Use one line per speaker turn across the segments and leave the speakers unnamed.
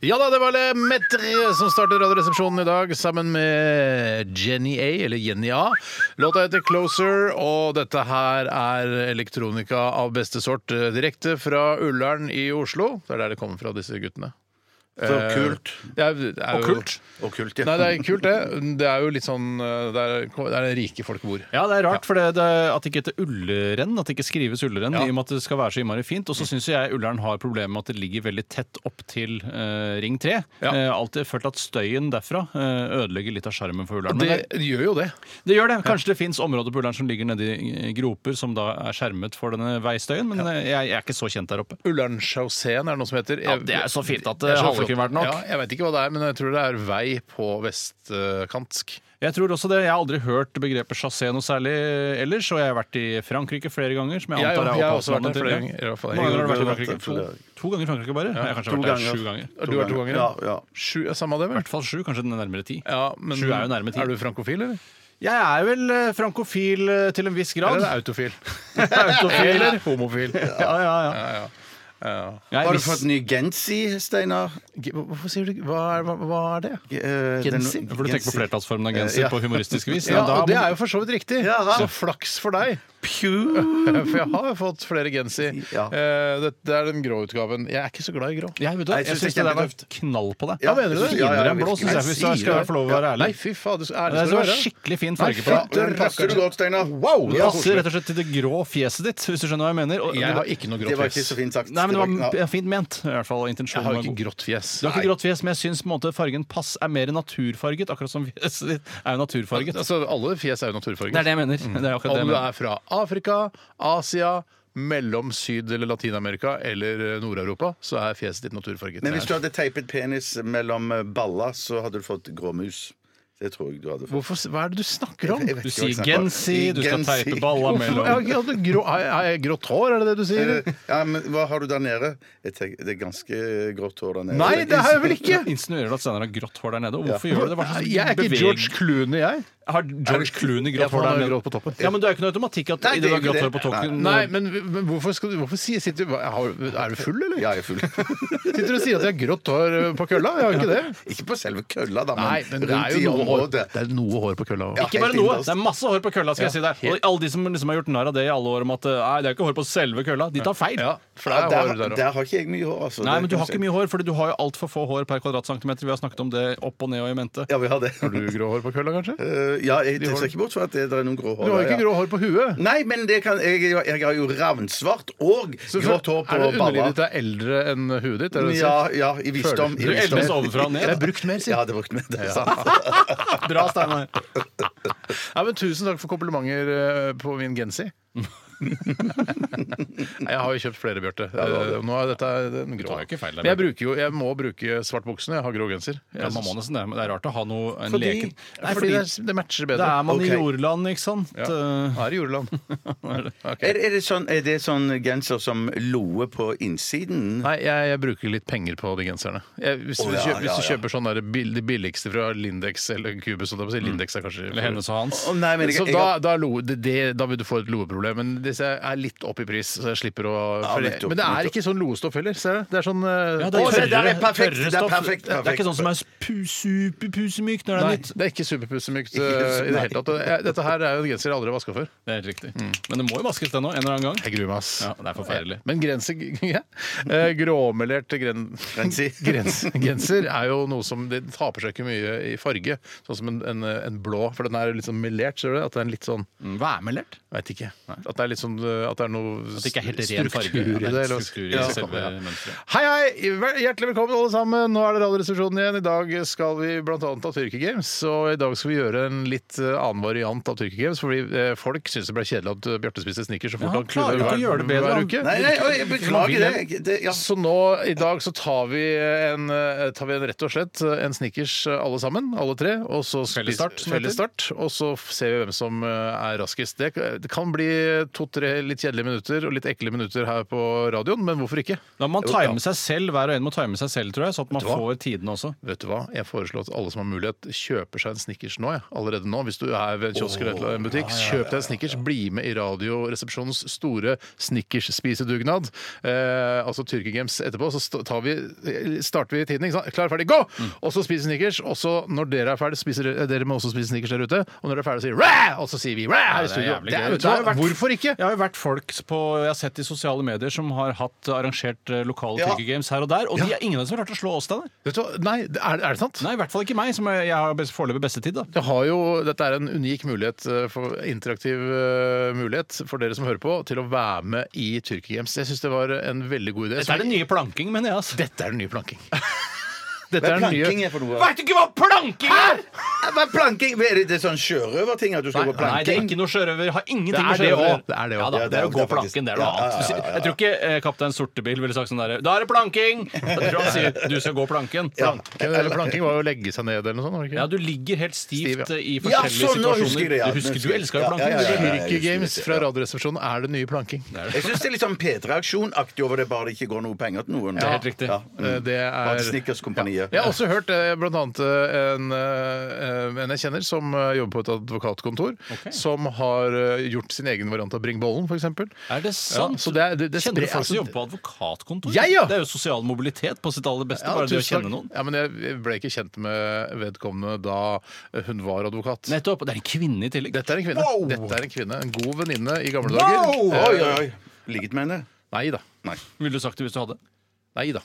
Ja da, det var Le Metre som startet Radioresepsjonen i dag, sammen med Jenny A, eller Jenny A. Låta heter Closer, og dette her er elektronika av beste sort, eh, direkte fra Ullern i Oslo. Det er der det kommer fra, disse guttene.
Så kult.
Det er, det er
Og
jo-
kult. Og kult, ja.
Nei, det er kult, det. Det er jo litt sånn eh, Der, der rike folk bor.
Ja, det er rart, for det, det, at det ikke heter Ulleren, at det ikke skrives Ulleren,
Ja. Mm.
i og med at det skal være så innmari fint. Og så syns jeg Ullern har problemer med at det ligger veldig tett opp til eh, Ring 3.
Ja.
Eh, alltid følt at støyen derfra eh, ødelegger litt av sjarmen for Ullern. Men
Det gjør jo det.
det, det gjør det. Kanskje det fins områder på Ullern som ligger nedi eh, groper som da er skjermet for denne veistøyen, men eh, jeg, jeg er ikke så kjent der oppe.
Ullernchausséen er det noe som heter.
Ja, det er så fint at
er så
halve
flott.
kunne vært nok.
Ja, jeg veit ikke hva det er, men jeg tror det er vei på vestkantsk.
Jeg tror også det, jeg har aldri hørt begrepet chassé noe særlig ellers, og jeg har vært i Frankrike flere ganger. som jeg
Jeg-
antar er
jeg har også vært
opphavslandet
der
til-
flere ganger, i hvert fall.
Hvor mange ganger har du vært i
Jeg har vært
Frankrike?
der
To, to ganger i Frankrike bare? Jeg har kanskje
To
vært der
ganger.
sju ganger.
Har Du vært to ganger?
Ja, ja.
Sju, ja, samme av det,
I
vel?
hvert fall sju, kanskje den er nærmere ti.
Ja, men
Sju er jo nærme ti.
er du frankofil, eller?
Jeg er vel eh, frankofil eh, til en viss grad.
Eller er du autofil?
Autofil,
eller homofil?
Ja, ja, ja.
Ja, ja. Ja.
Jeg er
Har du
viss-
fått ny genser, Steinar?
G- Hvorfor sier du hva er, hva, hva er det?
Eh,
Genser?
den-
For du tenker på flertallsformen av genser
Ja.
på humoristisk vis?
Ja,
da
og det
må-
er jo for så vidt riktig.
Ja, ja.
Så flaks for deg.
Pew!
For jeg har fått flere genser.
Ja.
Eh, Det, det er den grå utgaven. Jeg er ikke så glad i grå.
jeg, vet du,
Nei,
jeg,
jeg synes
syns
det
det
er
der var
kjempetøft.
knall på det.
Ja,
mener du det?
Jeg gir dere en
ja,
blå,
visst.
syns jeg, hvis
Nei,
jeg skal få lov å være
Nei,
ærlig.
fy faen, det
Det
ærlig
er så
skal du være.
skikkelig fin
Nei,
farge på
fy-
det.
Den passer du godt, Steinar.
Wow! det
Det
var
passer
koselig.
rett og slett til det grå fjeset ditt, hvis du skjønner hva jeg mener. Og,
Jeg har ikke noe
Det var
grått
ikke så
fjes.
fint sagt.
Nei, men det
var-
var
ja.
fint ment. I hvert fall
Jeg
intensjonen
har
var
ikke
god.
grått fjes.
Du har ikke grått fjes, men jeg syns på en måte fargen pass er mer naturfarget, akkurat som fjeset ditt er jo naturfarget.
Altså, alle fjes er jo naturfarget.
Det er det jeg mener. Det er akkurat det jeg
Om du
mener.
er fra Afrika, Asia, mellom Syd- eller Latin-Amerika eller eh, Nord-Europa, så er fjeset ditt naturfarget.
Men hvis du hadde teipet penis mellom eh, baller, så hadde du fått grå mus. Det tror jeg du hadde fått.
Hvorfor, hva er det du snakker om?
Jeg vet
Du
ikke hva
sier
jeg snakker om.
gensi, du skal
Gensi.
teipe balla
Hvorfor- Jeg har
mellom
ikke hatt noe grå, har jeg- har jeg grått hår, er det det du sier?
Eh, Ja, men Hva har du der nede? Jeg tenker, det er ganske grått hår der nede.
Nei, det har jeg vel ikke!
Insinuerer du at Steinar har grått hår der nede? Og hvorfor gjør du det? Hva slags
Jeg er ikke
beveg-
George Clooney, jeg.
Har George Clooney
Ja,
grått
for
hår
han
der
har grått
nede?
på toppen.
Ja, men du er jo ikke noe automatikk at
Nei,
i det du har
det er
grått
jo
hår på
det.
toppen
Nei, men, men hvorfor, skal, du- hvorfor sier, sitter, du- har, Er du full, eller?
Ja, jeg er full.
Sitter du og sier at jeg har grått hår eh, på kølla? Jeg har ikke det.
Ikke på selve kølla, da, men,
Nei, men det er
rundt i
jo noe hår,
området.
det er noe hår på kølla.
Ja.
også.
Ikke bare
helt
noe.
innerst.
Det er masse hår på kølla. skal jeg si der. Og alle de som liksom har gjort narr av det i alle år, om at eh, nei, det er ikke hår på selve kølla, de tar feil.
Ja, for det
Ja,
er
der,
hår der
har-
også.
der har ikke jeg mye hår, altså.
Nei,
Det
men du
kan
har
jeg
ikke
si.
mye hår, for du har jo altfor få hår per kvadratcentimeter. Vi har snakket om det opp og ned og i mente.
Ja, vi har det.
Har du grå hår på kølla, kanskje?
Eh, ja, jeg
har-
ser ikke bort fra at det, det er noen grå hår.
Du har
der,
ikke
ja.
grå hår på huet.
Nei, men det kan, jeg, jeg, jeg har jo ravnsvart og
Så
grått hår på
er det underlivet
balla.
ditt er eldre enn huet ditt? Er det det du
Ja,
sier?
ja, i visdom.
Føler
I
Du
visdom.
eldes ovenfra og
Jeg
ned.
har brukt mer, sier
Ja,
jeg.
det brukte vi. Det er sant.
Bra, Steinar.
Nei, men Tusen takk for komplimenter eh, på min genser. Nei, jeg har jo kjøpt flere, Bjarte. Eh, Nå er dette den grå.
tar jo ikke feil der,
Men jeg, bruker jo, jeg må bruke svartbuksene. Jeg har grå genser.
Ja, man må nesten det, men det er rart å ha noe en
Fordi,
leken Nei,
fordi, det, er- det matcher bedre.
da er man
Ok.
i jordland, ikke sant?
Ja.
Eh,
Her i jordeland.
Er, er, det sånn, er det sånn genser som loe på innsiden?
Nei, jeg, jeg bruker litt penger på de genserne. Jeg, hvis,
Å,
du
ja,
kjøper, hvis
ja,
du
ja.
kjøper sånn der bill- de billigste fra Lindex eller Cubus, holdt jeg på å si. Lindex Mm. er kanskje
Eller hennes og hans.
Å, nei, men jeg,
så
jeg,
da, da, er lo, det, det, da vil du få et loeproblem. Men disse er litt opp i pris, så jeg slipper å
Ja,
for det-
nettopp,
Men det er
nettopp.
ikke sånn loestoff heller, ser du. Det er sånn eh,
Ja, det,
Å, se,
er
der er
tørre-
perfekt,
tørre
det er
stoff.
perfekt,
Det er ikke
perfekt.
sånn som er spu- superpusemykt når det
Nei,
er nytt.
det er ikke superpusemykt eh,
Ikke-
i det
nei.
hele tatt. Og jeg- Dette her er jo en genser jeg aldri har vaska før.
Det er helt riktig. Men det må jo vaskes, det nå, en eller annen gang.
Jeg gruer meg, ass.
Ja, det er forferdelig.
Men grenser ja. Eh, Gråmelert gren...
Grensi.
grens, genser er jo noe som det taper seg ikke mye i farge. Sånn som en, en, en blå, for den er jo litt sånn melert, ser du det? At det er en litt sånn
Hva er melert?
Veit ikke. At det er litt sånn eh, At det er noe
At det ikke er helt ren
struktur
farge.
i
Ja,
det.
det er
eller-
struktur i
Ja.
selve
Ja.
mønsteret.
Hei, hei! Vel- Hjertelig velkommen, alle sammen. Nå er det Radioresepsjonen igjen. I dag skal vi bl.a. ta Tyrkia Games. Og i dag skal vi gjøre en litt eh, annen variant av Tyrkia Games, fordi eh, folk syns det ble kjedelig at eh, Bjarte spiste sneakers så fort
Ja, han klarer jo ikke å gjøre det bedre,
hver
han.
uke.
nei, nei, oi, jeg beklager det. Jeg- det ja.
Så nå i dag så tar vi en, eh, tar vi en rett og slett eh, en Snickers eh, alle sammen, alle tre. Og så spis-
Fellesstart, som det heter.
fellesstart, og så f- ser vi hvem som eh, er raskest. Det, det kan bli to, to-tre litt kjedelige minutter og litt ekle minutter her på radioen, men hvorfor ikke?
Da må man time seg selv, hver og en må time seg selv, tror jeg, så at man
Vet du hva?
får tidene også.
Vet du hva? Jeg foreslår at alle som har mulighet, kjøper seg en Snickers nå. Ja. Allerede nå. Hvis du er ved en kiosk eller et eller annet butikk, kjøp deg en Snickers. Bli med i Radioresepsjonens store Snickers-spisedugnad. Eh, altså Tyrkigems etterpå. Så sta- tar vi, eh, starter vi tiden. ikke sant? Klar, ferdig, gå!
Mm.
Og så spiser Snickers. Og så når dere er ferdig, spiser dere- dere må også spise Snickers der ute. Og når dere er ferdig, sier ræ! Og så sier vi ræ! her i
det er
studio.
jævlig
Det er,
gøy.
vet du hva?
Det har vært-
Hvorfor ikke?
Jeg har jo vært folk på, jeg har sett i sosiale medier som har hatt eh, arrangert eh, lokale
Ja.
Tyrkia-games her og der, og de er ingen av dem som har klart å slå oss der.
Vet du hva? Nei, det- er, er det sant?
Nei, i hvert fall ikke meg, som jeg, jeg har best- foreløpig beste tid. da.
Det har jo, dette er en unik mulighet, eh, for, interaktiv eh, mulighet for dere som hører på, til å være med i Tyrkia Games. Jeg syns det var en veldig god idé.
Dette er den nye planking, mener jeg. altså.
Dette er den nye planking. Dette
Hva
er
er
den nye-
planking er for noe?
Veit du ikke hva planking er?!
Hva er planking? Hva Er det, det er sånn sjørøverting at du skal gå
Nei, det er
planking?
ikke noe sjørøver. Har ingenting
Det er
med
det
sjørøver å
også. Det er det også.
Ja, da,
Ja, det
det er
er
å gå
det faktisk.
planken. Det er noe
Ja, ja, ja, ja,
annet.
ja.
Jeg tror ikke eh, kaptein Sortebil ville sagt sånn derre Da er det planking! Jeg tror han sier du skal gå planken.
Planking, eller planking var jo å legge seg ned eller noe sånt. var det
Ja,
ikke?
du ligger helt stivt
Stiv, ja.
eh, i
Ja,
forskjellige
sånn, nå
situasjoner.
husker jeg det, ja.
Du
Nå
husker du
husker jeg det.
elska jo
Ja, ja,
planking.
ja, ja, ja.
Tyrkia
jeg husker
Games
det,
fra
ja.
Radioresepsjonen er den nye planking. Det
Jeg syns det er litt sånn P3-aksjonaktig over det, bare det ikke går noe penger til noen.
Det
Mm.
er helt riktig.
Eh, Det
Bare
er
til Snickerskompaniet.
Jeg har også hørt eh, blant annet eh, en, eh, en jeg kjenner som eh, jobber på et advokatkontor, som har eh, gjort sin egen variant av Bring bollen, f.eks.
Er det sant?
så det er- det- det
kjenner du
sprer-
folk som
altså,
jobber på advokatkontor?
Jeg, ja!
Det er jo sosial mobilitet på sitt aller beste.
Ja,
bare det å
tusen takk.
kjenne noen.
Ja, men jeg ble ikke kjent med vedkommende da hun var advokat.
Nettopp. Det er en kvinne i tillegg.
Dette er en kvinne.
Wow!
Dette er en kvinne, en god venninne i gamle
Wow!
dager. Eh,
Oi, oi, oi. Ligget med henne?
Nei da.
Nei.
Ville du sagt det hvis du hadde?
Nei da.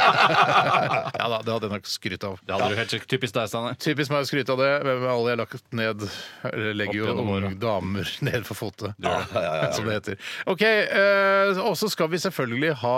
ja da, det hadde jeg nok skrytt av.
Det hadde du helt sikkert. Typisk deg, Steinar.
Typisk meg å skryte av det, men med alle jeg har lagt ned Eller legger jo
Opp gjennom
unge
åra.
damer ned for fotet, som det heter. OK, eh, og så skal vi selvfølgelig ha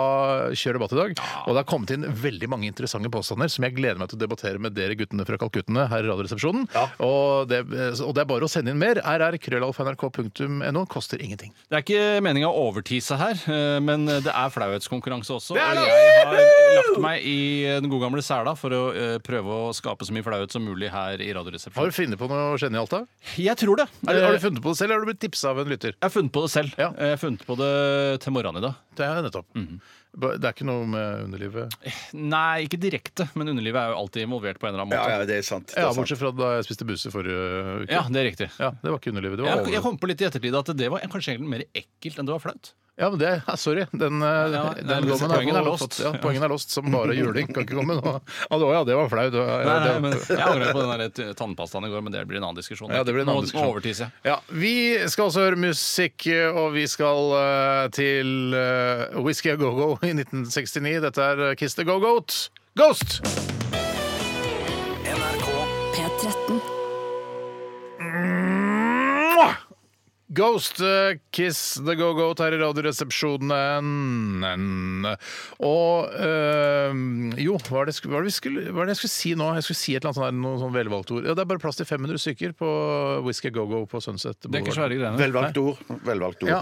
kjør debatt i dag. Og det har kommet inn veldig mange interessante påstander som jeg gleder meg til å debattere med dere guttene fra Kalkuttene her i Radioresepsjonen. Og, det, eh, og det er bare å sende inn mer. rrkrøllalf.nrk.no. Koster ingenting.
Det er ikke meninga å overtise her, eh, men det er flauhetskonkurranse også.
er
Og
det!
jeg har lagt meg i den gode gamle sela for å eh, prøve å skape så mye flauhet som mulig her i
Har
Radioresepsjonen.
du funnet på noe genialt, da?
Jeg tror det.
Er det- Har du
Eh,
funnet på det selv, eller har du blitt tipsa av en lytter?
Jeg har funnet på det selv.
Ja.
Jeg har funnet på det til morgenen i dag.
Det er nettopp. Ba- Det er ikke noe med underlivet?
Nei, Mhm. ikke direkte, men underlivet er jo alltid involvert på en eller annen
Ja,
måte.
ja, det er sant. Det
Ja,
er sant.
bortsett fra da jeg spiste buse forrige uke.
Ja, det er riktig.
Ja, det var ikke underlivet. Det var
Jeg, jeg
overlivet.
kom på litt i ettertid at det var kanskje egentlig mer ekkelt enn det var flaut.
Ja, men det, ja, sorry. Den, eh,
nei,
den
men
dommen
poengen
har
er låst.
fått- Ja, poengen er låst som bare juling. Kan ikke komme nå. Ja, det var, ja, det var flaut. Ja,
Nei, nei,
det-
men jeg angrer på den der t- tannpastaen i går, men det blir en annen diskusjon.
Ja, det blir en
Nå-
annen diskusjon.
Nå overtiser jeg.
Ja, Vi skal også høre musikk, og vi skal eh, til eh, Whisky a Go-Go i 1969. Dette er eh, Kiss the Go-Goat. Ghost!
NRK
P13.
Ghost, eh, Kiss the Go-Goat her i Radioresepsjonen. Og eh, jo, hva er, det, sk- hva, er det vi skulle, hva er det jeg skulle si nå? Jeg skulle si et eller annet sånn, der, noe sånn velvalgt ord. Ja, Det er bare plass til 500 stykker på Whisky Go-Go på Sunset.
Det er ikke
Boulevard.
svære greiene.
Velvalgt ord. Velvalgt ord.
Ja.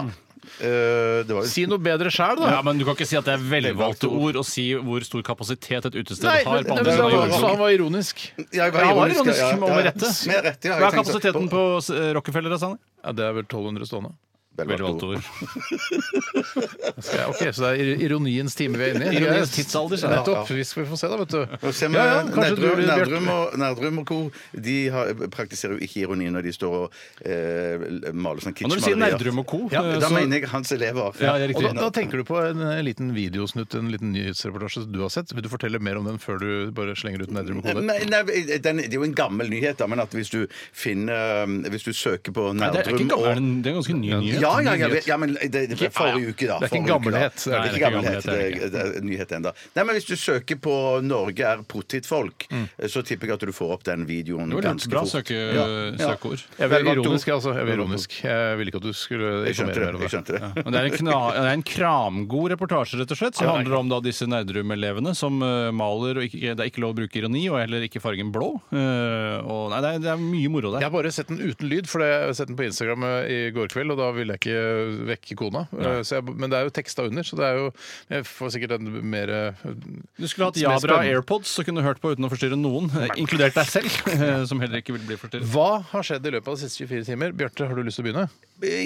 Eh, det var jo
Si noe bedre sjæl, da.
Ja, men Du kan ikke si at det er
Velvalgte
velvalgte
ord.
ord å si hvor stor kapasitet et utested
Nei,
har.
men,
på
nei,
andre
men,
siden av
han var-
jordkloden.
så
jordkloden.
han var ironisk.
Jeg
Ja, han var ironisk, men med rette.
Med rette, ja.
Hva
Jeg
er
tenkte-
kapasiteten på eh, Rockefeller? da, Sanne?
Ja, det er vel 1200 stående.
Velvalgt ord.
Skal jeg- Ok, Så det er ironiens time vi er inne i.
Ironiens tidsalder, sa jeg.
Nettopp. Vi skal få se, da, vet du.
Og se med,
Ja, ja, kanskje du,
Nerdrum,
Bjarte.
Nerdrum, og, Nerdrum og co. De har, praktiserer jo ikke ironi når de står og eh, maler sånn
Og Når du sier
kitschmalerier.
Nerdrum og co.,
Ja,
eh,
Da
så
mener jeg hans elever.
Ja, det er
Og
riktig.
da, da tenker du på en eh, liten videosnutt, en liten nyhetsreportasje som du har sett. Vil du fortelle mer om den før du bare slenger ut nedre med hodet?
Nei, Eh, nei, den, det er jo en gammel nyhet, da, men at hvis du finner um, Hvis du søker på
Nei, det er ikke
Nerdrum
gammel, det er en- det er en ganske ny nyhet.
ja, ja, ja, ja, men det, det
Ikke- ja, ja.
forrige uke, da.
Det er ikke en
forrige uke, da.
gammelhet, det er
det ikke.
Nei, det er ikke gammelhet.
Gammelhet
Det
er det
er, det er nyhet enda. Nei, men Hvis du søker på 'Norge er potetfolk', så tipper jeg at du får opp den videoen
Det var et
ganske
bra
fort.
søke, søkeord.
Jeg vil
Velvalgt
ironisk,
ord.
jeg, altså. Jeg vil ironisk. Jeg vil ikke at du skulle
Jeg skjønte
informere
det.
mer om
jeg
det.
skjønte det.
Men det er en, kna, det er en kramgod reportasje, rett og slett, som handler om da disse Nerdrum-elevene som eh, maler, og ikke, det er ikke lov å bruke ironi, og heller ikke fargen blå. Eh, og, nei, det er, det er mye moro
Jeg
der.
har bare sett den uten lyd, for jeg har sett den på Instagram eh, i går kveld, og da ville jeg ikke vekke kona. Eh, Så jeg, men det er jo teksta under, så det er jo Jeg får sikkert en mer eh,
Du skulle hatt
Som er
Jabra
spennende.
AirPods og kunne hørt på uten å forstyrre noen, eh, inkludert deg selv, eh, som heller ikke vil bli forstyrret.
Hva har skjedd i løpet av de siste 24 timer? Bjarte, har du lyst til å begynne?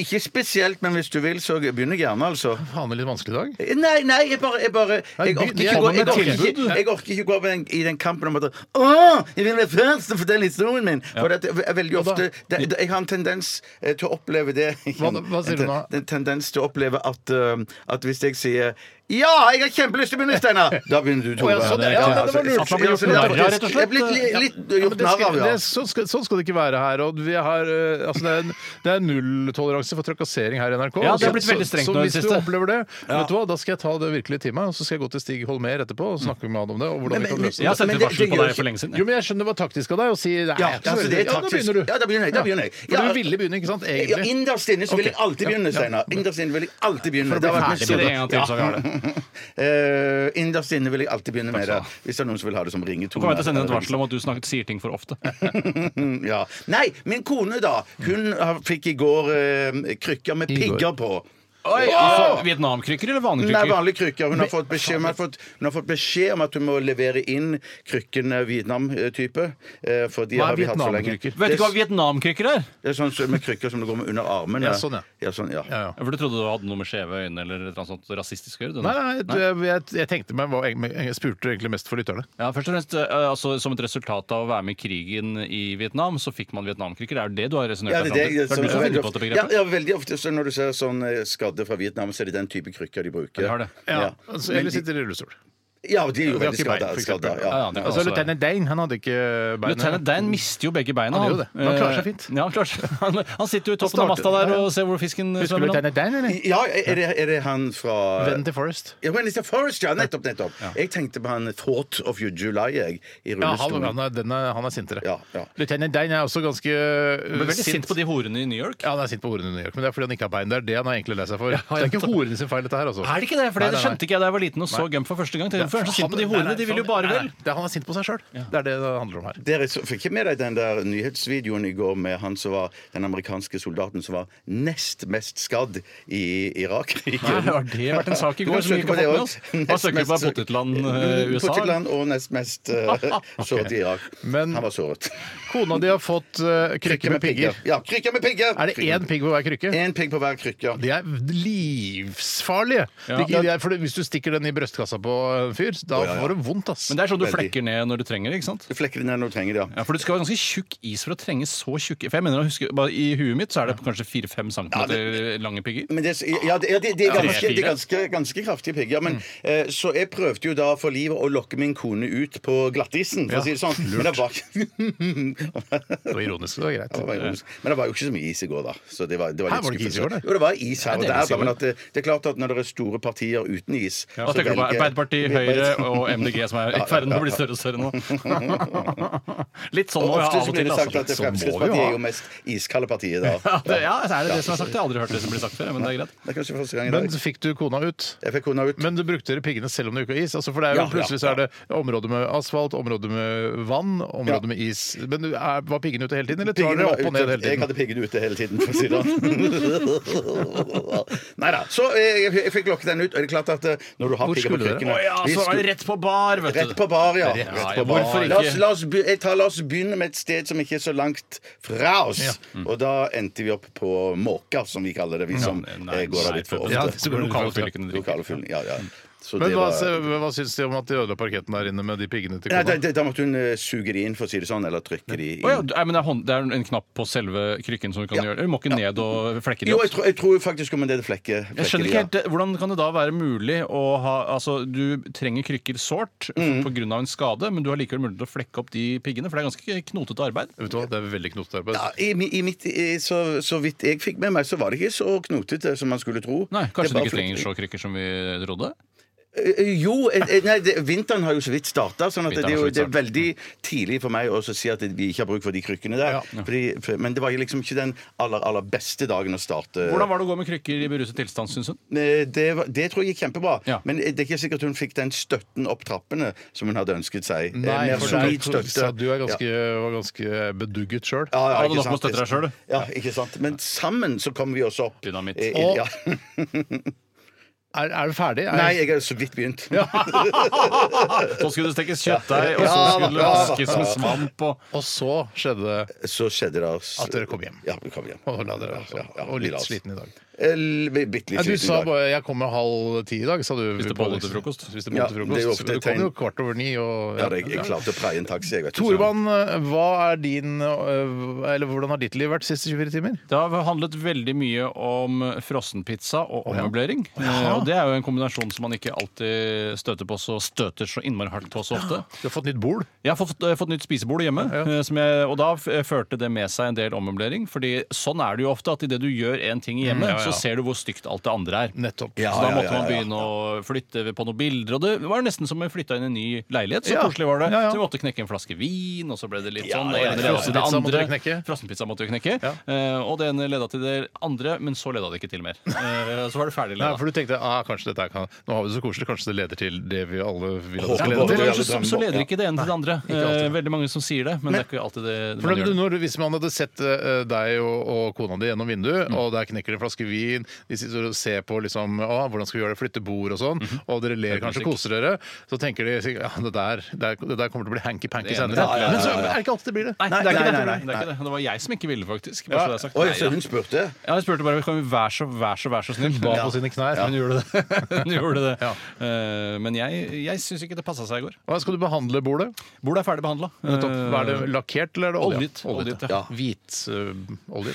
Ikke spesielt, men hvis du vil, så begynner jeg gjerne, altså.
Faen, det er litt vanskelig i dag.
Nei, nei, jeg bare Jeg, bare, jeg orker ikke gå, jeg orker ikke, jeg orker ikke gå på den, i den kampen om at Å, jeg vil være først og fortelle historien min! For det er veldig ofte det, det, Jeg har en tendens eh, til å oppleve det
Hva- hva sier du nå?
En tendens til å oppleve at, eh, at hvis jeg sier ja, jeg har kjempelyst til å begynne, Steinar! Da begynner du, Tore.
Å, ja, sånn, ja,
Ja,
ja, det var
altså,
lurt.
ja, altså, det er
At man blir gjort narr av, rett og
faktisk-
slett.
Jeg blir litt, litt,
Ja,
eh,
men
gjort
det
narr
skal,
av,
det,
ja.
er- sånn, skal, sånn skal det ikke være her. Og vi har, eh, altså det, er en, det er nulltoleranse for trakassering her i NRK.
Ja, det har
Så-
blitt veldig strengt nå
så,
i
så hvis
det
du
siste.
opplever det, vet du hva, da skal jeg ta det virkelig til meg, og så skal jeg gå til Stig Holmer etterpå og snakke med han om det. og hvordan vi kan løse
Jeg
det.
har sendt et
Men det-
varsel på
det gjør
deg
ikke-
for lenge siden.
Jo, men Jeg skjønner det var taktisk av deg å si nei, jeg
Ja,
er ikke så
altså, det er
veldig- ja, da
taktisk.
begynner du.
Ja, da begynner jeg, da begynner jeg.
For
Ja.
du ville begynne, ikke sant?
Ja,
Egentlig.
Innerst inne så vil jeg
Ok.
alltid begynne, Steinar. Innerst inne vil jeg alltid begynne.
bli
Det har vært
med det
ferdig
min store-
en gang til, så vi har
Ja. Eh, Innerst inne vil jeg alltid begynne med det. Hvis det er noen som vil ha det som ringetone.
Kommer jeg til å sende et varsel om at du snakket, sier ting for ofte.
liksom, Ja. Nei, min kone, da. Hun har- fikk i går eh, krykker med pigger på.
Altså, Vietnamkrykker eller vanlige
Nei,
krykker?
vanlige krykker. Hun har, fått beskjed, hun, har fått, hun har fått beskjed om at hun må levere inn krykkene Vietnam-type. eh, For de
Hva er
har vi hatt så lenge.
Vietnam-krykker?
Vet du ikke hva
Det er-
Vietnamkrykker er?
det er sånn som- med krykker som du går med under armen.
Ja, sånn, ja.
ja, sånn, ja.
Ja, ja.
For du trodde du hadde noe med skjeve øyne eller et eller annet sånt rasistisk å gjøre? du, nå?
Nei, nei, du, jeg, jeg, jeg tenkte meg hva jeg, jeg spurte egentlig mest for lytterne.
Ja, først og fremst, eh, altså, Som et resultat av å være med i krigen i Vietnam, så fikk man vietnamkrykker. Er det det du har resonnert
Ja,
deg fram
det, er det,
til?
jeg-
Det er du
så
som har
veldig
funnet på dette
ofte- ja,
begrepet?
ja, veldig ofte så når du ser sånn eh, skadde fra Vietnam, så er det den type krykker de bruker.
De har det.
Ja,
Altså, eller sitter i rullestol.
ja de er jo
De har
veldig
ikke bein,
skadda.
for eksempel.
Ja,
skadda ja.
ja, det kan
Altså,
også være.
Lieutenant Dane han hadde ikke bein.
Lieutenant Dan mister jo begge beina.
Han gjør jo det, men han klarer seg
Eh,
fint.
Ja, han, klarer seg. Han, han sitter jo i toppen
starter-
av masta der
ja, ja.
og ser hvor fisken
Husker du
svømmer. nå.
Lieutenant Dane, eller?
ja er, det, er det han fra
Vennen til Forrest.
ja, Wednesday Forest, ja, nettopp, nettopp. Jeg tenkte på han Thought of You July, jeg, i
Ja, han,
rullestolen.
han, er, den er, han er sintere.
Ja, ja.
Lieutenant Dane er også ganske uh,
Ble veldig sint på de horene i New York.
Ja, han er sint på horene i New York, men det er fordi han ikke har bein. Det er det han er egentlig lei seg for. det er
jeg
ikke horene sin feil, dette her, altså.
Er det ikke det? For
Nei,
det
nei, nei.
skjønte ikke jeg da jeg var liten og så Gump for første gang. Tenkte, Hvorfor er han så sint på de
Han- nei,
horene?
nei,
De vil jo
han-
bare
nei, nei,
vel.
Det, han er sint på seg sjøl. Det er det det handler om her.
Dere så, fikk ikke med deg den der nyhetsvideoen i går med han som var den amerikanske soldaten som var nest mest skadd i
Nei,
Irak-krigen?
har det vært en sak i
Du
går
kan
som vi ikke
søke på
har
det
fått med
også.
oss? Hva
Nest
søker du på?
mest- mm,
Potetland, eh, USA?
Potetland og nest mest eh, såret i Irak.
Men-
Han var såret.
Kona di har fått uh, krykke med pigger.
Ja, krykker med pigger!
Er det én pigg på hver krykke?
En pigg på hver krykke.
De er livsfarlige!
Ja.
De, de er, for hvis du stikker den i brystkassa på en fyr, da
ja, ja.
får du vondt, ass.
Men det er sånn du
Veldig.
flekker ned når du trenger det, ikke sant?
Du flekker den ned når du trenger det, ja.
Ja, For du skal være ganske tjukk is for å trenge så tjukke For jeg mener å huske, bare I huet mitt så er det kanskje 4-5 cm lange pigger.
Men det, ja, det, ja, det, det er ganske,
fire. Mm.
det er ganske, ganske kraftige pigger. Men, eh, så jeg prøvde jo da for livet å lokke min kone ut på glattisen, for å si det sånn. Men det, var,
Det var ironisk, det var greit.
det var ironisk. men det var jo ikke så mye is i går, da. Så det var, det var
Her
litt
var det ikke is i går, da?
skuffende. Jo, det var is her
det
og
er is
der,
i
da,
går.
men at eh, det, det er klart at når det er store partier uten is
Ja,
så
Hva tenker du på?
velger-
Arbeiderpartiet, Høyre og MDG, som er i ferd med å bli
ja.
større og større nå. Litt sånn
Og
må vi ha
ofte
av
så
og
blir
til.
det sagt
altså. Sånn
at
må vi jo ha.
Fremskrittspartiet er jo mest iskalde partiet da.
Ja, det, ja, er det det som er sagt? Jeg har aldri hørt det som blir sagt før, men det er greit.
Det er kanskje første gang i
Men
dag.
fikk du kona ut?
Jeg fikk kona ut.
Men du brukte dere piggene selv om det ikke var is? Altså, for det er jo
Ja, ja,
Plutselig så er det område med asfalt, område med vann, område
Ja.
med is. Men du er, var piggene ute hele tiden, eller tar
Piggene
dere
var
opp og
ute.
ned hele
Jeg
tiden?
hadde piggene ute hele tiden, for å si det Nei da. Så eh, jeg, jeg fikk lokket den ut. Og det er klart at eh, når du har
Hvor
pigger på
skulle dere?
Å
krykkene
ja,
vi
så er det
skulle-
rett på bar, vet du.
Rett på bar, ja.
Rett-
Rett
ja,
på bar.
hvorfor ikke?
La, oss, la, oss, be- jeg tar, la oss begynne med et sted som ikke er så langt fra oss. Og da endte vi opp på Måka, som vi kaller det, vi som eh, går av litt for
Ja,
ofte.
så går det
lokale
for ofte.
fylkene drikker.
Lokalfuglen. Ja, ja. Så
Men
det
hva,
var-
se- hva syns de om at de ødela parketten der inne med de piggene til
Nei, da,
kona?
da- da måtte hun eh, suge de inn, for å si det sånn. Eller trykke de inn.
Å ja, nei, men det er, hånd, det er en knapp på selve krykken som du kan
Ja.
gjøre Du må ikke ned og flekke det
Jo,
opp.
jeg tror, jeg tror faktisk om det er flekke.
Jeg skjønner
flekker,
ikke
ja.
helt, det. Hvordan kan det da være mulig å ha Altså, Du trenger krykker sårt
Mm.
pga. en skade, men du har likevel mulighet til å flekke opp de piggene, for det er ganske knotete arbeid.
Vet du hva, Det er veldig knotete arbeid.
Ja, i, mi- i mitt, i, så, så vidt jeg fikk med meg, så var det ikke så knotete som man skulle tro.
Nei, Kanskje du ikke
Det er bare
trenger
flytt-
så krykker som vi trodde?
Eh, Jo, eh, eh, nei, det, vinteren har jo så vidt starta, sånn at det,
Vinteren har så
er jo,
vidt Mm.
det er veldig tidlig for meg å så si at vi ikke har bruk for de krykkene der. Fordi, for, men det var liksom ikke den aller, aller beste dagen å starte.
Hvordan var det å gå med krykker i beruset tilstand, syns hun?
Eh, Det, var- det tror jeg gikk kjempebra,
Ja.
men det er ikke sikkert hun fikk den støtten opp trappene som hun hadde ønsket seg. Eh, mer
for du
solid
er-
støtte.
Du er
Ja.
ganske, var ganske bedugget sjøl.
Ja, ja,
Hadde
ikke
nok med å
sant?
støtte deg selv, du.
Eh, Ja, ikke sant. Men sammen så kommer vi oss opp.
Dynamitt.
Eh,
Og-
ja.
Er, er du ferdig? Er-
Nei, jeg har så vidt begynt.
Så skulle det stekes kjøttdeig, og så
Ja,
skulle det
ja.
vaskes med svamp og
Og så skjedde det.
Så skjedde det oss-
At dere kom hjem.
Ja, vi kom hjem.
Og, la dere, altså.
Ja, ja,
og litt
la oss.
sliten i dag.
El- Bitte litt
Ja, du
sliten i
sa
dag.
bare 'jeg kommer halv ti i dag', sa du.
Spiste
på
bolle til
Dagsnytt.
frokost.
Spiste
Ja,
bolle til
det er jo
frokost.
ofte
Du kom
tegn.
jo kvart over ni. Og,
Ja, jeg, jeg klarte å praie en taxi. Jeg vet ikke.
Torvann, hva er din øh, Eller hvordan har ditt liv vært siste 24 timer?
Det har handlet veldig mye om frossenpizza og ommøblering. Eh, Og det er jo en kombinasjon som man ikke alltid støter på så støter så innmari hardt på så ofte.
Du har fått nytt bol.
Jeg har fått, eh, fått nytt spisebord hjemme, eh, som jeg, og da f førte det med seg en del ommøblering. Fordi sånn er det jo ofte, at idet du gjør én ting i hjemmet,
Mm. ja.
så ser du hvor stygt alt det andre er.
Nettopp.
Ja,
så da
ja,
måtte
ja,
man
ja,
begynne å flytte på noen bilder. Og det var nesten som om vi flytta inn i en ny leilighet. Så
Ja.
koselig var det.
Ja, ja.
Så vi måtte knekke en flaske vin, og så ble det litt
Ja,
sånn.
ja, ja,
og det ene ledet til det
frossenpizza måtte
andre.
vi knekke.
Frossenpizza måtte vi knekke.
Ja.
Eh, og det ene leda til det andre, men så leda det ikke til mer. Eh, så var det ferdig.
Nei,
Leda.
for du tenkte ah, kanskje dette her kan Nå har vi det så koselig, kanskje det leder til det vi alle vil at det
Ja,
skal
for
Noen
lede til?
ganger så, så leder ikke det ene til det andre.
alltid.
Eh, veldig mange som sier det, men, det er ikke alltid det
For
man
da-
gjør.
når, hvis man hadde sett eh, deg og, og kona di gjennom vinduet, og der knekker det en flaske vin, de sitter og ser på liksom, å, hvordan skal vi gjøre det, flytte bord og sånn, og dere ler kanskje, koser dere, så tenker de sikkert, ja, det der, det der- det der kommer til å bli hanky-panky
Det ene
senere.
til det andre.
Men så er det ikke alltid det blir det.
Nei, det er ikke
nei,
det. Det
nei,
er ikke det. Det var jeg som ikke ville, faktisk.
Ja.
Bare så det er sagt.
Oi,
Nei,
så
ja.
hun spurte?
Ja, jeg spurte bare kan vi være så, vær så, vær så snill.
Ba på sine knær.
Hun gjorde det. Hun gjorde det.
Ja.
Eh, men jeg, jeg syns ikke det passa seg i går.
Hva skal du behandle bordet?
Bordet er ferdig behandla.
Nettopp. Hva er det, lakkert eller er det olje?
Oljet. Oljet, ja.
Ja.
Hvit eh, olje.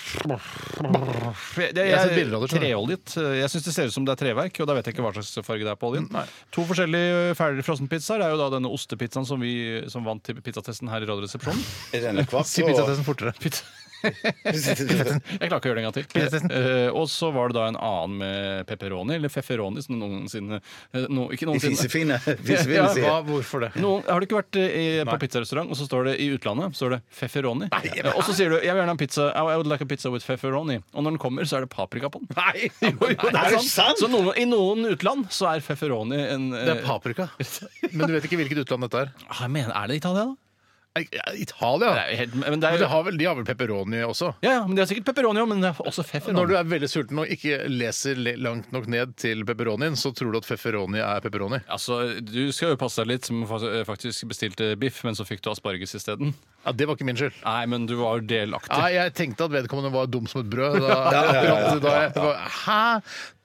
Jeg, jeg,
har sett bilder av det, skjønner du.
treoljet. Eh, Jeg syns det ser ut som det er treverk, og da vet jeg ikke hva slags farge det er på oljen.
Mm, Nei.
To forskjellige ferdigfrossenpizzaer. Det er jo da denne ostepizzaen som, vi, som vant til pizzatesten her i Radioresepsjonen.
Er det NRK?
Si pizzatesten fortere.
Pizza. Jeg klarer ikke å gjøre det en gang til.
Pizzatesten.
Eh, og så var det da en annen med pepperoni, eller pepperoni, som noensinne eh, no, Ikke noensinne.
Fisefine.
Ja,
Fisefine, sier
Hva,
jeg.
hvorfor det?
Noen, har du ikke vært eh, i, på pizzarestaurant, og så står det i utlandet står det pepperoni? Eh, Og så sier du 'jeg vil gjerne ha en pizza I would like a pizza with pepperoni'. Og når den kommer, så er det paprika på den.
Nei!
Jo, jo, det
Er
er
det
sant.
sant?
Så noen, I noen utland så er pepperoni en eh,
Det er paprika. Men du vet ikke hvilket utland dette er?
Ah, jeg mener, Er det Italia, da?
Nei, Italia?
Det er jo helt, men det
Men
er,
de har vel, de har vel pepperoni også?
ja, ja, men det er sikkert pepperoni òg, men det er også pepperoni.
Når du er veldig sulten og ikke leser le- langt nok ned til pepperonien, så tror du at pepperoni er pepperoni.
Altså, Du skal jo passe deg litt, som fa- eh, faktisk bestilte biff, men så fikk du asparges isteden.
Ja, det var ikke min skyld.
Nei, men du var delaktig.
Nei, jeg tenkte at vedkommende var dum som et brød. Da, da jeg, bare, Hæ?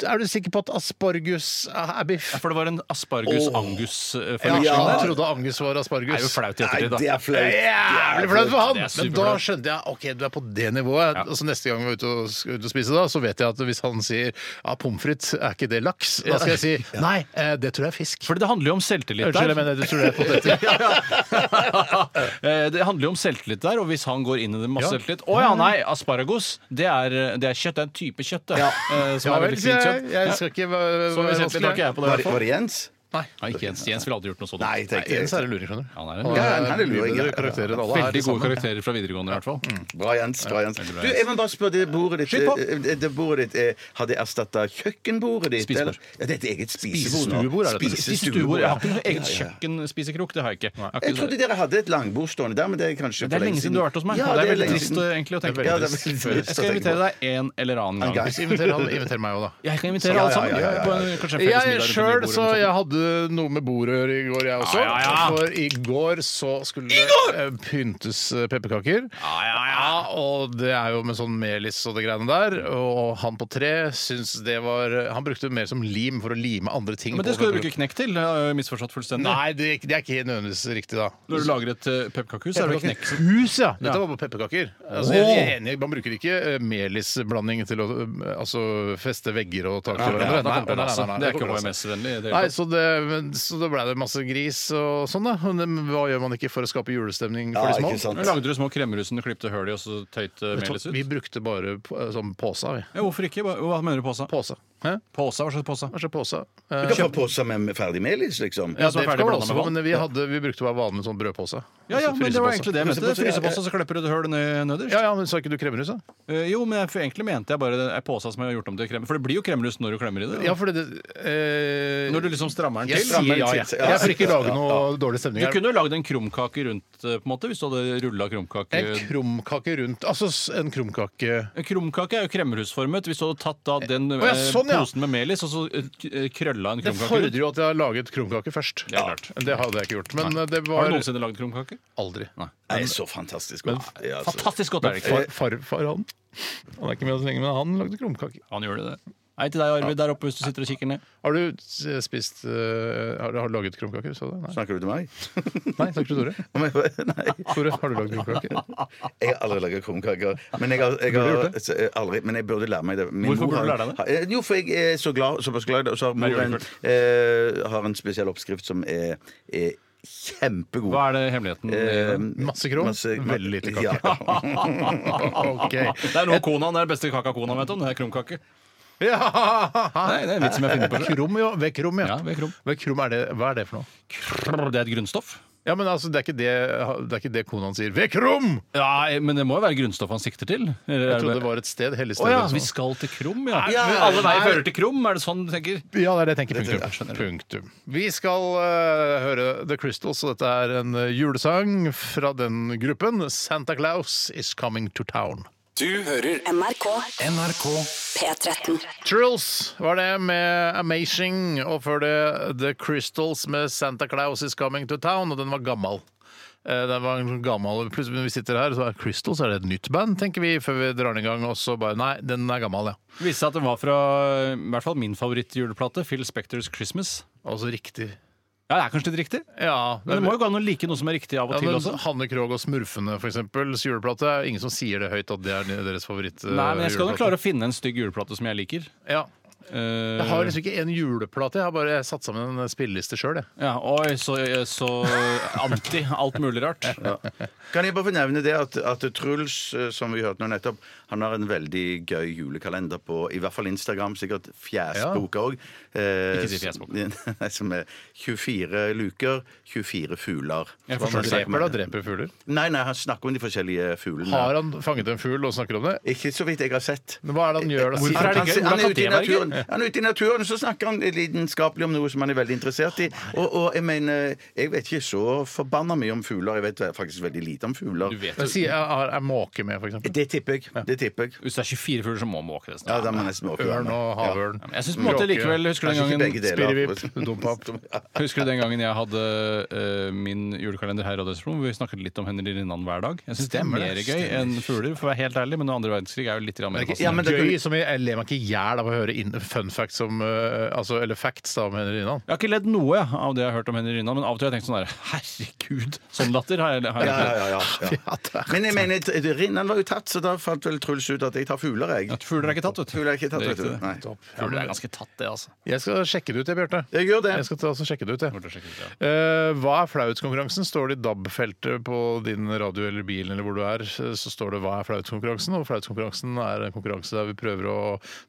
Er du sikker på at aspargus er biff?
Ja, For det var en aspargus-angus-forveksling
Ja, jeg
der.
trodde angus var
Det er jo
aspargus.
flaut i
Nei,
ettertid, da.
det er flaut.
Jævlig flaut for han!
Det er
Men da
superflaut.
skjønte jeg ok, du er på det nivået.
Ja.
Altså, neste gang vi er ute og, skal ut og spise, da, så vet jeg at hvis han sier ja, pommes frites, er ikke det laks? Da skal jeg si nei, eh, det tror jeg er fisk.
Fordi det handler jo om selvtillit
Unnskyld,
der.
jeg mener du tror det er poteter.
Eh, Det handler jo om selvtillit der, og hvis han går inn i det med masse
Ja.
selvtillit Å ja, nei, asparagos, det er, eh, det er kjøtt. Det er en type kjøtt, det. eh, Som
Ja
er
vel,
veldig
sier
fint
jeg.
kjøtt.
Jeg skal ikke være
Så mye selvtillit har ikke jeg på det. i hvert
Var det,
fall.
var det Jens?
Nei, ikke Jens. Jens ville aldri gjort noe sånt.
Nei, tenkte
Jens
jeg.
er en luring, skjønner du.
Han er en
Ja, han er en luring, ja.
Bedre karakterer enn alle her.
Veldig gode
sammen.
karakterer fra videregående, i hvert fall.
Bra, Jens. bra Jens Du, Jeg må bare spørre, det bordet ditt,
på.
eh, det- det bordet ditt eh, har det erstatta kjøkkenbordet ditt?
Spisebord.
eller? Ja, det er et eget spisebord. nå.
Spisestuebord er dette.
Spisestuebord,
Spisestuebord. Jeg
ja.
har ikke noe eget
Ja, ja.
kjøkkenspisekrok. Det har jeg ikke. Jeg har
Jeg
ikke
trodde dere hadde et langbord stående der, men det er kanskje
det er lenge siden du har vært hos meg.
Ja,
det er
lenge
veldig trist eh,
siden.
egentlig å tenke på.
Ja, det er veldig trist å
Jeg skal
tenke på.
invitere deg en eller annen gang.
gang.
Hvis Inviter han, inviter meg òg, da.
Jeg kan invitere
Ja,
alle
ja,
sammen.
ja, ja, ja.
På en, kanskje en felles
Jeg
middag
sjøl,
rundt
så
bordet eller noe
jeg hadde noe med bordet å gjøre i går, jeg også.
Ja, ja, ja.
For i går så skulle det eh, pyntes eh, pepperkaker. Ja, og det er jo med sånn melis og det greiene der. Og han på tre syns det var Han brukte det mer som lim for å lime andre ting.
sånt. Men det
på
skal du bruke
pepperkaker.
knekk til. Jeg har jo misforstått fullstendig.
Nei, det, er ikke- det er ikke nødvendigvis riktig, da.
Når du lager et eh, pepperkakehus, er det vel knekk.
Pepperkakehus, ja. Dette var på pepperkaker. Altså, jeg er enig, Man bruker ikke eh, melisblanding til å eh, altså, feste vegger og tak til
Ja, da
hverandre. Nei,
kan det
nei, nei,
passe. Det er
nei, det
ikke
går altså.
HMS-vennlig. i det hele
Nei,
tatt.
så det, men, så da blei det masse gris og sånn, da. Men hva gjør man ikke for å skape julestemning for
Ja,
de
ikke
små?
sant.
Nå Lagde du små kremmerhus som du klipte hull i, og så tøyt eh,
Vet du
melis
hva,
ut?
Vi brukte bare p- sånn påsa, vi.
Ja, hvorfor ikke? Hva hva mener du påsa?
Påsa. Hæ?
Påsa? Hva slags påsa?
Hva slags påsa?
Du
Eh,
kan få påse med ferdig melis, liksom.
Ja,
Ja,
som
det
er ferdig
kan man
blandet med
også få,
vann.
men vi, hadde, vi brukte bare vanlig sånn brødpose.
Ja, ja,
Altså
men det var
frysepåse.
egentlig det jeg mente.
Frysepose, ja, ja.
Frysepose, så klipper du det hull ned- nederst.
Ja, ja, men sa ikke du kremmerhus, da?
Eh, Jo, men jeg, for egentlig mente jeg bare det er påsa som jeg har gjort om til krem. For det blir jo kremmerhus når du klemmer i det.
Ja, fordi det eh,
Når du liksom strammer den
Jeg
til.
sier ja, jeg. Jeg får ikke lage noe dårlig
Du
stemning her.
kunne jo lagd en krumkake rundt, eh, på en måte, hvis du hadde rulla krumkake
En krumkake rundt Altså s- en krumkake
En krumkake er jo kremmerhusformet. Hvis du hadde tatt da den eh,
Å ja, sånn, ja.
posen med melis, og så eh, k- eh, krølla en
Det
krumkake
fordrer
ut.
jo at jeg har laget krumkake først.
Ja, klart.
Det hadde jeg ikke gjort. Men eh, det
Har
var
du noensinne lagd krumkake?
aldri.
Det er så fantastisk. Ja, altså.
Fantastisk godt er det ikke?
Far, farfar, han Han er ikke med oss lenger, men han lagde krumkake.
Han gjør det, det. Hei til deg, Arvid, der oppe hvis du sitter og kikker ned.
Har du s- spist eh, Har du har du laget krumkaker? Sa du? Nei.
Snakker du til meg?
Nei, takk til Tore.
Om jeg- Nei.
Tore, har du lagd krumkaker?
Jeg har aldri laga krumkaker. Men jeg, har, jeg
Burde du
har,
gjort
så- eh, aldri, men jeg burde lære meg det. Min
Hvorfor burde
mor
du
har-
lære deg det?
har- eh, Jo, for jeg er så glad, såpass glad i det. Og så har mor en, eh, har en spesiell oppskrift som er, er kjempegod.
Hva er det hemmeligheten?
Eh,
Masse krom, veldig lite kake.
Ja.
OK.
det er noe kona, det er den beste kaka kona vet om, det er krumkake.
Ja.
Nei, det er en vits som jeg finner på.
Krom, ja. Ved krom, ja.
Ja, ved krom.
Ved krom er det, hva er det for noe?
selv. Det er et grunnstoff.
Ja, men altså, det er ikke det, det, er ikke det kona hans sier. Ved krom!
Ja, eh, men det må jo være grunnstoff han sikter til. Eller er
Jeg trodde
det
det var et sted. Helligstedet.
Å ja,
eller
vi
sånn.
skal til Krum, ja.
Ja,
Men Alle veier
nei.
fører til Krum, er det sånn du tenker?
Ja, det er det jeg tenker.
Det tror jeg,
Punktum. Punktum. Vi skal eh, høre The Crystals, og dette er en eh, julesang fra den gruppen. Santa Claus is coming to town.
Du hører
NRK
NRK.
P13.
Trills var det med Amazing, og før det The Crystals med Santa Claus is coming to town, og den var gammal. Eh, Den var en gammel, plutselig når vi sitter her, så er Crystals er det et nytt band, tenker vi, før vi drar den i gang. Og så bare Nei, den er gammel, ja.
Viste seg at den var fra i hvert fall min favorittjuleplate, Phil Spectors Christmas.
Altså riktig.
Ja, det er kanskje litt riktig,
Ja.
men det må jo gå an å like noe som er riktig av og
ja,
til
men
også.
Hanne Krogh og Smurfene, for eksempel. Juleplate. Ingen som sier det høyt at det er deres favoritt. eh,
Nei, men jeg skal nok klare å finne en stygg juleplate som jeg liker.
Ja.
Eh,
Jeg har liksom ikke en juleplate, jeg har bare satt sammen en spilleliste sjøl, jeg.
Eh, ja, oi, så, så anti alt mulig rart.
Kan jeg bare få nevne det at, at Truls, eh, som vi hørte nå nettopp, han har en veldig gøy julekalender på i hvert fall Instagram, sikkert Fjesboka òg.
Ikke si Fjesboka.
Som er 24 luker, 24 fugler.
Jeg forstår det.
Dreper da, dreper fugler.
Nei, nei, han snakker om de forskjellige fuglene.
Har han fanget en fugl og snakker om det?
Ikke så vidt jeg har sett.
Men Hva er det han gjør da?
Hvorfor er det
han,
ikke-
han,
hvordan
er
kan
ute i
det være gøy?
naturen, han er ute i naturen, så snakker han lidenskapelig om noe som han er veldig interessert i. Og, og jeg mener, jeg vet ikke så forbanna mye om fugler. Jeg vet faktisk veldig lite om fugler.
Du vet
Men
jo,
si, er, er- er måke med, for eksempel?
Det tipper jeg. Det tipper jeg.
Hvis det er 24 fugler, så må man åke det
Ja,
snart.
da må jeg nesten åke
Ørn
hjemme.
og havørn.
Men Jeg synes på en måte
Kråke.
likevel, husker du
Kanskje
den
ikke begge
gangen
deler.
Spirrevipp, dompap.
Husker du den gangen jeg hadde eh, min julekalender her i Radioresepsjonen, hvor vi snakket litt om Henry Rinnan hver dag? Jeg syns det er
Stemmer
mer
det,
gøy enn fugler, for å være helt ærlig, men andre verdenskrig er jo litt grann
Det
mer
er ikke,
fascinerende.
Ja, men det
gøy
kunne-
som i- Jeg ler meg ikke i hjel av å høre inn, fun facts om eh, altså, Eller facts da, om Henry Rinnan.
Jeg har ikke ledd noe jeg, av det jeg har hørt om Henry Rinnan, men av og til har jeg tenkt sånn her Herregud, sånn latter har jeg, har jeg
Ja,
ikke.
ja, ja, ja. Men jeg mener, Rinnan var jo tatt, så da fant vel Truls ut at jeg tar fugler, jeg.
At Fugler er ikke tatt, vet du.
Fugler er ikke tatt,
Det er
vet du.
riktig, det.
Nei.
Fugler er ganske tatt, det, altså.
Jeg skal sjekke det ut, jeg, Bjarte.
Jeg gjør det.
Jeg skal ta, altså, sjekke det ut, jeg.
Burde sjekke ut, ja.
Eh, hva er flauhetskonkurransen? Står det i DAB-feltet på din radio eller bilen eller hvor du er, så står det 'Hva er flauhetskonkurransen?' Og flauhetskonkurransen er en konkurranse der vi prøver å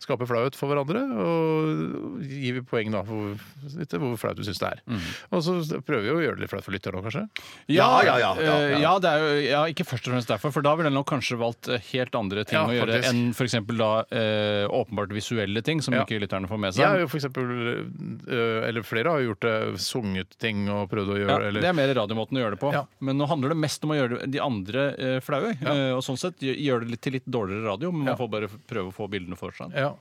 skape flauhet for hverandre. Og gir vi poeng da for etter hvor flaut vi syns det er.
Mm.
Og så prøver vi å gjøre det litt flaut for lytterne òg, kanskje.
Ja, ja, ja, ja,
eh,
ja.
ja, det er jo, ja, ikke først og fremst derfor, for da ville jeg nok kanskje valgt eh, helt andre ting
Ja,
å gjøre
faktisk.
enn f.eks. da eh, åpenbart visuelle ting som
Ja.
ikke lytterne får med seg.
Jeg har jo for eksempel, øh, eller flere har jo gjort det, sunget ting og prøvd å gjøre
Ja,
eller,
Det er mer radiomåten å gjøre det på.
Ja.
Men nå handler det mest om å gjøre de andre eh, flaue. eh, og sånn sett gjø- gjøre det litt til litt dårligere radio, men man
Ja.
får bare f- prøve å få bildene for seg.
Ja.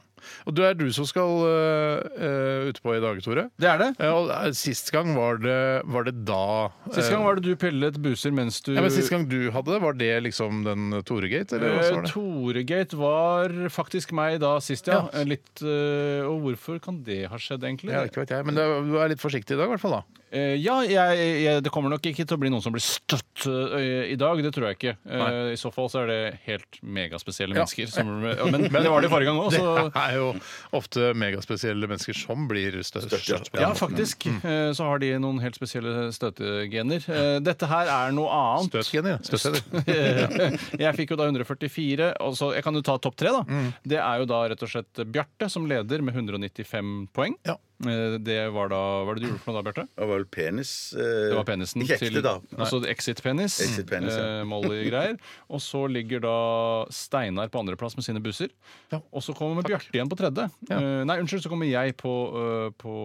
Og det er du som skal øh, øh, ut på i dag, Tore.
Det er det.
Ja, og øh, sist gang var det, var det da øh,
Sist gang var det du pillet buser mens du
ja, men Sist gang du hadde det, var det liksom den Tore-gate? Eller hva var
Eh,
det?
Toregate var faktisk meg da sist, ja.
Ja.
Eh, Litt, eh, og hvorfor kan det ha skjedd, egentlig?
Ja, ikke vet jeg, men det, er- du er litt forsiktig i dag, i hvert fall. da
Eh, ja, jeg, jeg, det kommer nok ikke til å bli noen som blir støtt eh, i dag. Det tror jeg ikke. Eh, I så fall så er det helt megaspesielle
Ja.
mennesker. Som, eh, men, men det var det forrige gang òg, så
Det er jo ofte megaspesielle mennesker som blir størst.
ja, faktisk.
Mm.
Eh, Så har de noen helt spesielle støtegener. Eh, Dette her er noe annet.
Støtgener. Støtgener.
Eh, Jeg fikk jo da 144, og så jeg kan jo ta topp tre, da.
Mm.
Det er jo da rett og slett Bjarte som leder med 195 poeng.
Ja.
Eh, Det var da Hva var det du gjorde for noe da, Bjarte?
Det var vel penis eh,
Det var penisen
Ikke ekte,
til
da.
Altså Exit-penis.
Exit-penis, ja.
eh, Molly-greier. Og så ligger da Steinar på andreplass med sine busser.
Ja.
Og så kommer Bjarte igjen på tredje. Eh, nei, unnskyld, så kommer jeg på, eh, på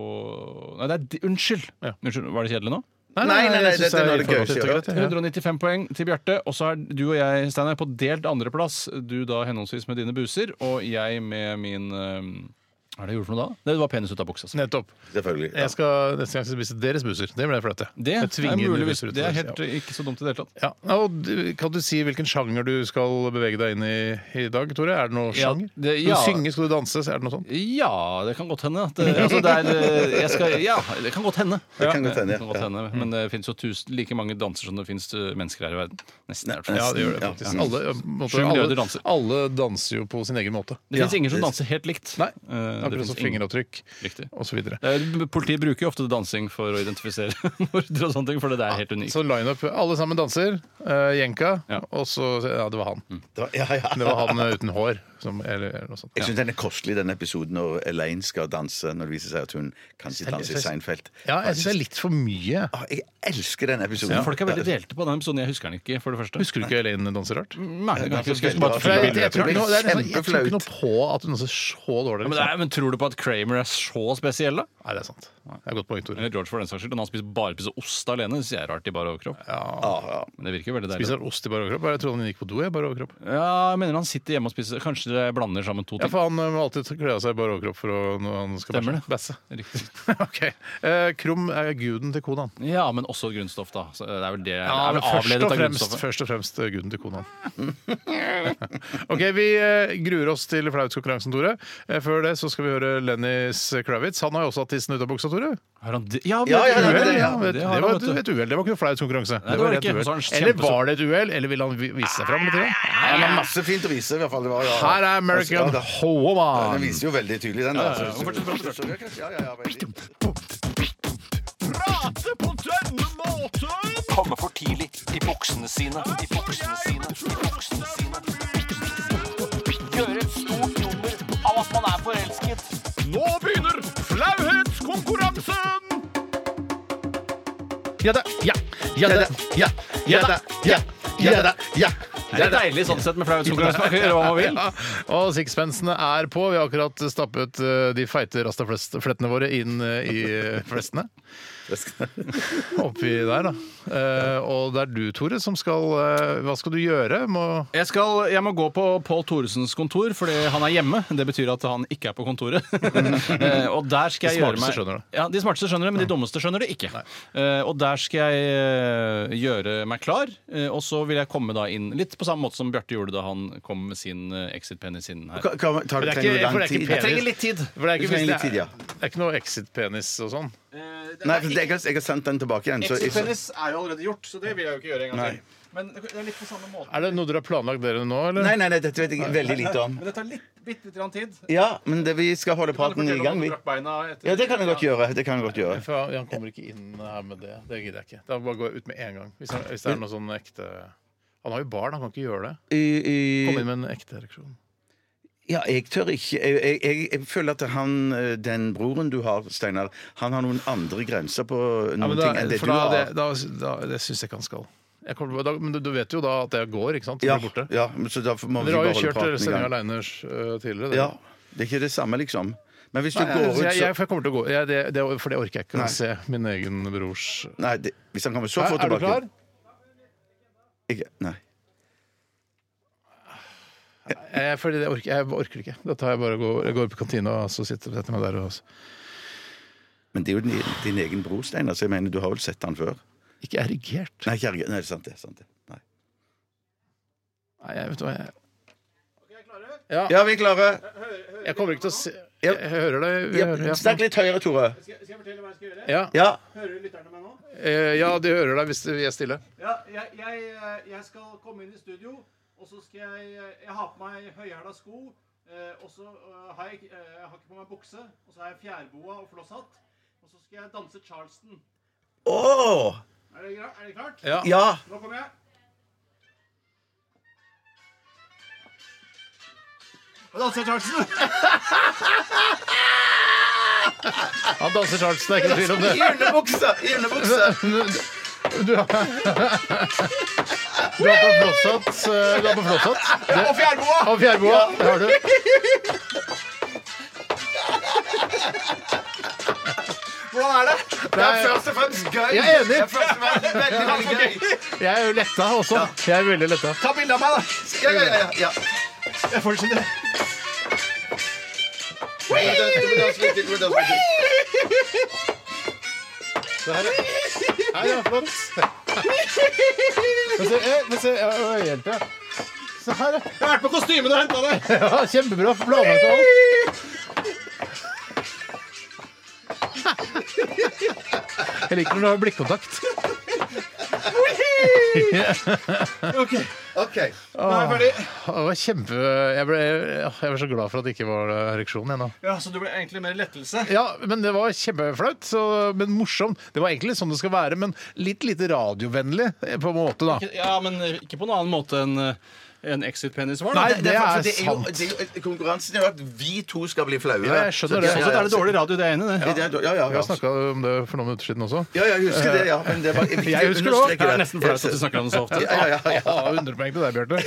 Nei, det er di- unnskyld.
Ja.
unnskyld! Var det kjedelig nå?
Nei, nei, nei,
jeg synes
dette er noe av
det
det gøyeste
informativt
jeg har
og greit, ja.
195 poeng til Bjarte. Og så er du og jeg, Steinar, på delt andreplass. Du da henholdsvis med dine buser, og jeg med min eh, Hva er det jeg gjorde for noe da? Det var penis ut av buksa. altså.
Nettopp.
Selvfølgelig. Ja.
Jeg skal neste gang skal jeg spise deres buser. Det blir flaut, det.
Det
Jeg
er
tvinger mine
muligvis.
buser ut
Det er
deres,
helt
ja.
eh, ikke så dumt i det hele tatt.
ja. og du- Kan du si hvilken sjanger du skal bevege deg inn i i dag, Tore? Er det noe
Ja,
sjanger?
det-
Skal
ja.
du synge, skal du danse? Er det noe sånt?
Ja, det kan godt hende. At, eh, altså, det er, eh, jeg skal, ja, det kan godt hende.
Det kan godt hende,
Det kan godt
ja.
hende, Men det fins jo tusen, like mange danser som det fins mennesker her i verden. Nesten. sånn. i hvert fall.
Ja, det gjør det
Ja.
faktisk. Alle, på en måte,
Sju milliarder
alle,
danser.
alle danser jo på sin egen måte.
Det fins
Ja,
ingen som
det-
danser helt likt.
Nei,
Eh, det
Akkurat
finnes
som
ingen-
fingeravtrykk
Riktig.
osv.
Eh, Politiet bruker jo ofte dansing for å identifisere morder og sånne ting, for det er helt unikt.
Så lineup Alle sammen danser. eh, jenka.
Ja. Mm.
Og så Ja, det var han.
Da- ja, ja.
Det var han eh, uten hår. Som, eller, eller noe sånt.
Jeg syns den er kostelig, den episoden når Elaine skal danse, når det viser seg at hun kanskje danser i Seinfeld.
Ja, jeg syns det er litt for mye.
Å, Jeg elsker den episoden.
Men Folk er veldig delte på den episoden. Jeg husker den ikke, for det første.
Husker du ikke Elaine danser rart?
Nei, jeg kan ikke huske. Jeg husker
det er
bare
veldig
For jeg, jeg,
filmen.
bra.
jeg, tror ikke noe- det er nesten- jeg tror
Kjempeflaut.
ikke noe på at hun er så dårlig.
Ja, men, det
Liksom.
er, men tror du på at Kramer er så spesiell, da?
Nei, det er sant. Det er et godt poeng, Tore.
Eller George, for den saks skyld. Han har spist bare spist ost alene. Det synes jeg er rart i bare overkropp.
Ja, ja.
Men det virker veldig deilig.
Spiser han ost i bare overkropp? Jeg trodde han gikk på do i bare overkropp.
Ja, jeg mener han sitter hjemme og spiser Kanskje dere blander sammen to ting?
Ja, for han eh, må alltid kle av seg i bare overkropp for å, når han skal
Stemmer det.
bæsje.
Riktig.
ok. Eh, Krum er guden til kona.
Ja, men også grunnstoff, da. Så eh, det er vel det det er vel
først,
avledet
og
av
fremst,
grunnstoffet.
først og fremst eh, guden til kona. ok, vi eh, gruer oss til flautkonkurransen, Tore. Eh, før det så skal vi høre Lennis Kravitz. Han har jo også hatt tissen ut av buksa, Tore.
Har han det? Ja,
Ja,
det er
ja, ja,
et
Uhell,
uhell,
ja,
ja,
vet-
det
det
har
var
han,
et
vet du.
et uhell. Det var ikke noe flaut konkurranse.
det var det Sånn
et
ikke.
uhell.
Så han kjempestor-
Eller var det et uhell? Eller ville han vi- vise seg fram? Betyr det?
Den har masse fint å vise, i hvert fall. Det var, ja.
Her er American
Ja, det- Den
Hoaman.
viser jo veldig tydelig, den. da.
ja, ja. Fortsett, fortsett,
Ja, ja, ja, veldig.
Komme for tidlig i buksene sine. I buksene sine. I buksene sine. Gjøre et stort nummer av at man er forelsket.
Ja da, ja. Ja da, ja. Ja da, ja. Ja da, ja.
Det er deilig sånn sett med flautkonkurranse. Man kan gjøre hva man vil.
Ja, og sixpensene er på. Vi har akkurat stappet eh, de feite rastaflettene våre inn eh, i eh, flestene. Oppi der, da. Eh, og det er du, Tore, som skal eh, Hva skal du gjøre? Må
Jeg, skal, jeg må gå på Pål Thoresens kontor, fordi han er hjemme. Det betyr at han ikke er på kontoret. Eh, og der skal jeg
De
gjøre
smarteste
meg
skjønner det.
Ja, De smarteste skjønner det, men de dummeste skjønner det ikke. Eh, og der skal jeg eh, gjøre meg klar, eh, og så vil jeg komme da inn litt på samme måte som Bjarte gjorde da han kom med sin eh, exit-penis inn her.
Ka- ka- Tar
Men
du
det er
trenger du
ikke- for det
lang
er ikke
tid?
penis.
Jeg trenger litt-
litt tid.
For det er
Du
ikke,
trenger
hvis
litt tid,
det,
ja.
er, det er ikke noe exit-penis og sånn.
Eh,
Nei, for jeg har, jeg har sendt den tilbake igjen. Så jeg, så,
er jo allerede gjort, så det vil jeg jo ikke gjøre en
gang til.
Men det er litt på samme måte.
Er det noe dere har planlagt dere nå, eller?
nei, nei, nei, dette vet jeg veldig lite om.
det tar litt, bitte litt tid.
Ja, men det, vi skal holde praten i gang, vi. Ja, det kan jeg godt gjøre. Det kan jeg godt gjøre.
For han kommer ikke inn her med det. Det gidder jeg ikke. Da bare går jeg ut med en gang. Hvis, han, hvis det er noe sånn ekte Han har jo barn, han kan ikke gjøre det.
I,
Kom inn
i,
med en ekte ereksjon.
ja, jeg tør ikke jeg, jeg, jeg, jeg føler at han, eh, den broren du har, Steinar, han har noen andre grenser på
Ja,
noen
men da,
ting enn det
for
du
da, det,
har.
da, da, det syns jeg ikke han skal. Jeg kommer, da, men du, du vet jo da at jeg går, ikke sant? Så
Ja,
blir borte.
ja, men så da må vi
Dere har
bare
jo
holde
kjørt
praten i
sending
gang.
aleine tidligere. dere.
Ja, det er ikke det samme, liksom. Men hvis du
Nei,
går
så
ut,
jeg, jeg,
så
for jeg kommer til å gå. Jeg, det, det, for det orker jeg ikke
Nei.
å se min egen brors
Nei, det, hvis han kommer så
Her,
fort
Er du
tilbake
klar?
Jeg, nei.
Jeg, Eh, fordi det orker, jeg orker ikke. Da tar jeg bare og går, jeg går på kantina og så sitter setter jeg meg der. Og,
Men det er jo din, din egen bror, Steinar, så jeg mener du har vel sett han før?
ikke erigert.
Nei, kjærge, nei, det er sant det. er Sant, det. Nei.
Nei, jeg vet du hva jeg,
Ja, vi er klare.
jeg kommer ikke til å se
Ja.
Jeg, jeg hører det. Vi
Ja,
hører, ja.
snakk litt høyere, Tore.
Ja.
Ja.
eh, ja, de hører deg hvis vi er stille.
Ja, jeg, jeg, eh, jeg skal komme inn i studio, og så skal jeg eh, Jeg har på meg høyhæla sko, eh, og så eh, har jeg, ikke- eh, jeg har ikke på meg bukse, og så har jeg fjærboa og flosshatt, og så skal jeg danse charleston.
Åh!
Er det, gra- er det klart?
Ja.
Ja.
Nå kommer jeg. Nå danser jeg charleston!
Han danser Charleston, det er ikke noe tvil om det.
I underbuksa! I underbuksa!
Du har, du har på flosshatt. eh, Du har på flosshatt. Det-
Og fjærboa!
Og fjærboa. Det har du.
Hvordan er det? Det er først og fremst gøy.
Jeg er enig.
Det er først og fremst veldig, veldig gøy.
Jeg er jo letta også. Jeg er veldig letta.
Ta bilde av meg, da. Ja, ja, ja. ja. Jeg får det
Nei, ja, flott. Men se, eh, men se ja, ja, hjelp, ja. Se her, ja.
Jeg har vært på kostymen og henta det!
ja. Kjempebra. Blåmalt og alt.
Jeg liker når du har blikkontakt.
OK.
Nå er jeg ferdig.
Det var kjempe... Jeg ble, jeg ble så glad for at det ikke var eh, ereksjon igjen nå.
Ja, Så du ble egentlig mer lettelse?
Ja, men det var kjempeflaut, så- men morsomt. Det var egentlig sånn det skal være, men litt lite radiovennlig eh, på en måte, da.
Ja, men eh, ikke på noen annen måte enn eh, en exit-penis var.
Nei,
da.
det
for- for
er
det jo-
sant.
det er jo- Konkurransen er jo at vi to skal bli
Ja,
flaue.
jeg skjønner det.
Så
Sånn sett er det dårlig radio, det er jeg enig i. det.
Ja, ja, ja. ja,
Vi har snakka om det for noen minutter siden også.
ja, ja, jeg husker det, ja. Men det var viktig
Jeg
å
husker det også.
understreke
Det er nesten
altså.
flaut at du snakker om det så ofte.
Ja, ja, ja.
Ah, 100 poeng til deg, Bjarte.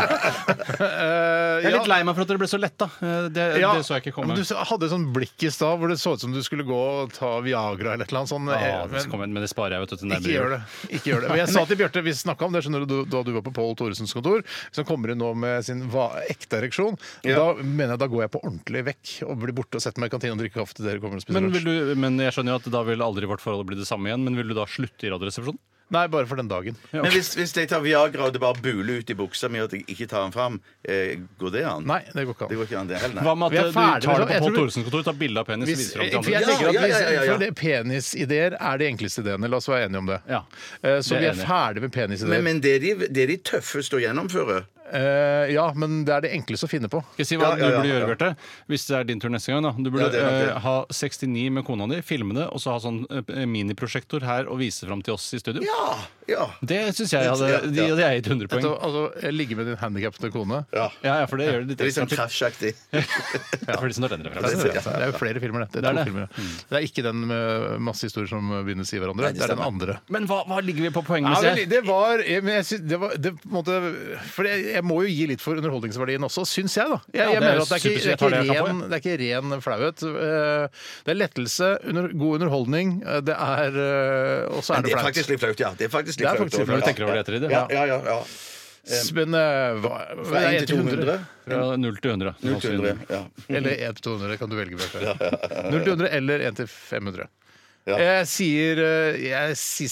Eh, eh,
Jeg er
ja.
litt lei meg for at dere ble så letta. Det,
Ja,
det så jeg ikke komme.
men Du hadde et sånt blikk i stad hvor det så ut som du skulle gå og ta Viagra eller et eller annet sånt.
Ja,
Eh,
det skal komme inn, men det sparer jeg, vet du. Til
Ikke gjør det. Ikke gjør det. Men jeg sa til Bjarte, vi snakka om det skjønner du, da du var på Pål Thoresens kontor, som kommer inn nå med sin va ekte ereksjon. Da mener jeg da går jeg på ordentlig vekk og blir borte og setter meg i kantina og drikker kaffe til dere kommer og spiser
Men, vil
lunsj.
du, men jeg skjønner jo at da vil aldri vårt forhold bli det samme igjen. Men vil du da slutte i Radioresepsjonen?
Nei, bare for den dagen.
Men hvis, hvis jeg tar Viagra og det bare buler ut i buksa mi, og at jeg ikke tar den fram, eh, går det an?
Nei, det går ikke
Det
an.
går ikke an, det heller.
Hva
Nei.
med
Vi er
at eh, du
ferdig med
tar
det.
det på
Jeg tror
Pål
du-
Thoresen kontor, tar bilde av penis og
Hvis,
viser det
for
opp til
jeg
andre?
tenker at
Ja,
hvis,
ja, ja, ja, ja.
for det Penisideer er de enkleste ideene. La oss være enige om det.
Ja,
Eh,
det er
Så vi er
enig.
ferdig med
Men,
penisideer.
men det, er de, det er de tøffeste å gjennomføre.
Eh, ja, men det er det enkleste å finne på.
Skal jeg si hva
Ja, ja,
du burde
ja,
gjøre,
ja.
Bjarte? Hvis det er din tur neste gang. da Du burde
Ja, det er nok det.
eh, ha 69 med kona di, filme det, og så ha sånn eh, miniprosjektor her og vise fram til oss i studio.
Ja! ja.
Det syns jeg hadde,
Ja, ja.
de- hadde jeg gitt 100
Dette,
poeng.
altså, ligge med din handikappede kone.
Ja, ja, for det gjør det litt
Det er litt
ekstra
sånn
til.
krasjaktig.
Ja, for de som tar den
Det
referansen.
er, det er jo flere filmer, det. Det
Det
er,
er
to
det.
filmer, ja. det er ikke den med masse historier som begynnes i hverandre. det er den andre.
Men hva, hva ligger vi på
Ja,
poengmessig?
vel,
her?
det var, jeg- men jeg sy- det var det, på en måte, For jeg, jeg må jo gi litt for underholdningsverdien også, syns jeg, da. Jeg,
Ja,
jeg
det er
mener at det er
supert,
ikke, det
jeg tar
er
det jeg
ikke,
kan
ren,
få.
det er ikke ren flauhet. Eh, Det er lettelse, under, god underholdning, eh, det er eh, Og så er
Men
det
det er
flaut.
faktisk litt flaut, ja. Det er faktisk
Det
litt
er faktisk
flaut.
litt
også.
Når du tenker over det etter i det.
Ja, ja, ja. ja.
Men eh, hva,
Fra
det er
1 til 200.
Fra 0 til 100.
Null til 100, ja.
Mhm.
Eller 1 til 200 kan du velge. Bjarte. 0 til 100 eller 1 til 500.
Ja.
Jeg sier eh, Jeg sier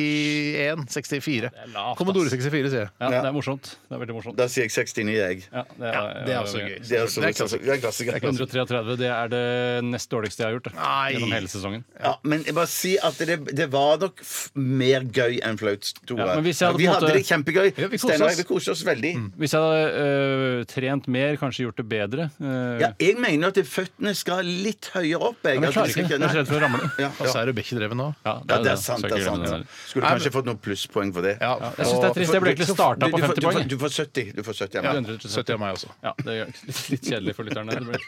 61. 64.
er lavt, ass.
Commodore 64, sier jeg.
Ja, det er morsomt. Det er veldig morsomt.
Da sier jeg 69, jeg.
Ja, det er,
Det er også gøy.
Det er, også,
Det er
det
klassisk.
er klassiker.
133 det er det nest dårligste jeg har gjort det.
Nei.
gjennom hele sesongen.
Ja, men jeg bare si at det, det var nok f mer gøy enn flaut, Tore.
Ja, men hvis jeg hadde
vi
på en
hadde
måte-
det kjempegøy.
Ja, vi koste
Steinar og
oss.
jeg vi koste oss veldig.
Hvis jeg hadde øh, trent mer, kanskje gjort det bedre øh,
Ja, jeg mener at føttene skal litt høyere opp. Jeg,
Men jeg
At
klarer
de
ikke
skal
det. Jeg er så redd for å ramle.
Ja,
Og
ja.
så er Rebekki dreven nå.
Ja,
ja, det er sant.
Så
det
jeg
er
ikke glemmer
sant.
det der.
Skulle kanskje fått noen plusspoeng for det.
Ja.
Jeg synes det er trist. Jeg burde egentlig starta på
du, får-
50
du,
poeng.
får- du får 70. Du får 70 ja.
Ja.
70 av meg også.
Ja, det er litt, litt kjedelig for lytterne. Det blir-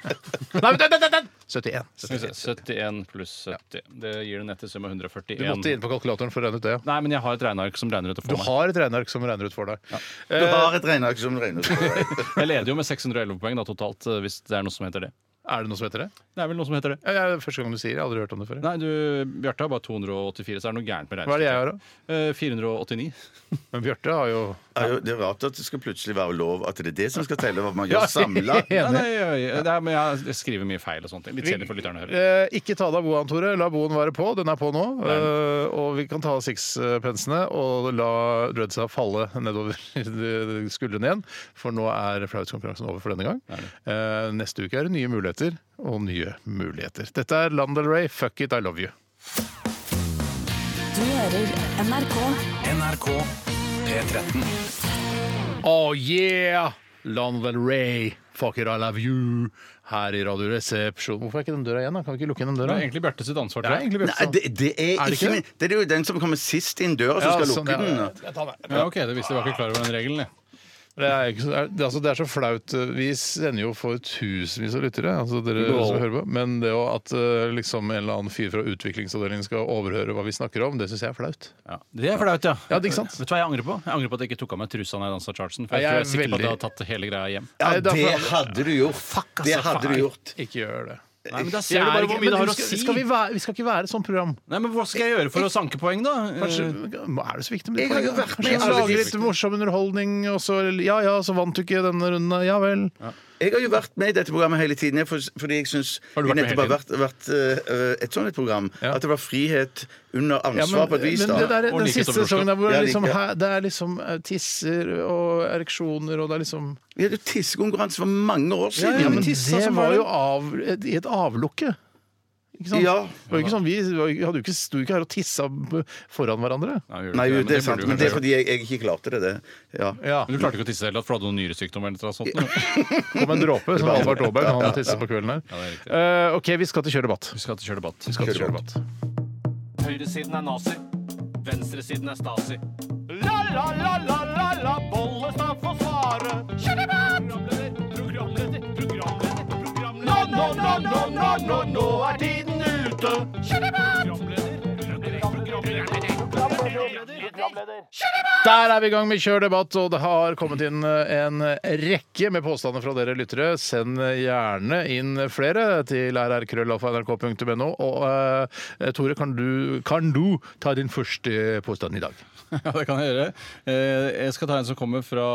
Nei, men den, den, den, den! 71.
Skal vi se, 71 pluss 70. Det gir en nettsum av
Du måtte
141.
inn på kalkulatoren for å regne ut det. ja.
Nei, men jeg har et regneark som regner ut det
Du
for meg.
har et regneark som regner ut for deg.
Du
Eh.
har et regneark som regner ut.
Jeg leder jo med 611 poeng da totalt, øh, hvis det er noe som heter det.
Er det noe som heter det?
Det er vel noe som heter det.
Ja, det er første gang du sier det. Jeg har aldri hørt om det før.
Nei, du, Bjarte har bare 284, så er det noe gærent med
Hva er det jeg har, da?
Eh, 489.
Men Bjarte har jo
Ja, jo, det er rart at det skal plutselig være lov at det er det som skal telle hva man gjør samla.
Enig.
Nei, nei, nei, det er, men jeg, jeg skriver mye feil og sånne ting. Litt kjedelig for lytterne å høre.
Eh, ikke ta deg av boaen, Tore. La boen være på. Den er på nå. Eh, og vi kan ta av sixpensene og la dreadsa falle nedover skuldrene igjen. For nå er flauhetskonkurransen over for denne gang. Eh, neste uke er det nye muligheter, og nye muligheter. Dette er Landel Ray, 'Fuck It, I Love You'.
Du hører NRK.
NRK P13.
Oh yeah! Lana Del Rey, 'Fuck It, I Love You' her i Radioresepsjonen. Hvorfor er ikke den døra igjen? da? Kan vi ikke lukke igjen den
Det
døra?
er egentlig Bjarte sitt ansvar.
Det er
Tror jeg.
egentlig Bjørte
Nei,
Sand.
det, det er,
Er det
ikke
ikke
min- det er jo den som kommer sist inn døra, som
Ja,
skal
sånn,
lukke
ja.
den. da.
Ja, ok, det visste jeg var ikke klar over den regelen. jeg.
Det er, ikke, så- det, er, altså det er så flaut. Vi sender jo for tusenvis av lyttere. Altså dere som hører på Men det å at eh, liksom en eller annen fyr fra utviklingsavdelingen skal overhøre hva vi snakker om, det syns jeg er flaut.
Det er flaut, ja.
Ja, det er ikke sant.
Vet du hva jeg angrer på? Jeg angrer på at jeg ikke tok av meg trusa da jeg dansa chartsen. For
Nei,
jeg, tror
jeg
jeg er sikker på at
er
jeg hadde tatt hele greia hjem.
Ja,
Nei, da får altså,
det
alle-
hadde du gjort. det hadde du gjort.
Ikke gjør det.
Nei, men da
Jeg
ser du
er
bare hvor mye
ikke- men
det har å
skal,
si.
skal vi, være, vi skal ikke være et sånt program.
Nei, men Hva skal jeg gjøre for å sanke poeng, da?
Kanskje,
Eh,
er det så viktig med de
Jeg har jo
poengene?
vært med i
Kanskje
alle
lage
de-
litt morsom underholdning, og så Ja ja, så vant du ikke denne runden. Ja vel.
Jeg har jo vært med i dette programmet hele tiden. jeg, For, fordi jeg syns
Har du
vi
vært med
nettopp har
hele
vært, vært øh, et sånt et program.
Ja.
At det var frihet under ansvar på et vis.
men
da.
det der,
Og
den
likhet
siste
og forståelse.
sesongen der hvor det
Ja,
er liksom,
like.
her, det er liksom eh, tisser og ereksjoner og det er liksom
Vi hadde jo tissekonkurranse for mange år siden.
Ja, men
det,
Mm. tissa som var jo av, et, i et avlukke. Ikke sant?
Ja.
Det var jo ikke sånn, vi var- vi hadde jo ikke, sto jo ikke her og tissa b- foran hverandre.
Nei, gjør du ikke
nei, jo,
men
det er
burde
sant.
du
Men
kanskje
det er
gjøre.
fordi jeg, jeg ikke klarte det. det. Ja.
Ja,
Men du klarte ikke å tisse heller, for du hadde noen nyresyktdom eller noe sånt? nå.
Kom en dråpe, som Albert Aaberg. Han tisser på kvelden her.
Ja, det er riktig.
Eh, OK, vi skal til Kjør debatt.
Vi skal til kjør debatt.
Vi skal til Kjør debatt.
Høyresiden er nazi. Venstresiden er stasi. La, la, la, la, la, la, Bollestad får svare. Kjør debatt! Programleder, programleder, programleder. Nå, nå, nå, nå, nå, nå, nå er tiden ute. Kjør debatt! Programleder, programleder, programleder, programleder.
Der er vi i gang med Kjør debatt, og det har kommet inn eh, en rekke med påstander fra dere lyttere. Send gjerne inn flere til rrkrøllalfa.nrk.no. Og eh, Tore, kan du, kan du ta din første påstand i dag?
Ja, det kan jeg gjøre. Eh, Jeg skal ta en som kommer fra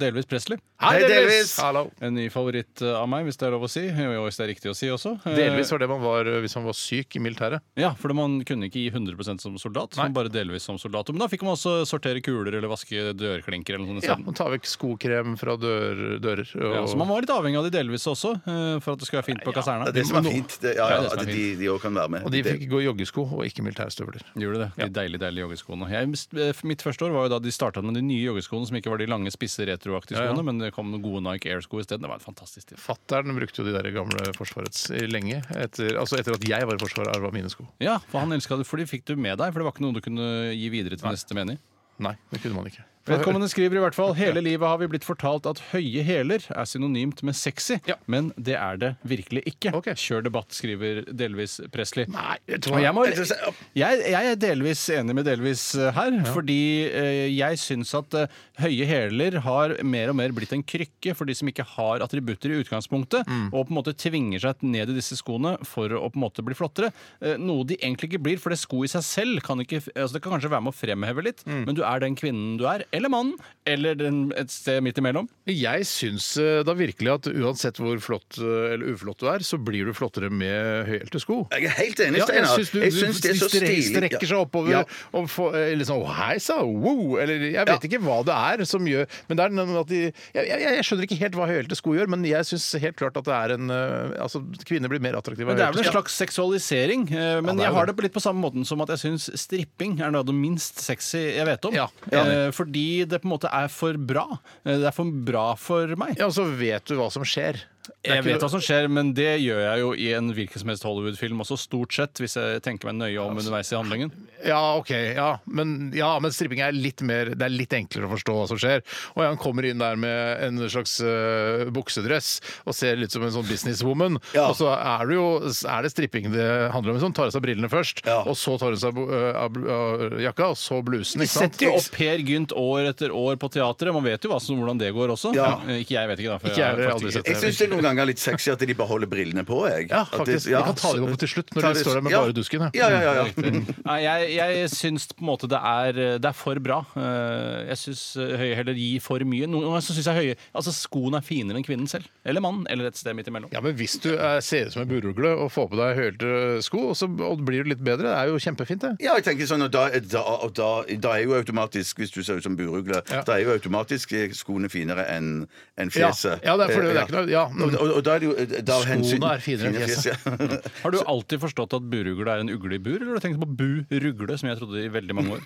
delvis Presley.
Hei,
Delvis!
Hallo!
En ny favoritt eh, av meg, hvis det er lov å si. Og hvis det er riktig å si også. Eh,
Delvis var det man var eh, hvis man var syk i militæret.
Ja, for man kunne ikke gi 100 som soldat, men bare delvis som soldat. Men da fikk man også sortere kuler eller vaske dørklinker eller noe
Ja,
sånt.
man tar vekk skokrem fra dør, dører. Og,
Ja, så man var litt avhengig av de delvis også, eh, for at det skulle være fint på kaserna.
Det er det som er fint. Det, ja,
Ja, det
ja,
er det som er
at de, de også kan være med.
og de
Det-
fikk gå i joggesko og ikke militærstøvler.
Gjorde det, De deilige deilige joggeskoene. Jeg, eh, mitt første år var jo da de starta med de nye joggeskoene, som ikke var de lange, spisse, retroaktige
Ja, ja.
skoene, men det kom noen gode Nike Air-sko isteden. Det var en fantastisk tid.
Fattern brukte jo de der gamle Forsvarets eh, lenge. Etter, altså etter at jeg var i Forsvaret, arva mine sko.
Ja, for han elska det, for de fikk du med deg, for det var ikke noe du kunne gi videre til neste menig.
Nei, det kunne man ikke.
Vedkommende skriver i hvert fall hele livet har vi blitt fortalt at høye hæler er synonymt med sexy,
Ja.
men det er det virkelig ikke.
Ok.
Kjør debatt, skriver delvis Presley.
Nei, vet du hva?
Og jeg, må,
Jeg synes-
jeg, jeg er delvis enig med delvis eh, her, fordi eh, jeg syns at eh, høye hæler har mer og mer blitt en krykke for de som ikke har attributter i utgangspunktet, og på en måte tvinger seg ned i disse skoene for å på en måte bli flottere. Eh, noe de egentlig ikke blir, for det sko i seg selv kan ikke altså Det kan kanskje være med å fremheve litt, men du er den kvinnen du er, eller mannen, eller den, et sted midt imellom.
Jeg syns eh, da virkelig at uansett hvor flott eh, eller uflott du er, så blir du flottere med høyhælte sko.
Jeg er helt enig,
Ja, jeg
Steinar.
syns du,
Jeg syns det er så
de stre-
stilig.
strekker seg oppover
Ja.
og får eh, liksom Å, hei sa, wow! Eller jeg vet ikke hva det er som gjør Men det er noe med at de jeg, jeg, jeg skjønner ikke helt hva høyhælte sko gjør, men jeg syns helt klart at det er en eh, Altså, kvinner blir mer attraktive
Men
av
det er vel
høyhælte
en slags seksualisering. eh, Men
det er
jeg
jo
har
det.
det på litt på samme måten som at jeg syns stripping er noe av det minst sexy jeg vet om.
Ja,
Eh, Fordi det på en måte er for bra. Eh, Det er for bra for meg.
Ja, og så vet du hva som skjer. Det
Jeg
er ikke
vet
noe-
hva som skjer, men det gjør jeg jo i en hvilken som helst Hollywood-film også, stort sett, hvis jeg tenker meg nøye
altså.
om underveis i handlingen.
Ja, ok. Ja. Men, ja, men stripping er litt mer Det er litt enklere å forstå hva som skjer. Og han kommer inn der med en slags eh, buksedress og ser litt som en sånn businesswoman. Og så er det jo er det stripping det handler om. Hun tar av seg brillene først, og så tar hun seg av av- av jakka, og så blusen.
De
Ikke sant?
setter jo opp Per Gynt år etter år på teatret. Man vet jo hva som, hvordan det går også.
Ja.
Eh, Ikke jeg, vet ikke, da. For
Ikke jeg, jeg har aldri
faktisk
sett
ikke-
Jeg syns det noen ganger er litt sexy at de beholder brillene på. jeg.
Ja,
At
faktisk.
ja.
Vi kan ta dem opp til slutt, når
Ta
de
det-
står der med Mm,
ja.
bare dusken.
Ja, ja, ja. ja.
Nei, jeg, jeg syns på en måte det er, det er for bra. Eh, Jeg syns høye heller gir for mye. Noen ganger så synes jeg høye Altså skoen er finere enn kvinnen selv. Eller mannen. Eller et sted midt imellom.
Ja, men Hvis du eh, ser ut som en burugle og får på deg hølte sko, og så og blir du litt bedre, det er jo kjempefint, det.
Ja, jeg tenker sånn, og da, da, og da, da er jo automatisk, hvis du ser ut som burugle, da er jo automatisk eh, skoene finere enn enn fjeset. Eh,
Ja, ja, det er- for det er ikke noe- ja,
og, og, og da er det jo eh, da av
Skoene
hensyn-
er finere enn fjeset.
fjeset.
Har du alltid forstått at burugle er en ugle i bur, eller har du tenkt på bu-rugle, som jeg trodde i veldig mange år?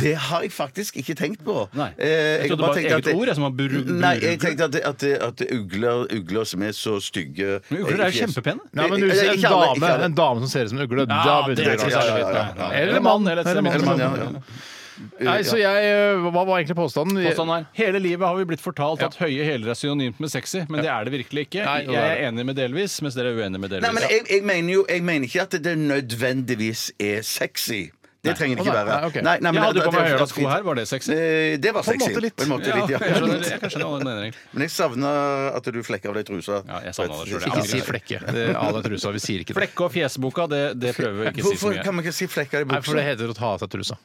Det har jeg faktisk ikke tenkt på.
Nei.
Eh,
Jeg trodde
har
det var et
tenkt at
eget ord, jeg, som var buru-
Nei, jeg
burugle.
tenkte at, det- at, det- at det er ugler, ugler som er så stygge eh,
Men ugler er
i
jo
fjeset.
kjempepene.
Nei, men du
Eh, Ikke
ser en
alle, ikke
dame,
alle.
en dame som ser ut som en ugle. da begynner det å
ikke
bli
særlig
rart.
fint, nei.
Eller mann.
Eller et
Eller
sted midt
Eller
mann,
man,
imellom.
ja, ja.
Nei, så jeg, eh, Hva var egentlig påstanden?
Påstanden er hele livet har vi blitt fortalt at høye hæler er synonymt med sexy, men det er det virkelig ikke.
Nei, det
Jeg
er
er enig med delvis, mens dere er uenige med delvis.
Nei, men jeg, jeg mener jo jeg mener ikke at det nødvendigvis er sexy. Det trenger det
Å,
ikke
nei,
være.
nei, ok.
men
jeg hadde
det-
jo på meg
det-
høyhæla sko her, var det sexy?
Eh, Det var
På en
sexy.
måte litt.
På en måte litt.
jeg
Ja,
skjønner, jeg kan skjønne hva du mener, egentlig.
Men jeg savner at du flekker av deg trusa.
Ja, jeg savner det selv, jeg
Ikke si
angrer.
flekke. Det- Av deg trusa. Vi sier ikke det.
Flekke- og fjeseboka, det, det prøver vi ikke å si så
Hvorfor
mye.
kan man ikke si flekker i
Nei, for det
buksa?
heter å ta av seg trusa.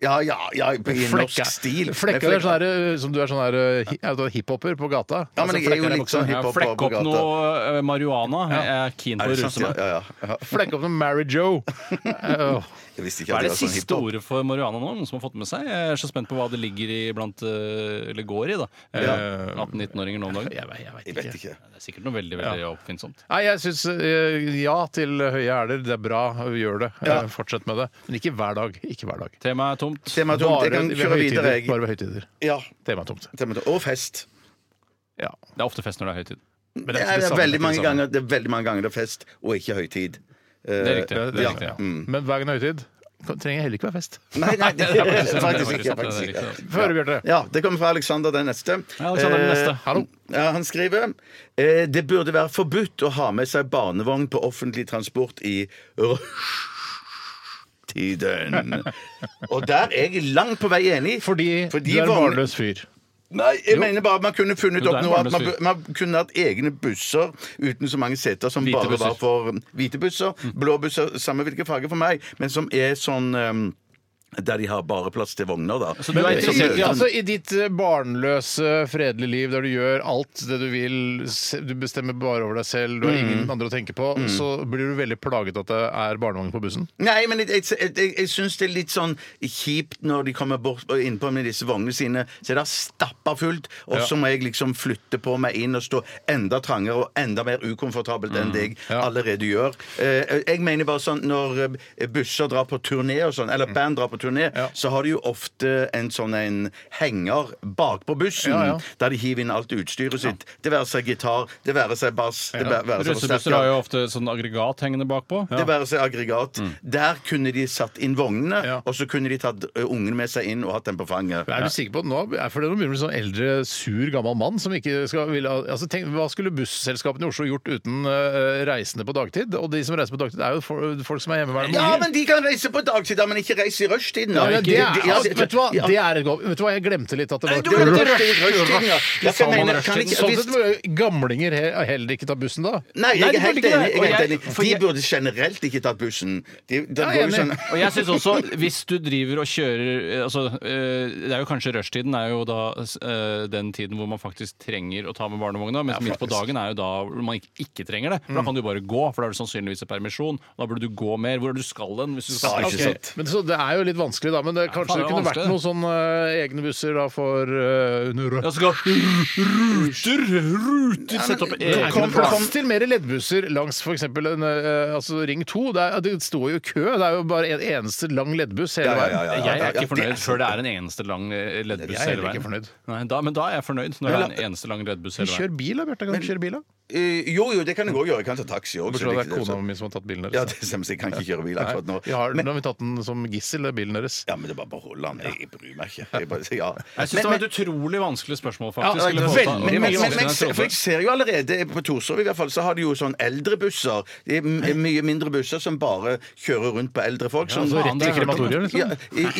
Ja, ja, ja, i norsk
Flekka.
stil.
Flekka
Men
er sånn her, som du er sånn her hi- er du hiphoper på gata.
Ja, men
Altså,
jeg er
flekker
jo
deg i
litt sånn
buksa.
hiphop på
Flekke opp
gata.
noe eh, marihuana. Jeg er keen på
Er
å
det sant?
ruse meg.
Ja, ja, ja.
sånn- Flekke opp noe Mary Joe. Åh.
Jeg visste ikke
Hva
at
er det
det var sånn
siste
hiphop.
ordet for marihuana nå? Noen som har fått med seg? Jeg er så spent på hva det ligger i blant eh, Eller går i, da. Eh, 18-19-åringer nå om dagen.
Jeg, vet- jeg vet
Jeg
ikke.
vet ikke.
Det er sikkert noe veldig veldig oppfinnsomt.
Nei, jeg syns eh, ja til høye hæler. Det er bra, gjør det. Eh, Fortsett med det. Men ikke hver dag. Ikke hver dag.
Temaet er tomt.
Tema tomt. Jeg kan
ved
kjøre
høytider.
videre, jeg.
Bare ved høytider.
Ja.
Temaet er tomt.
Tema tomt. Og fest.
Ja.
Det er ofte fest når det er høytid.
Men
Det
ikke
er,
samme,
veldig
ikke
mange
samme.
ganger, det er veldig mange ganger det er fest, og ikke høytid.
altså. Det
Eh,
er riktig. Det er
Ja,
riktig.
ja.
Mm.
Men hver gang det er høytid, kan- trenger heller ikke være fest.
Nei, nei, det
Det er
er
faktisk-
faktisk
det
ikke.
er faktisk-
Faktisk
det er
ikke.
riktig.
Få høre, Bjarte.
Ja, Det kommer fra Alexander den neste.
Ja, Alexander den neste.
Eh, Ja, han skriver eh, Det burde være forbudt å ha med seg barnevogn på offentlig transport i rushtiden. Og der er jeg langt på vei enig.
Fordi,
Fordi
du er en
vogn-
barnløs fyr.
Nei, jeg mener bare man kunne funnet
Jo, det
opp
er
noe at man,
barnløs
bu- man kunne hatt egne busser uten så mange seter som
Hvite
bare
busser. Mm.
var for mm, hvite busser. Blå busser, samme hvilke farger for meg, men som er sånn ehm, der de har bare plass til vogner, da.
du er
Men-
interessert i-
Ja,
altså, I ditt eh, barnløse, fredelige liv der du gjør alt det du vil, se- du bestemmer bare over deg selv, du har
Mm.
ingen andre å tenke på, så blir du veldig plaget at det er barnevogn på bussen.
Nei, men jeg, jeg, jeg, jeg, jeg syns det er litt sånn kjipt når de kommer bort og innpå med disse vognene sine, så er det stappa fullt, og så må jeg liksom flytte på meg inn og stå enda trangere og enda mer ukomfortabelt enn det jeg
Mm, Ja.
allerede gjør. Eh, jeg mener bare sånn når eh, busser drar på turné og sånn, eller band drar på turné,
Mm. Ja.
så har de jo ofte en sånn en henger bakpå bussen,
Ja, ja.
der de hiver inn alt utstyret sitt. Det være seg gitar, det være seg bass, det være, være seg
Russebusser har jo ofte sånn aggregat hengende bakpå.
det være seg aggregat. Der kunne de satt inn vognene,
Mm. Ja.
og så kunne de tatt ø, ungen med seg inn og hatt den på fanget.
Er du sikker på at nå, er for det nå begynner du å bli sånn eldre, sur, gammel mann som ikke skal ville ha- altså, tenk, Hva skulle busselskapene i Oslo gjort uten eh, reisende på dagtid? Og de som reiser på dagtid, er jo for, folk som er hjemmeværende.
Ja,
unger.
men de kan reise på dagtid, da, men ikke reise i rushtiden.
ja,
da.
men det er,
De- de- ja,
altså,
det-
vet, du hva?
ja.
Det er et godt Vet du hva, jeg glemte litt at det
Nei,
var
du kan ikke reise i rushtiden, ja. Jeg
sa
kan
man
mene,
rushtiden.
kan ikke,
Sånn
hvis,
sett må jo gamlinger he- heller ikke ta bussen da.
nei,
Nei,
jeg
de
er helt
burde ikke
enig.
det.
Jeg er
Og
helt
jeg-
enig.
for
De
jeg-
burde generelt ikke tatt bussen. De,
jeg
da går
er
jo sånn
enig.
Og jeg synes også, hvis du driver og kjører altså, eh, Det er jo kanskje rushtiden er jo da eh, den tiden hvor man faktisk trenger å ta med barnevogna, mens midt på dagen er jo da hvor man ikke, ikke trenger det. For Da kan du bare gå, for da er det sannsynligvis permisjon. Da burde du gå mer. Hvor er det du skal hen? Hvis du skal sånn?
Ja,
Ok,
ikke sant.
Men så Det er jo litt vanskelig, da. Men det,
faen,
kanskje
det
det
er
kunne vært
vanskelig.
noen sånne eh, egne busser da for uh,
Ja, så skal ruter, ruter Sette opp
Det er ikke
kom-
egne
noe
kom-
plass til mer leddbusser langs f.eks. Uh, altså Ring 2. Det, er, det står jo kø. Det er jo bare en eneste lang leddbuss hele
Ja, ja,
veien.
ja, ja, ja.
Jeg er
Ja,
ikke fornøyd
det-
før det er en eneste lang eh, leddbuss
Jeg
hele
er heller ikke
veien.
fornøyd.
Nei, da, men da er jeg fornøyd, når det er en eneste lang leddbuss hele veien.
Kjør bil da, Bjarte. Kan du kjøre bil da?
Eh, Jo, jo, det kan jeg òg gjøre. Jeg kan ta taxi òg.
Bortsett fra det er kona mi som har tatt bilen
Ja,
deres.
det stemmer. så Jeg kan ikke kjøre bil akkurat nå.
Nei, vi har,
Men-
nå har vi tatt den som gissel, den bilen deres.
ja, men det er bare å beholde den. Jeg jeg bryr meg ikke. Jeg bare, ja.
Jeg syns
Men-
det var et utrolig vanskelig spørsmål, faktisk.
Ja,
Eller
det er
påstand.
veldig
Men,
Mye
men, men, men,
vanskeligere enn jeg
for jeg
trodde.
ser jo allerede på Torshov i hvert fall, så har de jo sånn eldre busser. Det er m- mye mindre busser som bare kjører rundt på eldre folk. Som,
altså rett
det har
til
jeg hørt om.
krematoriet, liksom.
ja,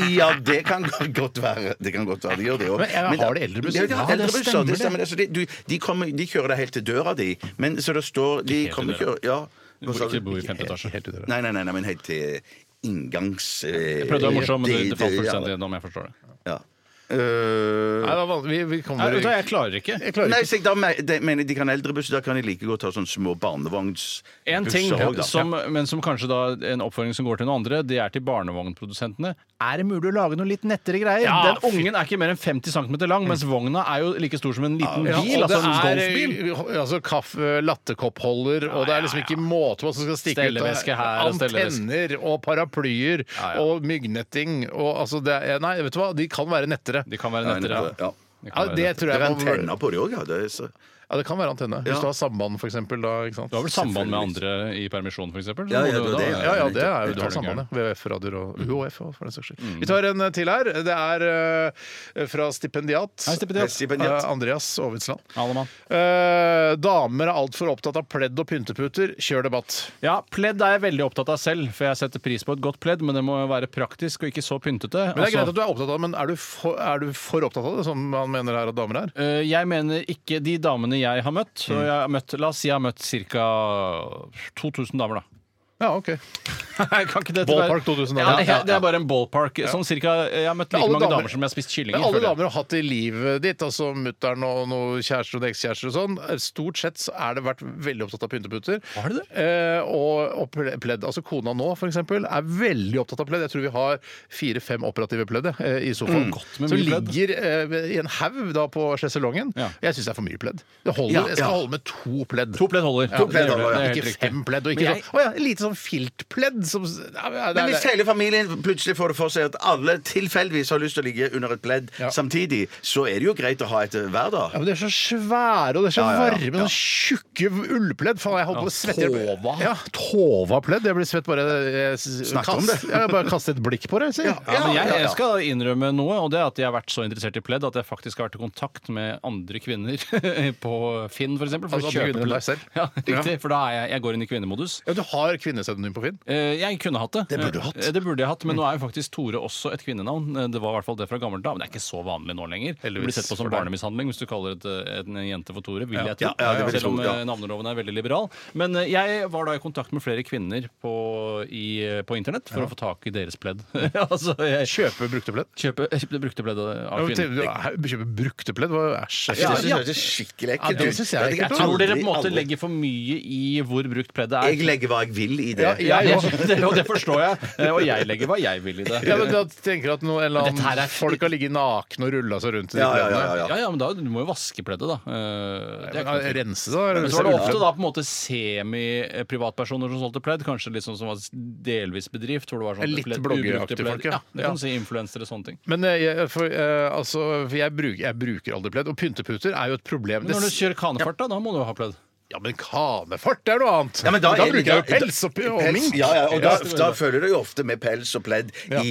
i- ja, det kan godt være. Det kan godt være de gjør det òg.
Men, ja, har de eldre busser?
Ja, de har
Ja, det
eldre busser.
stemmer
Det stemmer. Det. Så de, du, de, kommer, de kjører deg helt til døra di. Men så det står De
Helt
kommer
til
ikke Ja.
Du bor ikke bo i femte etasje.
Helt ut av det.
Nei, nei, nei, nei, men helt til inngangs... eh,
Jeg prøvde å være morsom, men det, det falt fullstendig gjennom. Jeg forstår det.
Ja. Øh,
Nei, det var vanlig- vi, vi
Nei,
kommer
vet du hva, jeg klarer ikke.
Jeg klarer
Nei,
ikke.
så jeg da me- de, mener de kan ha eldrebusser, da kan de like godt ha sånne små barnevognsbusser.
En ting sånn
også, da.
som, men som kanskje da en oppfordring som går til noen andre, det er til barnevognprodusentene. Er det mulig å lage noe litt nettere greier?
Ja,
Den ungen er ikke mer enn 50 cm lang, mens vogna er jo like stor som en liten
Ja,
bil,
og det
altså en
er
golfbil.
eh, altså, kaffe, latterkoppholder, og det er liksom ikke måte på hva som skal stikke ut. Det
Stelleveske
er
her og stelleveske.
Antenner og paraplyer
Ja, ja.
og myggnetting og altså det er, Nei, vet du hva, de kan være nettere.
De kan være nettere.
Ja.
De
Ja,
kan være
det
nettere.
tror
Det er
jeg må-
antenner på det òg, ja. Det er så...
Ja, det kan være antenne. Hvis
Ja.
du har samband, for eksempel, da, ikke sant?
Du har vel samband med andre i permisjon, f.eks.?
Ja, ja, det var det,
Ja, ja, det er jo
Det
du har
er
sambandet. VHF-radioer og
Mm.
UHF, og for den saks skyld. Vi tar en eh, til her. Det er eh, fra stipendiat.
Hei, stipendiat.
Stipendiat.
Eh, Andreas Aavitsland.
Alemann.
Eh, damer er altfor opptatt av pledd og pynteputer. Kjør debatt.
Ja, pledd er jeg veldig opptatt av selv, for jeg setter pris på et godt pledd, men det må være praktisk og ikke så pyntete.
Men det er
Altså,
greit at du er opptatt av det, men er du for, er du for opptatt av det, som han mener her at damer er?
øh, jeg mener ikke de
Mm.
damene jeg har møtt. Og jeg har møtt la oss si jeg har møtt ca. 2000 damer, da.
Ja, OK.
kan ikke dette
Ballpark
være-
2000
Ja, det,
ja, ja.
det er bare en ballpark. Sånn cirka, jeg har møtt
Men
like
alle
mange damer,
damer-
som jeg har spist kylling i.
Men alle
føler jeg.
damer du har hatt i livet ditt, altså mutter'n og noen kjærester og ekskjærester og sånn, stort sett så er det vært veldig opptatt av pynteputer.
Har det det?
Eh, og, og ple- pledd. Altså kona nå, for eksempel, er veldig opptatt av pledd. Jeg tror vi har fire-fem operative pledd jeg, eh, i sofaen.
Mm. Godt med
som
mye pledd.
ligger eh, i en haug da på sjeselongen.
Ja.
Jeg syns det er for mye pledd. Det holder,
Ja,
jeg skal
ja.
holde med to pledd.
To pledd holder.
To pledd
Det gjør
holder,
det.
ja.
Det er helt
ikke
riktig.
fem pledd, og ikke
Men jeg-
sånn Å ja, lite sånn filtpledd som ja, men-
Men hvis hele familien plutselig får det for seg at alle tilfeldigvis har lyst til å ligge under et pledd
Ja.
samtidig, så er det jo greit å ha et eh, hver dag.
Ja, men De er så svære og det er så
Ja, ja, ja.
varme.
Ja.
Sånn tjukke ullpledd. Faen, jeg holdt på å svette.
tova.
Ja, Tova-pledd. Jeg blir svett bare jeg, s-
Snakk om
kast-
det.
jeg bare kaste et blikk på det. sier jeg.
Ja, men jeg,
ja, ja.
jeg skal innrømme noe, og det er at jeg har vært så interessert i pledd at jeg faktisk har vært i kontakt med andre kvinner på Finn, for eksempel. For
Altså,
å
andre
kjøpe
kvinner enn
pledd.
deg selv?
Ja, riktig. For da er jeg, jeg går inn i kvinnemodus.
Ja, du har kvinnesedonym på Finn?
Eh, Jeg kunne hatt det.
Det burde du hatt.
Eh, Det burde jeg hatt, Men nå er jo faktisk Tore også et kvinnenavn. Eh, Det var i hvert fall det fra gammelt av. Men det er ikke så vanlig nå lenger. Det
Heldigvis
blir sett på som
for deg.
barnemishandling hvis du kaller et, eh, en jente for Tore, vil jeg tro.
Ja, ja, det vil jeg
Selv om
tro, ja.
eh, navneloven er veldig liberal. Men eh, jeg var da i kontakt med flere kvinner på, i, på internett for å få tak i deres pledd. altså, jeg
Kjøpe brukte pledd?
kjøper jeg brukte pledd av
Ja, men
kvinner.
til- ja, Kjøpe brukte pledd? Hva- Æsj.
Jeg synes
ja.
det er skikkelig
Ja,
ekkelt.
det synes jeg er
Ja, det-
ekkelt.
Jeg tror dere på en
aldri-
måte
aldri-
legger for mye i hvor brukt pleddet er.
Jeg legger hva jeg vil i det.
Ja,
Ja,
jeg også.
jeg- det, og det forstår jeg. Eh, Og jeg legger hva jeg vil i det.
Ja, men da tenker jeg at noen, en eller
Men dette her
annen,
er-
Folk har ligget nakne og rulla seg rundt i de
Ja, ja, ja,
pleddene.
ja,
Ja,
ja.
ja, men da, du må jo vaske pleddet, da. Eh, Det er
Ja,
ikke noe tvil.
Rense, da?
men så var det
ullpledd.
ofte da på en måte semi-privatpersoner som solgte pledd. Kanskje litt sånn som var delvis bedrift. Hvor det var sånn
Litt
pledd-
bloggeraktige
ubrukte
folk, ja.
Ja, det
Ja.
kan du si influensere og sånne ting.
Men eh, jeg, for, eh, altså, for jeg, bruker, jeg bruker aldri pledd. Og pynteputer er jo et problem.
Men når
Det-
du kjører kanefart, da, da må du jo ha pledd.
Ja, men kanefart er noe annet.
Ja, men da er-
bruker jeg jo
da-
pels og, og
Pels,
mink.
Ja, ja, og da,
det var
da
det.
følger det jo ofte med pels og pledd i,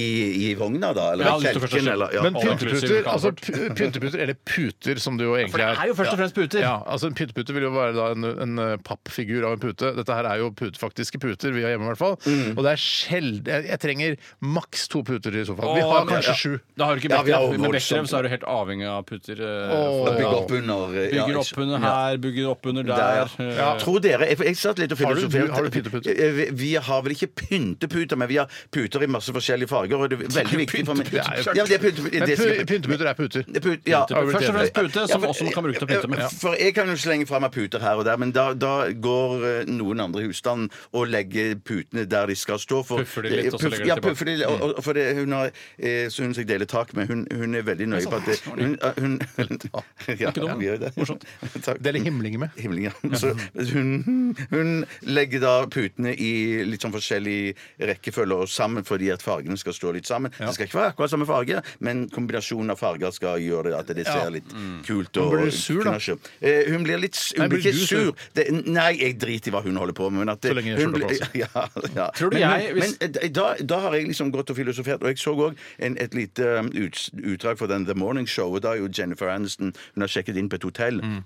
i vogna, da. Eller
Ja,
i
hvis du først har
kjelken,
kjøpt-
eller ja.
Men
all
pynteputer,
inclusive
altså,
kanefart.
p- pynteputer, eller puter som det jo
For
egentlig
det er
er.
jo først og fremst puter.
Ja, altså En pyntepute vil jo være da en, en eh, pappfigur av en pute. Dette her er jo pute, faktiske puter vi har hjemme. i hvert fall Og det er sjelden jeg, jeg trenger maks to puter i sofaen. Vi
Og-
har kanskje sju.
Da har du ikke
Ja, vi har
Bechdrev.
jo
Med
voldsomt.
Bechdrev så er du helt avhengig av puter. eh,
Åh.
Da
for-
Bygger opp under eh, ja,
Bygger opp under her, bygger opp under der.
Der.
eh,
Tror dere jeg, jeg satt litt og
Har du-
filosoferte.
har du pynteputer?
Eh, Vi, vi har vel ikke pynteputer, men vi har puter i masse forskjellige farger. Og det er veldig viktig for meg.
Det er jo-
Ja, det er pynteputer.
Men
Det
pu-
skal-
pynteputer er puter.
Put, ja.
Puter. Først og fremst
Ja,
pute, som
for-
også kan brukes til å pynte med.
Ja, For jeg kan jo slenge fra meg puter her og der, men da, da går eh, noen andre i husstanden og legger putene der de skal stå. For, Eh,
Puffer de litt, og så legger de
ja,
tilbake.
puffer de, og, og, for det, hun, har, eh, så hun som jeg deler tak med, hun, hun er veldig
sånn
nøye på at det, hun, hun, ja,
Ikke dumt.
vi gjør det.
Morsomt.
Takk.
Deler himlinger med.
Himmelen, ja. Så hun, hun legger da putene i litt sånn forskjellig rekkefølge og sammen fordi at fargene skal stå litt sammen. Det skal ikke være akkurat samme farge, men kombinasjonen av farger skal gjøre det at det ser litt kult og
Hun Mm. blir sur, da.
knasje. Eh, Hun blir litt s-
Nei,
Hun blir
blir
ikke
du
sur.
sur?
Det, nei, jeg driter i hva hun holder på med. Men at det,
Så lenge
hun
skjorta
blir- ja, ja.
Tror du
men,
jeg-
men,
hvis-
men da, da har jeg liksom gått og filosofert, og jeg så òg et lite um, ut, utdrag fra den The Morning Show, og da er jo Jennifer Aniston Hun har sjekket inn på et hotell.
Mm.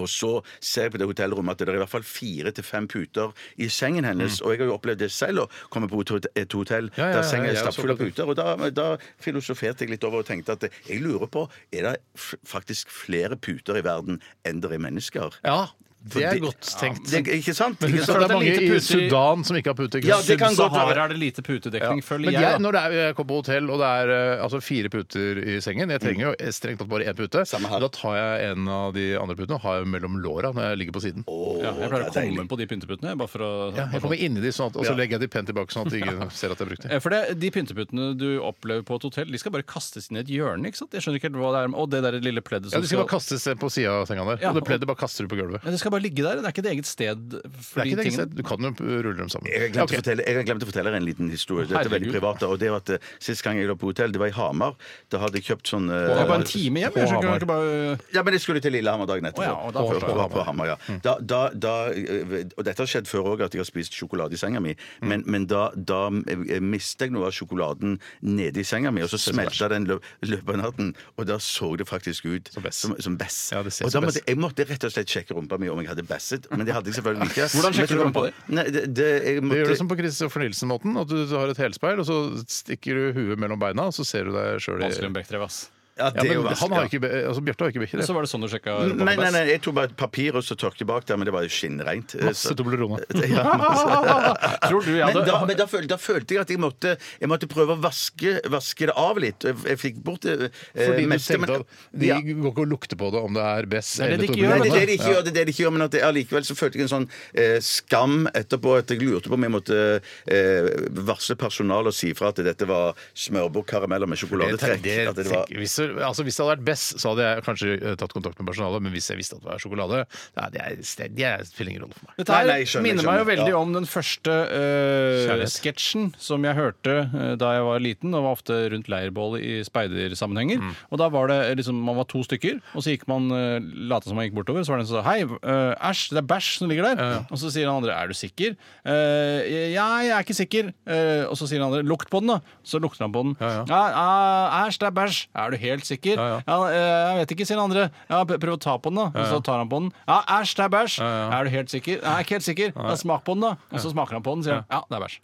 Og så ser jeg på det hotellrommet at det er i hvert fall fire til fem puter i sengen hennes. Og jeg har jo opplevd det selv å komme på et hot- et hotell
Mm. Ja, ja,
der
ja,
sengen
jeg
er
har også
stappfull av
opplevd
puter. Og da, da filosoferte jeg litt over og tenkte at jeg lurer på er det f faktisk flere puter i verden enn det er mennesker.
Ja, det er
det-
godt tenkt.
Det, ikke sant?
Men
Ikke
husk at
sant?
det er mange
lite puter
i
i-
Sudan som ikke har puter. ikke
Ja,
sant?
det kan godt
Sub-Sahara
være.
eh, er det lite putedekning, føler
Men
jeg.
jeg,
da.
når det er, jeg kommer på hotell, og det er eh, altså, fire puter i sengen Jeg trenger jo strengt tatt bare én pute.
Mm. Samme her.
Da tar jeg en av de andre putene og har jeg mellom låra når jeg ligger på siden.
Ja, jeg pleier å komme på de pynteputene. Bare for å
Ja, jeg kommer inni de, sånn at, og så legger jeg de pent tilbake, sånn at ingen ser at jeg brukte de.
Eh, For det, De pynteputene du opplever på et hotell, de skal bare kastes inn i et hjørne. ikke sant? Jeg skjønner ikke helt hva det er med- Og det der lille pleddet som
Ja, de skal bare kastes eh, på sida av senga der.
Ja,
og det
og-
pleddet bare kaster du på gulvet.
ja, Det skal bare ligge der. Det er ikke et eget sted
Det
for
er
de
ikke det,
tingene.
Du kan jo rulle dem sammen.
Jeg har, glemt
Ok.
å fortelle, jeg har glemt å fortelle dere en liten historie. Dette er veldig
Herregud.
privat. da, Og det var at eh, Sist gang jeg lå på hotell, det var i Hamar. Da hadde jeg kjøpt sånn eh,
Det er bare en time hjem. Jeg skjønner
Hamar.
ikke bare...
Ja, men jeg skulle til Lillehammer dagen etterpå.
Å ja, og da
på,
forstår jeg.
på, på Hammer, ja. da, da, da, og dette har skjedd før òg, at jeg har spist sjokolade i senga mi. Men, men da, da eh, mistet jeg noe av sjokoladen nede i senga mi, og så smelta den løp, løpet av natten. Og da så det faktisk ut som
bæsj.
Som, bæsj.
Ja, det ser
og
som
da måtte
bæsj.
jeg måtte rett og slett sjekke rumpa mi om jeg hadde bæsset, men det hadde jeg selvfølgelig ikke.
Hvordan sjekker
Men så
du
kom
rumpa
jeg på- Nei, det, det, jeg
Du
måtte,
gjør det som på Christoffer Nielsen-måten. At du, du har et helspeil, og så stikker du huet mellom beina, og så ser du deg sjøl i
Vanskelig med Bechdrev, ass.
Ja, det
Ja,
er jo
men han har
vanskelig.
ikke, be- altså, Bjarte har ikke
Så
bekkerett.
var det sånn du sjekka
Nei, nei, nei, jeg tok bare et papir og så tørket bak der, men det var jo skinnreint.
Masse Toblerone.
Ja, masse.
Tror du jeg
Men,
hadde
da, men da, følte, da følte jeg at jeg måtte, jeg måtte prøve å vaske, vaske det av litt. Jeg, jeg fikk bort det eh,
Fordi du
meste, men-
tenkte at de
ja.
går ikke og lukter på det om det er Bess
er det
eller
de ikke gjør,
Nei, det er det
Toblerone.
de ikke gjør, det er det de ikke gjør men at jeg, allikevel så følte jeg en sånn eh, skam etterpå at jeg lurte på om jeg måtte eh, varsle personalet og si fra at dette var smørbrødkarameller med sjokoladetrekk.
Det-
At det var,
tenk- hvis, det- altså, hvis det hadde vært Bess, så hadde jeg kanskje eh, tatt kontakt med personalet. Men hvis jeg visste at det var sjokolade, nei, det, er, det, er, spiller ingen rolle for meg.
Dette her
Nei, nei, skjønner,
minner meg jo
skjønner.
veldig
Ja.
om den første eh,
Kjærlighet.
sketsjen som jeg hørte eh, da jeg var liten, og var ofte rundt leirbål i speidersammenhenger. Og da var det eh, liksom, man var to stykker, og så gikk man uh, lata som man gikk bortover. Så var det en som sa 'hei, eh, æsj, det er bæsj som ligger der'. Og så sier den andre 'er du sikker'? «Eh, ja, jeg er ikke sikker. Eh, og så sier den andre 'lukt på den', da. Så lukter han på den.
Ja, ja.
«Ja, eh, æsj, det er bæsj. Er du helt sikker?
Ja, ja.
Ja, eh, jeg vet ikke, sier den andre. Ja, pr- prøv å ta på den, da. Og så tar han på den. Ja, æsj, det er bæsj.
Ja, ja.
Er du helt sikker? Nei, jeg er ikke helt sikker. Ja, smak på den, da. Og så smaker han på den, sier han. Ja, det er bæsj.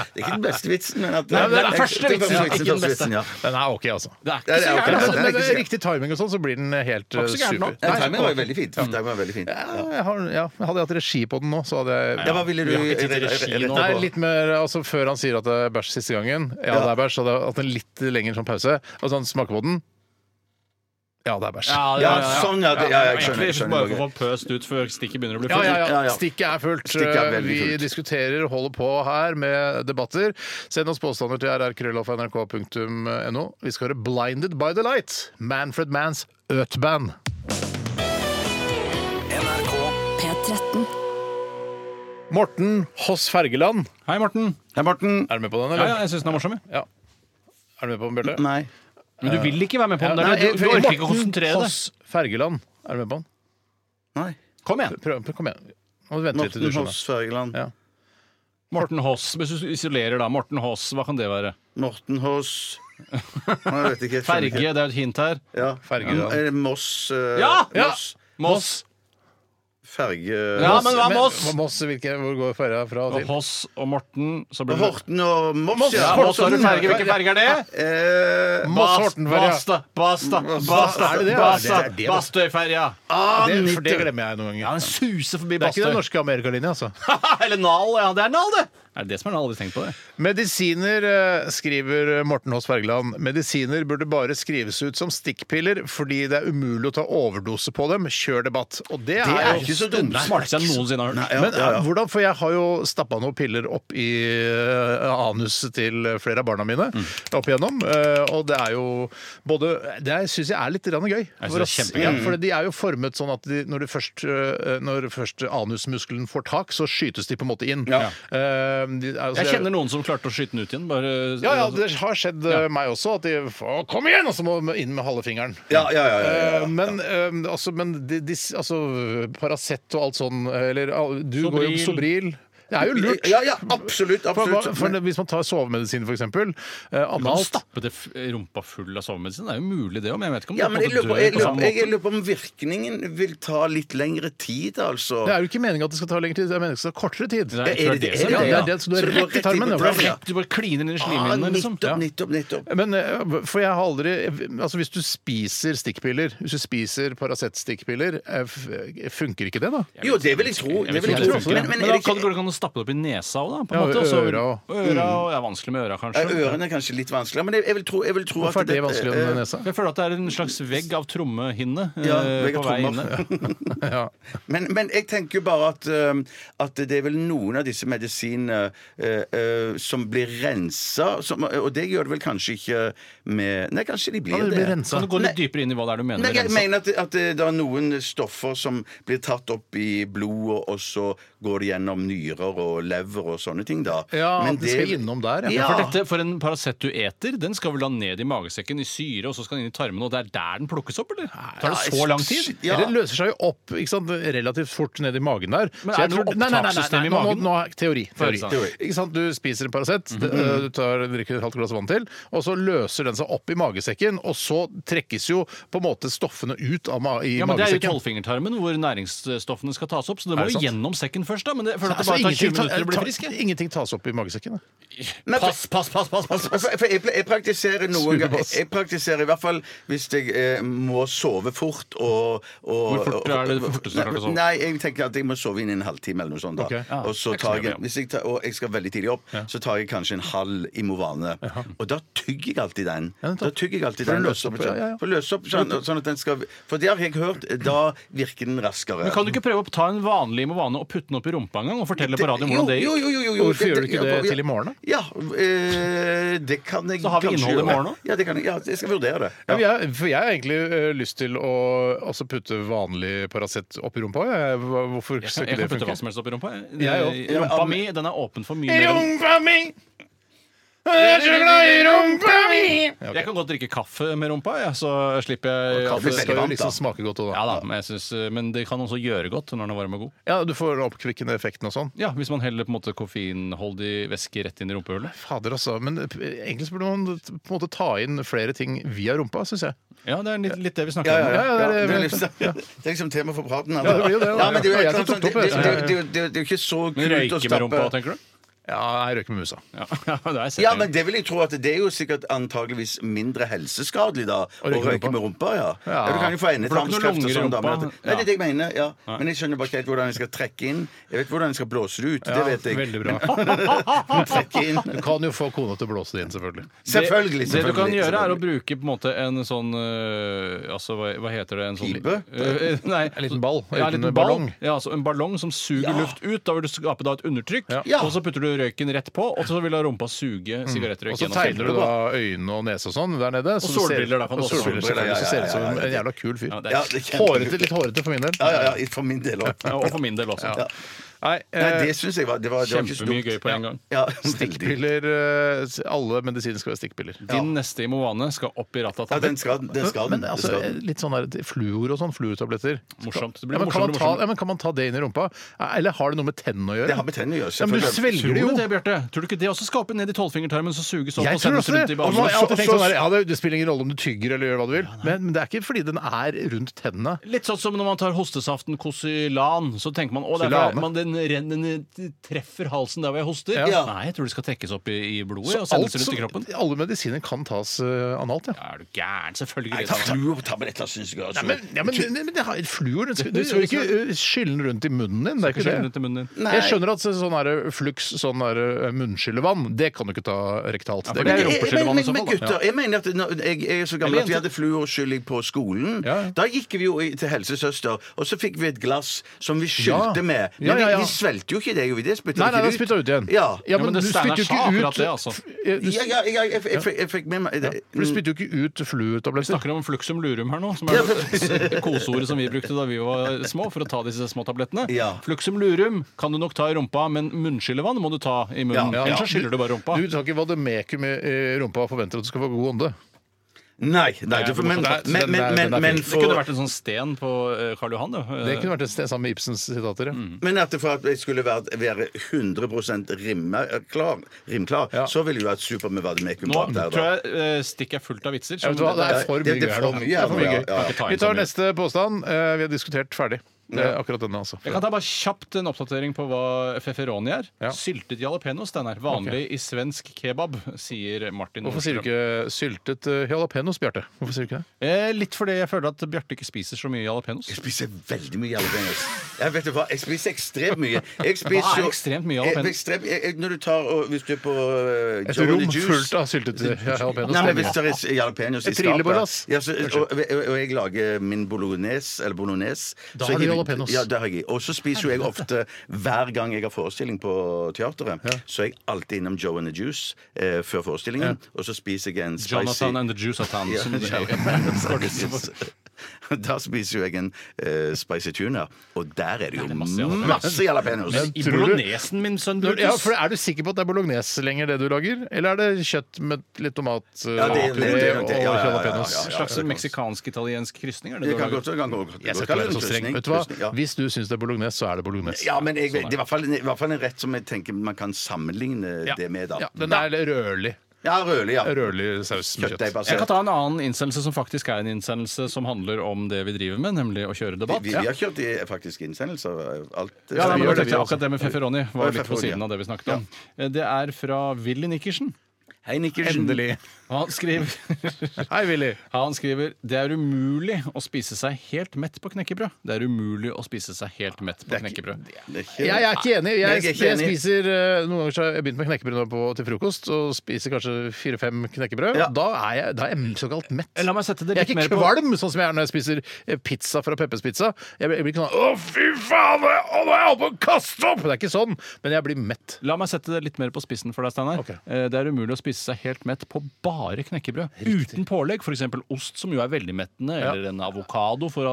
det er ikke den beste vitsen, men at
Nei, det er den første
Det er
vitsen, ikke den beste.
ja.
Den er OK, altså.
Det er
Ja,
ikke
det
så
er ok.
Men,
gærent.
Ja,
altså.
det er
men,
ikke
med
så-
riktig timing og sånn, så blir den helt
Var
eh,
ikke så gæren nå.
super.
Nei, timingen var jo veldig fint. Timingen var veldig fint.
Ja, jeg har, ja, hadde jeg hatt regi på den nå, så hadde jeg
Ja, hva ville du
ikke tid til
rett-
regi
rett-
nå.
Nei,
rett-
litt mer, altså Før han sier at det er bæsj siste gangen, ja, det er bæsj, så hadde jeg hatt en litt lengre sånn pause. Og sånn smaker på den. Ja, det er bæsj.
Ja,
Ja, sånn, ja. det- ja, ja, jeg skjønner. jeg
Egentlig
skjønner.
bare for å få pøst ut før stikket begynner å bli
Ja,
fullt.
ja, ja.
Ja, ja.
Stikket er fullt.
Stikket er veldig
vi
fullt.
diskuterer og holder på her med debatter. Send oss påstander til rrkrøllalfa.nrk.no. Vi skal høre 'Blinded by the Light'. Manfred Manns Øtband.
P13.
Morten Hoss Fergeland.
Hei, Morten.
Hei, Morten.
Er du med på den,
Ja,
eller?
ja, jeg syns den er morsom. jeg.
Er du med på den, Bjarte?
Nei.
Men du vil ikke være med på den.
Nei,
der. Du, du orker ikke å
Morten
konsentrere deg.
Hoss Fergeland. Er du med på den?
Nei.
Kom igjen.
Prøv, prøv, kom igjen. Nå venter vi til
Morten
du skjønner.
Hoss Fergeland.
Ja.
Morten Hoss. Hvis du isolerer da, Morten Hoss, hva kan det være?
Morten Hoss Nei, jeg vet ikke. jeg skjønner
Ferge, det er jo et hint her.
ikke. Ja. Mm,
Ferge, ja.
Er det Moss eh,
Ja! Ja!
Moss
Moss.
Ferge
Ja, men hva er Moss?
Men, Moss hvilke, hvor går ferja fra
Og
og til?
Hoss og Morten, så blir det
Horten og Moss,
Ja,
ja.
Moss har du ferge. Hvilken ferge er det?
Eh,
Moss-Horten-ferja.
Basta, basta, basta,
Er det det?
basta,
Er det det?
Bastøyferja.
Det, for det glemmer jeg noen ganger.
Ja, den suser forbi
Det er ikke
Bastøy.
den norske amerikalinja, altså.
Eller Nal, ja. Det er Nal, det! Er det det som er Nal? Aldri tenkt på det.
Medisiner, eh, skriver Morten Hås Bergland, medisiner burde bare skrives ut som stikkpiller fordi det er umulig å ta overdose på dem. Kjør debatt. Og det,
Det
er
er
jo
ikke så dumt.
Smarteste jeg noensinne har hørt.
Ja,
men
ja, ja.
eh, hvordan, for Jeg har jo stappa noen piller opp i eh, anuset til flere av barna mine.
Mm.
opp igjennom, eh, Og det er jo både Det syns jeg er litt grann gøy.
synes
For,
det er
at- ja, for de er jo formet sånn at de, når, du først, eh, når først anusmuskelen får tak, så skytes de på en måte inn.
Ja.
Eh, de, altså,
Jeg kjenner noen som klarte å skyte den ut igjen. Bare,
Ja, ja, det har skjedd eh, meg også. At de «Å, Kom igjen! Og så må de inn med halve fingeren.
Ja, ja, ja. ja, ja.
Eh, Men, eh, altså, men de, de, altså, Paracet og alt sånn, eller al- du går jo
Sobril.
Sobril Det er jo lurt.
Ja, ja, absolutt.
For,
absolutt.
hva- for hvis man tar sovemedisin, for eksempel, eh,
Å
analt
stappe Altså, det f- rumpa full av sovemedisin, det er jo mulig det òg, men jeg vet ikke om
Ja,
det
men jeg
kommer
lurer,
til
på,
å dø på
jeg, lurer,
samme
jeg
måte.
lurer på om virkningen vil ta litt lengre tid, altså.
Det er jo ikke meningen at det skal ta lengre tid, det er meningen at det skal ta kortere tid.
Nei,
Er det det?
som-
Ja, det
ja.
er det, så du
Så
er rett
det går
i
rett i
tarmen.
blodet,
ja.
ja.
Du bare kliner inn i
Ah,
slimhinnene, liksom.
nettopp, nettopp, nettopp.
Men eh, for jeg har aldri Altså Hvis du spiser stikkpiller, hvis du spiser Paracet-stikkpiller, eh, f- funker ikke det, da?
Jo, det vil jeg tro.
Jeg
Det
vet
vil
ikke om
jeg
det
tro.
funker, men
Men, men
da
er det
kan du
ikke
kan du stappe det opp i nesa òg, da. På en
Ja,
måte, og så-
øra Mm. og-
øra og ja, Vanskelig med øra, kanskje.
er Ørene er kanskje litt vanskeligere, men jeg, jeg vil tro, jeg vil tro at
Hvorfor er det vanskeligere enn
eh,
nesa?
Jeg føler at det er en slags vegg av trommehinne eh,
Ja, vegg av
på vei
trommer.
inne.
Ja.
Men, men jeg tenker jo bare at, eh, at det er vel noen av disse medisinene eh, eh, som blir rensa, som, øh, og det gjør det vel kanskje ikke med Nei, kanskje de blir
Ja, det blir
det. sånn
renset.
Kan du gå litt dypere inn i hva det er du mener?
Men
med
jeg
rensa?
mener at, at det er noen stoffer som blir tatt opp i blodet, og så går det gjennom nyrer og lever og sånne ting, da.
Ja,
Men
at det skal innom der, ja.
Ja.
For, dette, for en Paracet du eter, den skal vel da ned i magesekken i syre, og så skal den inn i tarmene, og det er der den plukkes opp, eller? Tar det så lang tid?
Ja.
Det løser seg jo opp ikke sant, relativt fort nedi magen der.
Men
Så
er
jeg
det noe
tror- Nei, nei, nei, nei,
opptakssystem i
nå-
magen?
Nå, nå, er- teori. teori.
Teori. Mhm.
Teori.
Ikke sant, du spiser en Paracet, det- øh, du tar, drikker et halvt glass vann til, og så løser den seg opp i magesekken, og så trekkes jo på en måte stoffene ut av ma i
Ja, men Det er jo
magesekken.
tolvfingertarmen hvor næringsstoffene skal tas opp, så det
Er
må
det
jo
sant?
gjennom sekken først. da, men det, jeg føler at det
Altså,
bare tar 20
Ingenting, ta,
minutter og blir
ta,
frisk. jeg.
ingenting tas opp i magesekken. da.
Nei, for-
Pass, pass, pass! pass, pass, pass.
Altså, For, for jeg, jeg praktiserer noen
Sugebass.
ganger Jeg praktiserer i hvert fall hvis jeg eh, må sove fort og, og
Hvor fort er det det forteste du klarer å sove?
Nei, jeg tenker at jeg må sove innen en halvtime eller noe sånt. Da.
Ok.
Ja,
Og
det er
så
ikke så
tar
mye,
jeg,
ja.
hvis jeg tar, og jeg skal veldig tidlig opp, så tar jeg kanskje en halv Imovane. Og da tygger jeg alltid den.
Ja, nettopp.
Da tygger jeg alltid
For å
den
løse opp, ja, ja, ja.
For å løse opp sånn, og sånn at den skal For det har jeg hørt, eh, da virker den raskere.
Men Kan du ikke prøve å ta en vanlig Imovane og putte den opp i rumpa en gang? Og fortelle på radioen hvordan det
Jo,
gikk?
jo, jo, jo, jo.
Hvorfor gjør du ikke
ja,
det
ja.
til i morgen, da?
Ja, eh, det kan jeg
Så har vi
kanskje
innhold i
gjøre.
morgen også?
Ja, det kan jeg, ja, jeg skal vurdere det.
Ja. men Jeg, for jeg har egentlig eh, lyst til å altså, putte vanlig Paracet opp i rumpa. Jeg, Hva- hvorfor
Jeg
skal
kan
ikke
jeg
det
kan putte hva
funke?
som helst opp i rumpa. jeg.
Jeg òg.
Ja, men-
Rumpa mi den er åpen for mye mer enn
Rumpa mi! Jeg er så glad i rumpa mi! Ja, ok.
Jeg kan godt drikke kaffe med rumpa, ja, så slipper jeg
Og kaffe
Det skal jo
Veldig varmt, da.
liksom smake godt òg,
Ja
da.
da, men, jeg synes, eh, men det kan også gjøre godt når den er varm og god.
Ja, du får oppkvikkende effekten og sånn.
Ja, Hvis man heller på en måte koffeinholdig væske rett inn i rumpehullet.
Fader, altså. Men eh, egentlig så burde man på en måte ta inn flere ting via rumpa, syns jeg.
Ja, Det er litt, litt det vi
Ja,
snakker
ja,
om.
ja.
Ja, ja, det-
ja, det, er
det-
liksom, det er liksom tema for praten.
Ja, det blir jo det, da.
Ja, men det er jo
Jeg
helt
som
sant,
tok
det-
opp
det-
det.
det- det- det- det- det er jo ikke så
Men
kult å
Røyke med rumpa,
stappe
tenker du?
Ja, jeg røyker med musa.
Ja, ja det er
ja,
setningen.
men det vil jeg tro at det er jo sikkert antageligvis mindre helseskadelig da å
røyke med
røyke
rumpa.
med rumpa. Ja.
Ja.
ja. Du kan jo
For det er
få
ikke noen
endetarmskreft og
lunger i
sånn. da,
rumpa.
men at- Nei, det er det jeg mener. ja Men jeg skjønner bare ikke helt hvordan jeg skal trekke inn. Jeg vet hvordan jeg skal blåse det ut. Det vet jeg.
Veldig bra.
Men trekke inn
Du kan jo få kona til å blåse det inn, selvfølgelig.
Selvfølgelig.
Det du kan gjøre,
selvfølgelig,
er å
selvfølgelig.
bruke på en måte en sånn øh, Altså, hva, hva heter det? En sånn,
Pipe?
Øh, nei.
En liten ball,
Ja, en
uten
liten ballong.
ballong.
Ja, altså en ballong som suger luft ut. Da vil du skape da et undertrykk.
Ja. Mm.
Og så putter du røyken rett på, og så vil da rumpa suge sigarettrøyk
Og så
gjennom
tegner du
filteret.
da øyne og nese og sånn der nede. så
Og
du ser-
solbriller, da, kan du
og
også.
solbriller, selvfølgelig, Så ser det ut som en jævla kul fyr.
Ja, det
Ja,
er,
det er kjempe-
Hårete, litt hårete for min del.
Ja, ja, ja, for min del òg.
ja, og for min del også.
Nei,
Nei,
eh,
det syns jeg var Det var, det var ikke så
Kjempemye
dumt.
gøy på en gang.
Ja, veldig.
Piller, eh, alle medisiner skal være stikkpiller.
Din neste Imovane skal opp i rattet.
Ja, den skal den. Den skal den.
Men altså,
den skal den.
litt sånn der, fluor og sånn, fluortabletter
Morsomt. Det
ja,
blir morsommere og
men, kan man ta, ja,
morsommere.
men kan man ta det inn i rumpa? Eh, Eller har det noe med tennene å gjøre?
Det har med tennene å gjøre,
Ja, men du
selvfølgelig.
Tror
svelger
du
det jo.
det, Bjarte? Tror du ikke det også skal opp ned i tolvfingertarmen, så suges opp og
Jeg tror
sendes
også
rundt
det.
i
Og så- jeg har alltid
banen?
tenkt sånn der, ja, det- Det spiller ingen rolle om du tygger eller gjør hva du vil, men, men det er ikke fordi den er rundt tennene.
Litt sånn som når man tar hostesaften Kosylan, så tenker man å, det er fordi
Sylane.
man, den, renn- den treffer halsen der hvor jeg hoster.
Ja.
Nei, jeg tror det skal trekkes opp i, i blodet
Så
og sendes
alt
rundt
som-
i kroppen.
alle medisiner kan tas eh, analt, ja.
Er du gæren? Selvfølgelig.
Nei,
ikke det.
Fluortabletter syns jeg også.
Nei, men, ja, men, men, men det har fluor Du skal du skal ikke ø, skylle den rundt i munnen din. Det er
Ikke
ikke
skjønne
det.
rundt i munnen din.
Nei.
Jeg skjønner at sånn her flux, sånn her ø, munnskyllevann, det kan du ikke ta rektalt.
for
kan
det er sånn.
du
jo-
ikke.
rumpeskyllevann
men, men,
i så
men
fall, da.
gutter, jeg mener at når, jeg, jeg er så gammel
Eller
at vi
jenter.
hadde fluorskylling på skolen.
Ja, ja.
Da gikk vi jo i- til helsesøster, og så fikk vi et glass som vi skylte
Ja.
med. Men
Ja, ja, ja.
vi, vi svelgte jo ikke det, gjorde vi det? Spytta
Nei, nei,
ikke
den spytta ut igjen.
Ja.
Ja,
men
men,
det
du
Steinar
spytter jo
sa
ikke
akkurat
ut
det, altså.
Ja, du,
Ja, ja, jeg, jeg, jeg, jeg, fikk- jeg fikk med meg det.
for du spytter jo ikke ut
Vi
fluortabletter.
snakker om fluxum lurum her nå, som er koseordet som vi brukte da vi var små for å ta disse små tablettene.
Ja.
Fluxum lurum kan du nok ta i rumpa, men munnskyllevann må du ta i munnen.
Ja, ja.
Ellers så skyller du bare rumpa.
Du tar ikke vademekum i i eh, rumpa og forventer at du skal få god ånde.
Nei, nei, du får- men,
Nei, den
men,
er-
men,
den er fin.
men, men,
Det
Det kunne
for,
vært en sånn sten på eh, Karl Johan. Det,
Det kunne vært et sted sammen med Ibsens sitater. ja.
Mm.
men at det for at jeg skulle være, være 100 rimklar, eh, rimklar
Ja.
så ville jeg jo hatt super med vademekum.
Nå
bak der, da.
tror jeg eh, stikk er fullt av vitser.
Ja,
så
vet du hva, Det er for
Det-
mye
det er
gøy her
for
nå.
mye,
Det er for mye
ja,
gøy.
ja, ja.
Kan ikke ta inn
Vi
så
tar
mye.
neste påstand. Eh, Vi har diskutert ferdig. Det er akkurat denne, altså.
Jeg kan ta bare kjapt en oppdatering på hva feferoni er.
Ja.
Syltet jalapeños, den er vanlig i svensk kebab, sier Martin.
Hvorfor sier du ikke syltet eh, jalapeños, Bjarte? Hvorfor sier du ikke det?
Eh, litt fordi jeg føler at Bjarte ikke spiser så mye jalapeños.
Jeg spiser veldig mye jalapeños. Jeg vet du hva, jeg spiser ekstremt mye. Jeg spiser
Hva er
jo-
ekstremt mye
Jeg-
jalapeños?
ekstremt- jeg- jeg- Når du tar og Hvis du er på uh,
Et rom fullt av syltet eh,
Nei, men Hvis
jalapeños.
det er jalapeños i
Et trillebårlass.
skapet ja, så, og, og, og jeg lager min bolognese eller bolognese
Da
så
har du
hiver-
jalapeños.
Ja, det har jeg. Og så spiser jo jeg ofte Hver gang jeg har forestilling på teateret, så er jeg alltid innom Joe and the Juice eh, før forestillingen, og så spiser jeg en spicy
Jonathan and the Juice of Town.
Ja,
Som det heter.
Da spiser jo jeg en eh, spicy tuna, og der er det jo
det er masse
masse,
jalapeños.
jalapeños.
I
Tror du-
bolognesen min, sønn Brutus.
Ja, for Er du sikker på at det er bolognese lenger, det du lager? Eller er det kjøtt med litt tomatpuré
Ja, det- det- det- det-
og
ja, ja, ja, ja, ja, ja.
jalapeños?
En slags meksikansk-italiensk krysning? Er det
Det
du
kan
har
godt,
laget?
det kan godt, godt.
Jeg skal
kalle
ikke være
det en
så streng.
krysning,
Vet du hva?
krysning, ja.
Hvis du syns det er bolognese, så Sånn er det bolognese.
Ja, men jeg, vet- det er i hvert fall, i hvert fall en rett som jeg tenker man kan sammenligne
Ja.
det med, da.
Ja, den er rødlig.
Ja, rødlig, ja.
Rødlig saus med kjøtt.
Kjøttdeigbasert.
Jeg kan ta en annen innsendelse som faktisk er en innsendelse som handler om det vi driver med, nemlig å kjøre debatt.
Vi, vi har kjørt i faktisk innsendelser. Alt. eh,
Ja, nei, men
gjør
da tenkte
det,
jeg
vi også.
akkurat det med Feferoni var
Ja,
litt på
pepperoni,
siden av det vi snakket om. Eh, Det er fra Willy Nikkersen.
Hei, Nikkersen.
Endelig.
Han skriver,
altså.
Hei, Willy.
han skriver Det er umulig å spise seg helt mett på knekkebrød. Det er umulig å spise seg helt mett på knekkebrød.
Det er ikke-
Jeg, jeg er ikke enig.
Jeg
Jeg,
er ikke
jeg
enig.
spiser eh, Noen ganger så har jeg begynt med knekkebrød nå på, til frokost, og spiser kanskje fire-fem knekkebrød.
Ja. Eh,
Da er jeg, da er jeg såkalt mett.
La meg sette det
Jeg er
litt mer på
ikke kvalm, sånn som jeg er når jeg spiser eh, pizza fra Peppes Pizza. Jeg blir, jeg blir ikke sånn 'Å, fy faen, nå er jeg- å, nå er jeg holdt på å kaste opp!' Det er ikke sånn, men jeg blir mett.
La meg sette det litt mer på spissen for deg, Steinar.
Ok.
Eh, Det er umulig å spise seg helt mett på bare knekkebrød. Uten pålegg. F.eks. ost, som jo er veldig mettende, eller en avokado for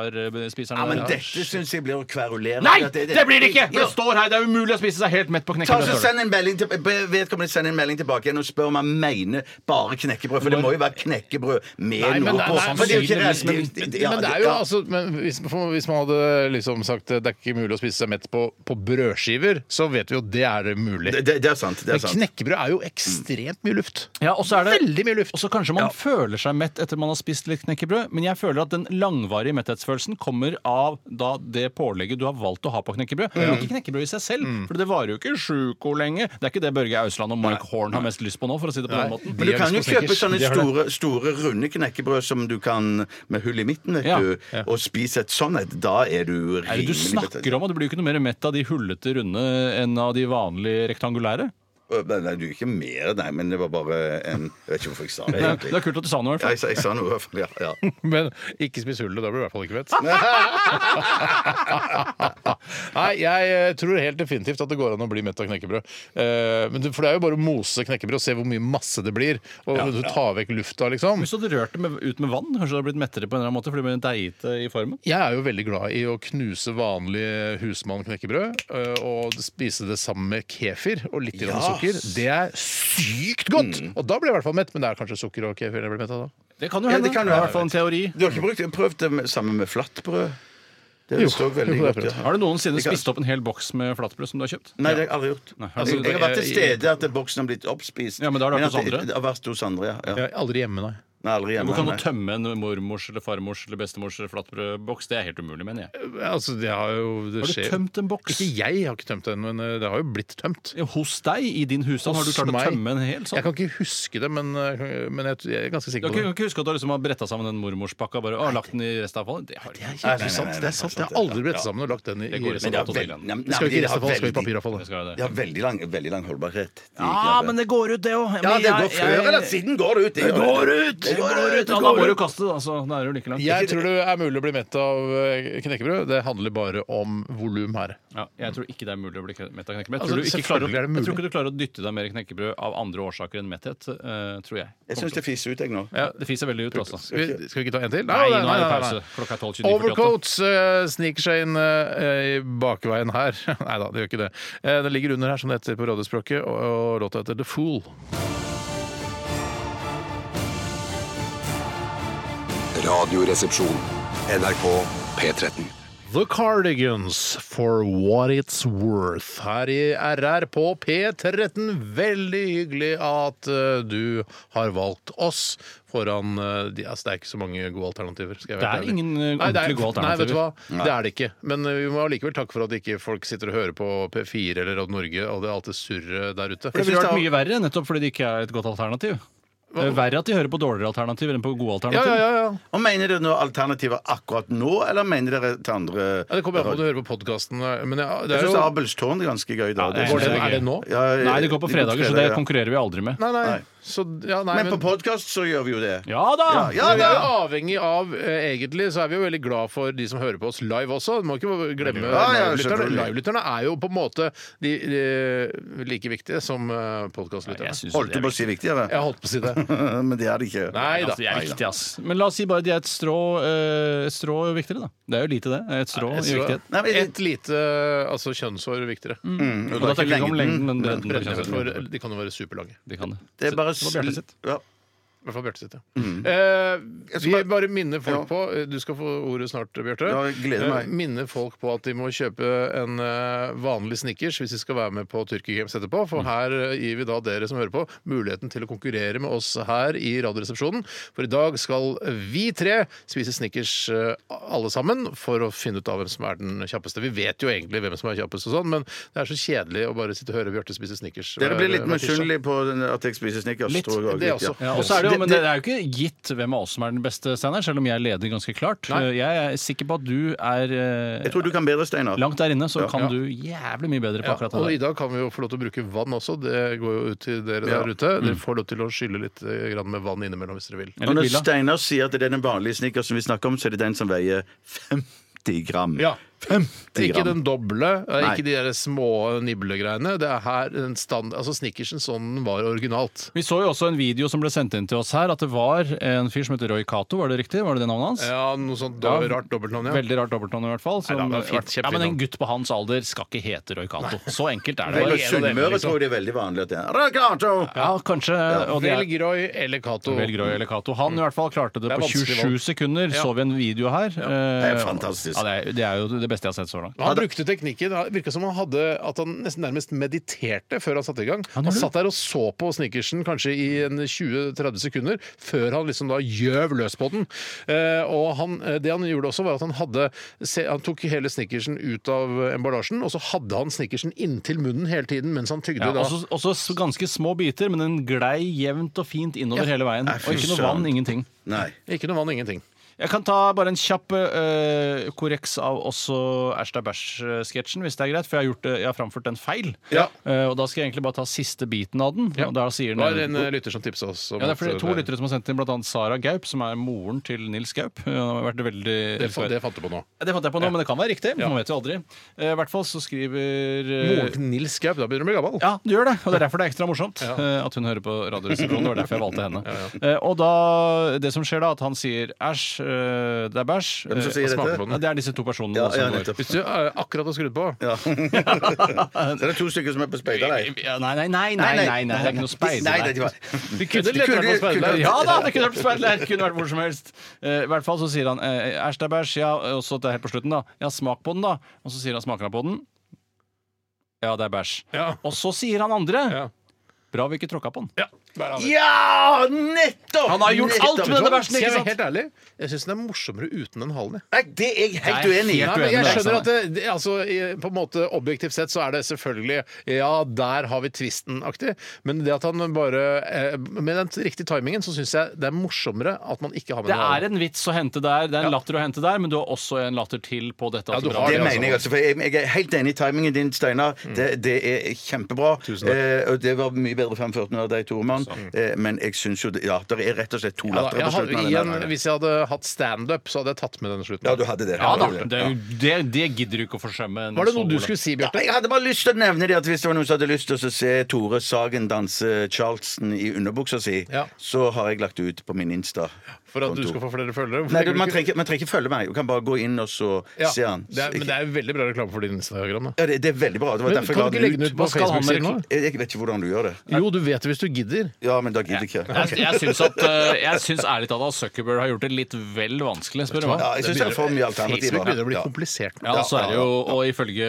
vegetarspiserne.
Ja, men
Ja.
dette syns jeg blir å kverulere.
eh, Nei!
At
Det blir det ikke!
Ja.
Det står her. Det er umulig å spise seg helt mett på
Ta og så
knekkebrød. står det.
Send en melding til, be- vedkommende send en melding tilbake igjen og spør om han mener bare knekkebrød. For det må jo være knekkebrød med
Nei, men
noe
det-
på.
nei,
For det er jo ikke
sannsynligvis,
resten.
men-
ja,
men det er jo altså men hvis, for hvis man hadde liksom sagt det er ikke mulig å spise seg mett på, på brødskiver, så vet vi jo det er det mulig.
det, det, det er sant. Det
Men
er sant.
knekkebrød er jo ekstremt mye luft.
Ja, og så er det
Veldig mye luft.
Og så kanskje man føler seg mett etter man har spist litt knekkebrød, men jeg føler at den langvarige metthetsfølelsen kommer av da det pålegget du har valgt å ha på knekkebrød. Men Ikke knekkebrød i seg selv, for det varer jo ikke sjuko lenge. Det er ikke det Børge Ausland og Mark Horn har mest lyst på nå, for å si det på den måten.
Men du kan jo kjøpe sånne
de har det.
store, store, runde knekkebrød som du kan med hull i midten, vet
Ja.
du, og spise et sånn et. Da er du
Er det du snakker om? at Du blir jo ikke noe mer mett av de hullete runde enn av de vanlige rektangulære.
Nei, nei, du er ikke mer, nei, men det var bare en Jeg vet ikke hvorfor jeg sa det,
Det er- det
egentlig.
er kult at du sa noe, i hvert
Ja,
fall.
jeg, sa- jeg sa noe, i hvert fall. Ja, ja.
Men ikke spis hullet, da blir du i hvert fall ikke mett. Nei, jeg eh, tror helt definitivt at det går an å bli mett av knekkebrød. Eh, men det, for det er jo bare å mose knekkebrød og se hvor mye masse det blir. Og du tar vekk lufta, liksom.
Hvis du hadde rørt det med, ut med vann, kanskje du hadde blitt mettere på en eller annen måte? fordi du ble deigete i formen?
Jeg er jo veldig glad i å knuse vanlig husmannknekkebrød øh, og spise det sammen med kefir og litt grann sukker. Det er sykt godt!
Mm.
Og da blir jeg i hvert fall mett, men det er kanskje sukker og kefir jeg blir mett av da.
Det kan jo
Ja,
hende.
det kan
er i
jo være.
hvert fall en teori.
Du har ikke brukt, prøvd det med- sammen med flatbrød? Det er jo så veldig
jo, det har jeg
godt.
prøvd.
Ja.
Har du noensinne
Jeg kan-
spist opp en hel boks med flatbrød som du har kjøpt?
Nei, det har jeg aldri gjort. Altså,
har du-
jeg, jeg har vært til stede at boksen har blitt oppspist.
Ja, men da har det vært
at
hos andre.
Det har vært hos andre, ja. ja.
Jeg er aldri hjemme, nei.
Nei, aldri hjemme.
Hvor kan du
nei.
tømme en mormors eller farmors eller bestemors flatbrødboks? Det er helt umulig, mener jeg.
Altså, det har jo
Har
det
du
skjer-
tømt en boks?
Ikke jeg har ikke tømt den, men øh, det har jo blitt tømt.
Ja, Hos deg, i din husstand, har du
Hos
klart å
meg-
tømme en hel
Jeg
sånn?
kan ikke huske det, men, øh, men jeg, jeg er ganske
Du
sikker
kan
på
ikke,
det.
kan ikke huske at du liksom har bretta sammen en mormorspakka og bare, å, lagt den i restavfallet? Det har du ikke.
Nei, nei,
Det
nei,
er sant,
nei,
det
nei,
er sant.
nei,
Jeg har aldri brettet sammen og lagt den i
Det går ikke.
Men
restavfallet.
det har
Dato
veld-
til igjen.
Nei,
Det
men- nei,
skal jo
men
ikke i
de har
restavfallet, det skal jo i
Det
veldig-
papiravfallet.
skal være
De
det.
har veldig lang, veldig lang holdbarhet. de
Ja,
greiene.
men det går ut, det òg.
ja, det går før eller siden går det ut. Det
Går
gjør
ut!
Det går ut!
Ja,
det
da må
går
du
ut.
kaste det, altså. Da er du like langt.
Jeg tror det er mulig å bli mett av øh, knekkebrød. Det handler bare om volum her.
Ja, jeg tror ikke det er mulig å bli mett av knekkebrød. Jeg
Altså,
tror, du ikke klarer, å-
selvfølgelig er det
jeg tror
mulig.
ikke du klarer å dytte deg mer knekkebrød av andre årsaker enn metthet, eh, tror jeg.
Jeg syns det fiser ut, jeg nå.
Ja, det fiser veldig ut, altså.
Skal vi, skal vi ikke ta en til?
Nei, nå er det pause. Klokka er 12.29.48.
Overcoats eh, sniker seg inn eh, i bakveien her. Nei da, det gjør ikke det. Eh, det ligger under her, som det heter på radiospråket, og, og låta heter The Fool.
Radioresepsjon. NRK P13.
The Cardigans for what it's worth her i RR på P13. Veldig hyggelig at eh, du har valgt oss foran eh, de, altså, Det er ikke så mange gode alternativer. Skal jeg være
Det er
ærlig.
ingen, eh,
Nei, det er-
ordentlig gode
Nei, vet du hva?
alternativer.
Det er det ikke. Men eh, vi må allikevel takke for at ikke folk sitter og hører på P4 eller Radio Norge og det er alt det surret der ute.
Det ville vært mye verre, nettopp fordi det ikke er et godt alternativ. Det er verre at de hører på dårligere alternativer enn på gode
Ja,
alternativer.
ja, ja, ja.
Og Mener dere noe alternativer akkurat nå, eller mener dere til andre
ja det kommer an på om du hører på podkasten. Men ja, det
Jeg
er
syns
jo
Abelstårn er ganske gøy, da.
Ja,
det
jeg
Går
synes
det,
jeg
gøy.
Er det nå?
Ja, ja,
Nei, det går på fredager, så det
fredager, ja.
konkurrerer vi aldri med.
Nei, nei.
Nei.
Så, ja, nei
Men på podkast så gjør vi jo det.
Ja da!
Ja,
Men vi
ja.
er avhengig av eh, Egentlig så er vi jo veldig glad for de som hører på oss live også. Du må ikke glemme
Ja, ja,
livelytterne.
selvfølgelig.
Livelytterne er jo på en måte de, de, like viktige som eh,
Jeg
podkastlytterne.
synes
Holdt
det
du
er
på å si viktigere?
Jeg holdt på å si det.
Men det er det ikke.
Nei da.
Altså, de er viktige, ass. Men la oss si bare de er et strå, eh, et strå viktigere, da. Det er jo lite, det. Et strå i viktighet.
Nei, men-
Et lite altså kjønnshår viktigere.
Og da tenker vi ikke om lengden, men bredden. for
For
eksempel.
de kan jo være superlange.
De kan det.
Det er bare
Så- det var Bjarte sitt.
Ja.
I hvert fall Bjarte sitt, ja. Eh, vi
Mm. bare-
bare minner folk
Ja.
på eh, Du skal få ordet snart, Bjarte.
Ja, jeg gleder meg.
Eh, minner folk på at de må kjøpe en eh, vanlig Snickers hvis de skal være med på Turkey Games etterpå.
Mm.
For her eh, gir vi da dere som hører på, muligheten til å konkurrere med oss her i Radioresepsjonen. For i dag skal vi tre spise Snickers eh, alle sammen for å finne ut av hvem som er den kjappeste. Vi vet jo egentlig hvem som er kjappest og sånn, men det er så kjedelig å bare sitte og høre Bjarte spise Snickers. eh,
Dere blir litt
hver- hver tirsdag.
misunnelige på den- at jeg spiser snickers.
Litt,
tror jeg også,
det
litt, ja.
også.
Ja, og så er det jo,
Det-
men det
det-
er jo ikke gitt hvem av oss som er den beste, Steinar, selv om jeg leder ganske klart.
Nei.
Jeg er sikker på at du er eh,
Jeg tror du kan bedre, Steinar.
langt der inne, så
Ja.
kan du jævlig mye bedre på
Ja,
akkurat
og i
det. der.
dag kan vi jo få lov til å bruke vann også. Det går jo ut til dere
Ja.
der ute. Dere får lov til å skylle litt eh, grann med vann innimellom hvis dere vil.
Og
Mm. Eller
når
Villa.
Steinar sier at det er den vanlige snickersen vi snakker om, så er det den som veier 50 gram.
Ja.
50
Ikke
gram.
den doble, eh,
Nei.
ikke de der små niblegreiene. Det er her den stand, altså Snickersen sånn den var originalt.
Vi så jo også en video som ble sendt inn til oss her, at det var en fyr som heter Roy Cato, var det riktig? Var det det navnet hans?
Ja, noe sånt
Ja.
do- rart dobbeltnavn, ja.
Veldig rart dobbeltnavn i hvert fall. Som,
Nei, da, det er fint,
ja, men
kjempefint navn.
en gutt på hans alder skal ikke hete Roy Cato. Så enkelt er det.
På
bare.
Sunnmøre
liksom.
tror jeg det er veldig vanlig at det er Ragato!
Ja, kanskje. Og det er
Velg Roy eller Cato.
Vel Grøy eller Cato. Han i hvert fall klarte det,
Det er
på
vanskelig
27
valg.
sekunder. Så vi en video her. Eh,
Det er fantastisk.
Ja, det, er, det er jo det beste jeg har sett så langt.
Han brukte teknikken. Det virka som han hadde at han nesten nærmest mediterte før han satte i gang. Han,
gjorde det.
satt der og så på snickersen kanskje i en 20-30 sekunder før han liksom da gjøv løs på den. Eh, og han, eh, det han gjorde også, var at han hadde se, Han tok hele snickersen ut av eh, emballasjen, og så hadde han snickersen inntil munnen hele tiden mens han tygde
Ja,
da.
også, også s- ganske små biter, men den glei jevnt og fint innover hele veien.
Nei, fy
Og ikke noe
søren.
vann, ingenting.
Nei.
Ikke noe vann, ingenting.
Jeg kan ta bare en kjapp eh, korreks av også Æsj da bæsj-sketsjen, hvis det er greit. For jeg har, gjort, det- jeg har framført den feil.
Ja.
Eh, og da skal jeg egentlig bare ta siste biten av den. Og da sier
Det
den
var en eh, lytter som tipsa oss om
Ja, det er
at,
fordi
eh,
to lyttere som har sendt inn, bl.a. Sara Gaup, som er moren til Nils Gaup. Eh, Hun har vært veldig
det, fa- det fant du på nå.
Ja, Det fant jeg på nå, men det kan være riktig. Man vet jo aldri. Eh, I hvert fall så skriver eh,
Moren til Nils Gaup, da begynner du å bli gammel.
ja, du gjør det, og det er derfor det er ekstra morsomt eh, at hun hører på Radioresepsjonen. Det var derfor jeg valgte henne. Eh, Og da, Det som skjer da, at han sier 'æsj, eh, det er bæsj'.
Hvem som
eh,
sier
og smaker
dette?
på den. Ja, Det er disse to personene.
Ja,
som
ja,
går.
nettopp.
Hvis du eh, akkurat har skrudd på
Ja. Så det er to stykker som er på speiderleir.
Ja, nei, nei, nei, nei, nei, nei, det er ikke noe speider.
Nei, det er ikke noe-
Du kunne lett vært på speiderleir.
Ja da, det kunne vært speiderleir. Kunne vært hvor som helst. Eh, I hvert fall så sier han eh, æsj, det er bæsj. Ja, og så det er helt på slutten, da. Ja, smak på den, da. Og så sier han smaker han på den. Ja, det er bæsj.
Ja.
Og så sier han andre.
Ja.
Bra vi ikke tråkka på den.
Ja, der har vi det.
Ja, nettopp!
Han har gjort
Nettopp!
alt med denne
Sånn.
bæsjen,
Skal jeg
ikke
være
sant?
helt ærlig? Jeg syns den er morsommere uten den halen. jeg.
Nei, det er jeg helt uenig i.
Helt
Nei, men
uenig
jeg
med deg,
skjønner at det, det, altså, i- på en måte Objektivt sett så er det selvfølgelig Ja, der har vi tvisten-aktig. Men det at han bare eh, Med den riktige timingen så syns jeg det er morsommere at man ikke har med
Det
den
er
halen.
en vits å hente der, det er en latter å hente der, men du har også en latter til på dette.
Ja, du
altså,
har
bra.
Det
det, altså. Mm.
mener jeg, altså. For jeg, jeg er helt enig i timingen din, Steinar. Det, det er kjempebra. Eh, og det var mye bedre fremført av deg, Toremann. Eh, men jeg syns jo det- Ja, det er rett og slett to
Ja, da,
latterer
jeg
på
hadde,
slutten. av den
igjen,
der.
hvis jeg hadde hatt standup, så hadde jeg tatt med denne slutten.
Ja, du hadde det.
Ja da,
Ja.
det, det, det gidder du ikke å forsømme. en sånn,
Var det
så
noe du
god
skulle si,
Ja,
Bjarte?
jeg hadde bare lyst til å nevne det at hvis det var noen som hadde lyst til å se Tore Sagen danse Charleston i underbuksa si,
Ja.
så har jeg lagt det ut på min Insta.
For at du skal få flere følgere? Hvorfor
Nei, du,
tenker du
man,
ikke-
trenger, ikke- man trenger ikke følge meg. Du kan bare gå inn og så
ja,
se han.
det er, men det er jo veldig bra reklame for din Instagram. Da.
ja, det, det er veldig bra. Det var
Men
derfor
kan du ikke legge den ut på
Hva skal han med
Facebook-siden nå?
rekl-
Jeg, jeg vet ikke hvordan du gjør det.
Jo, du vet det hvis du gidder.
Ja, men da gidder jeg ikke.
Jeg, jeg syns at, eh, jeg syns ærlig talt at Zuckerberg har gjort det litt vel vanskelig, spør du meg.
Ja, jeg syns det er for mye alternativer.
Facebook begynner å bli
Ja.
komplisert nå.
Ja, så er det jo, og ifølge,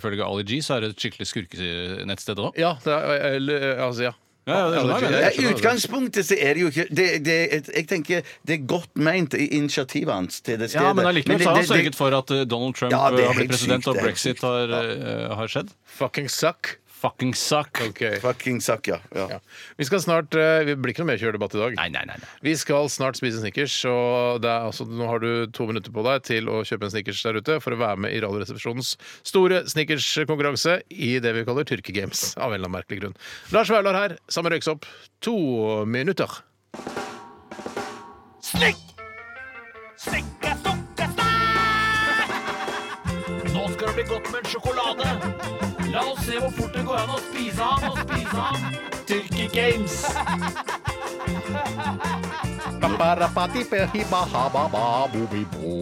ifølge Ali G så er det et skikkelig skurkenettsted òg.
Ja, det er, eller, altså, ja.
Ja, ja, det skjønner jeg, men
Ja,
jeg
I utgangspunktet så er det jo ikke det, det, Jeg tenker det er godt meint i initiativet hans til det stedet.
Ja, men allikevel så har han
det- det-
sørget for at eh, Donald Trump
Ja, det er
eh, har
helt
blitt president,
sykt,
og
det er helt
brexit
sykt.
har, eh, har skjedd.
Fucking suck.
Fucking suck.
Ok.
Fucking suck, ja. ja.
Ja. Vi skal snart, eh, vi blir ikke noe mer kjørdebatt i dag.
Nei, nei, nei. nei.
Vi skal snart spise snickers, og det er, altså, nå har du to minutter på deg til å kjøpe en snickers der ute for å være med i Radioresepsjonens store snickerskonkurranse i det vi kaller Tyrke Games, av en eller annen merkelig grunn. Lars Vaular her, samme røyksopp. To minutter.
Snikk! Snikka, stukka, Nå skal det bli godt med en sjokolade. La oss se hvor fort det går an å spise ham og spise ham. Tyrki Games.
Paparapatipehibahabababobibo.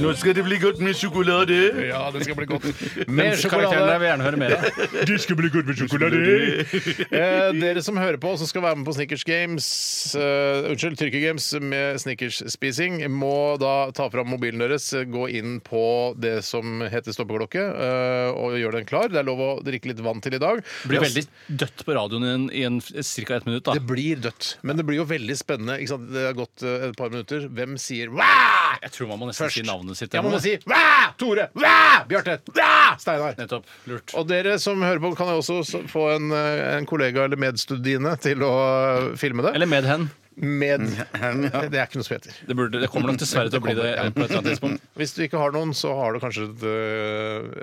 Nå skal det bli godt med sjokolade.
Ja, det skal bli godt.
Den karakteren
Mer
der
sjokolade.
vil jeg gjerne høre mer av.
Det skal bli godt med sjokolade! Eh, dere som hører på, som skal være med på Snickers Games eh, Unnskyld, Trykker Games med Snickers-spising, må da ta fram mobilen deres, eh, gå inn på det som heter stoppeklokke, eh, og gjøre den klar. Det er lov å drikke litt vann til i dag.
Det blir veldig dødt på radioen i, en, i en, cirka ett minutt. da.
Det blir dødt. Men det blir jo veldig spennende. Ikke sant? Det har gått eh, et par minutter. Hvem sier Wah!
Jeg tror man må nesten
først?
si navnet sitt.
Jeg må
Emma.
si Wah! Tore! Wah! Bjarte! Wah! Steinar!
Nettopp. Lurt.
Og dere som hører på, kan jo også s- få en, eh, en kollega eller medstudiene til å eh, filme det.
Eller Mm, med hen.
med Det er ikke noe som heter.
Det, burde, det kommer nok dessverre til å bli det eh, på et eller annet tidspunkt.
Hvis du ikke har noen, så har du kanskje et, eh,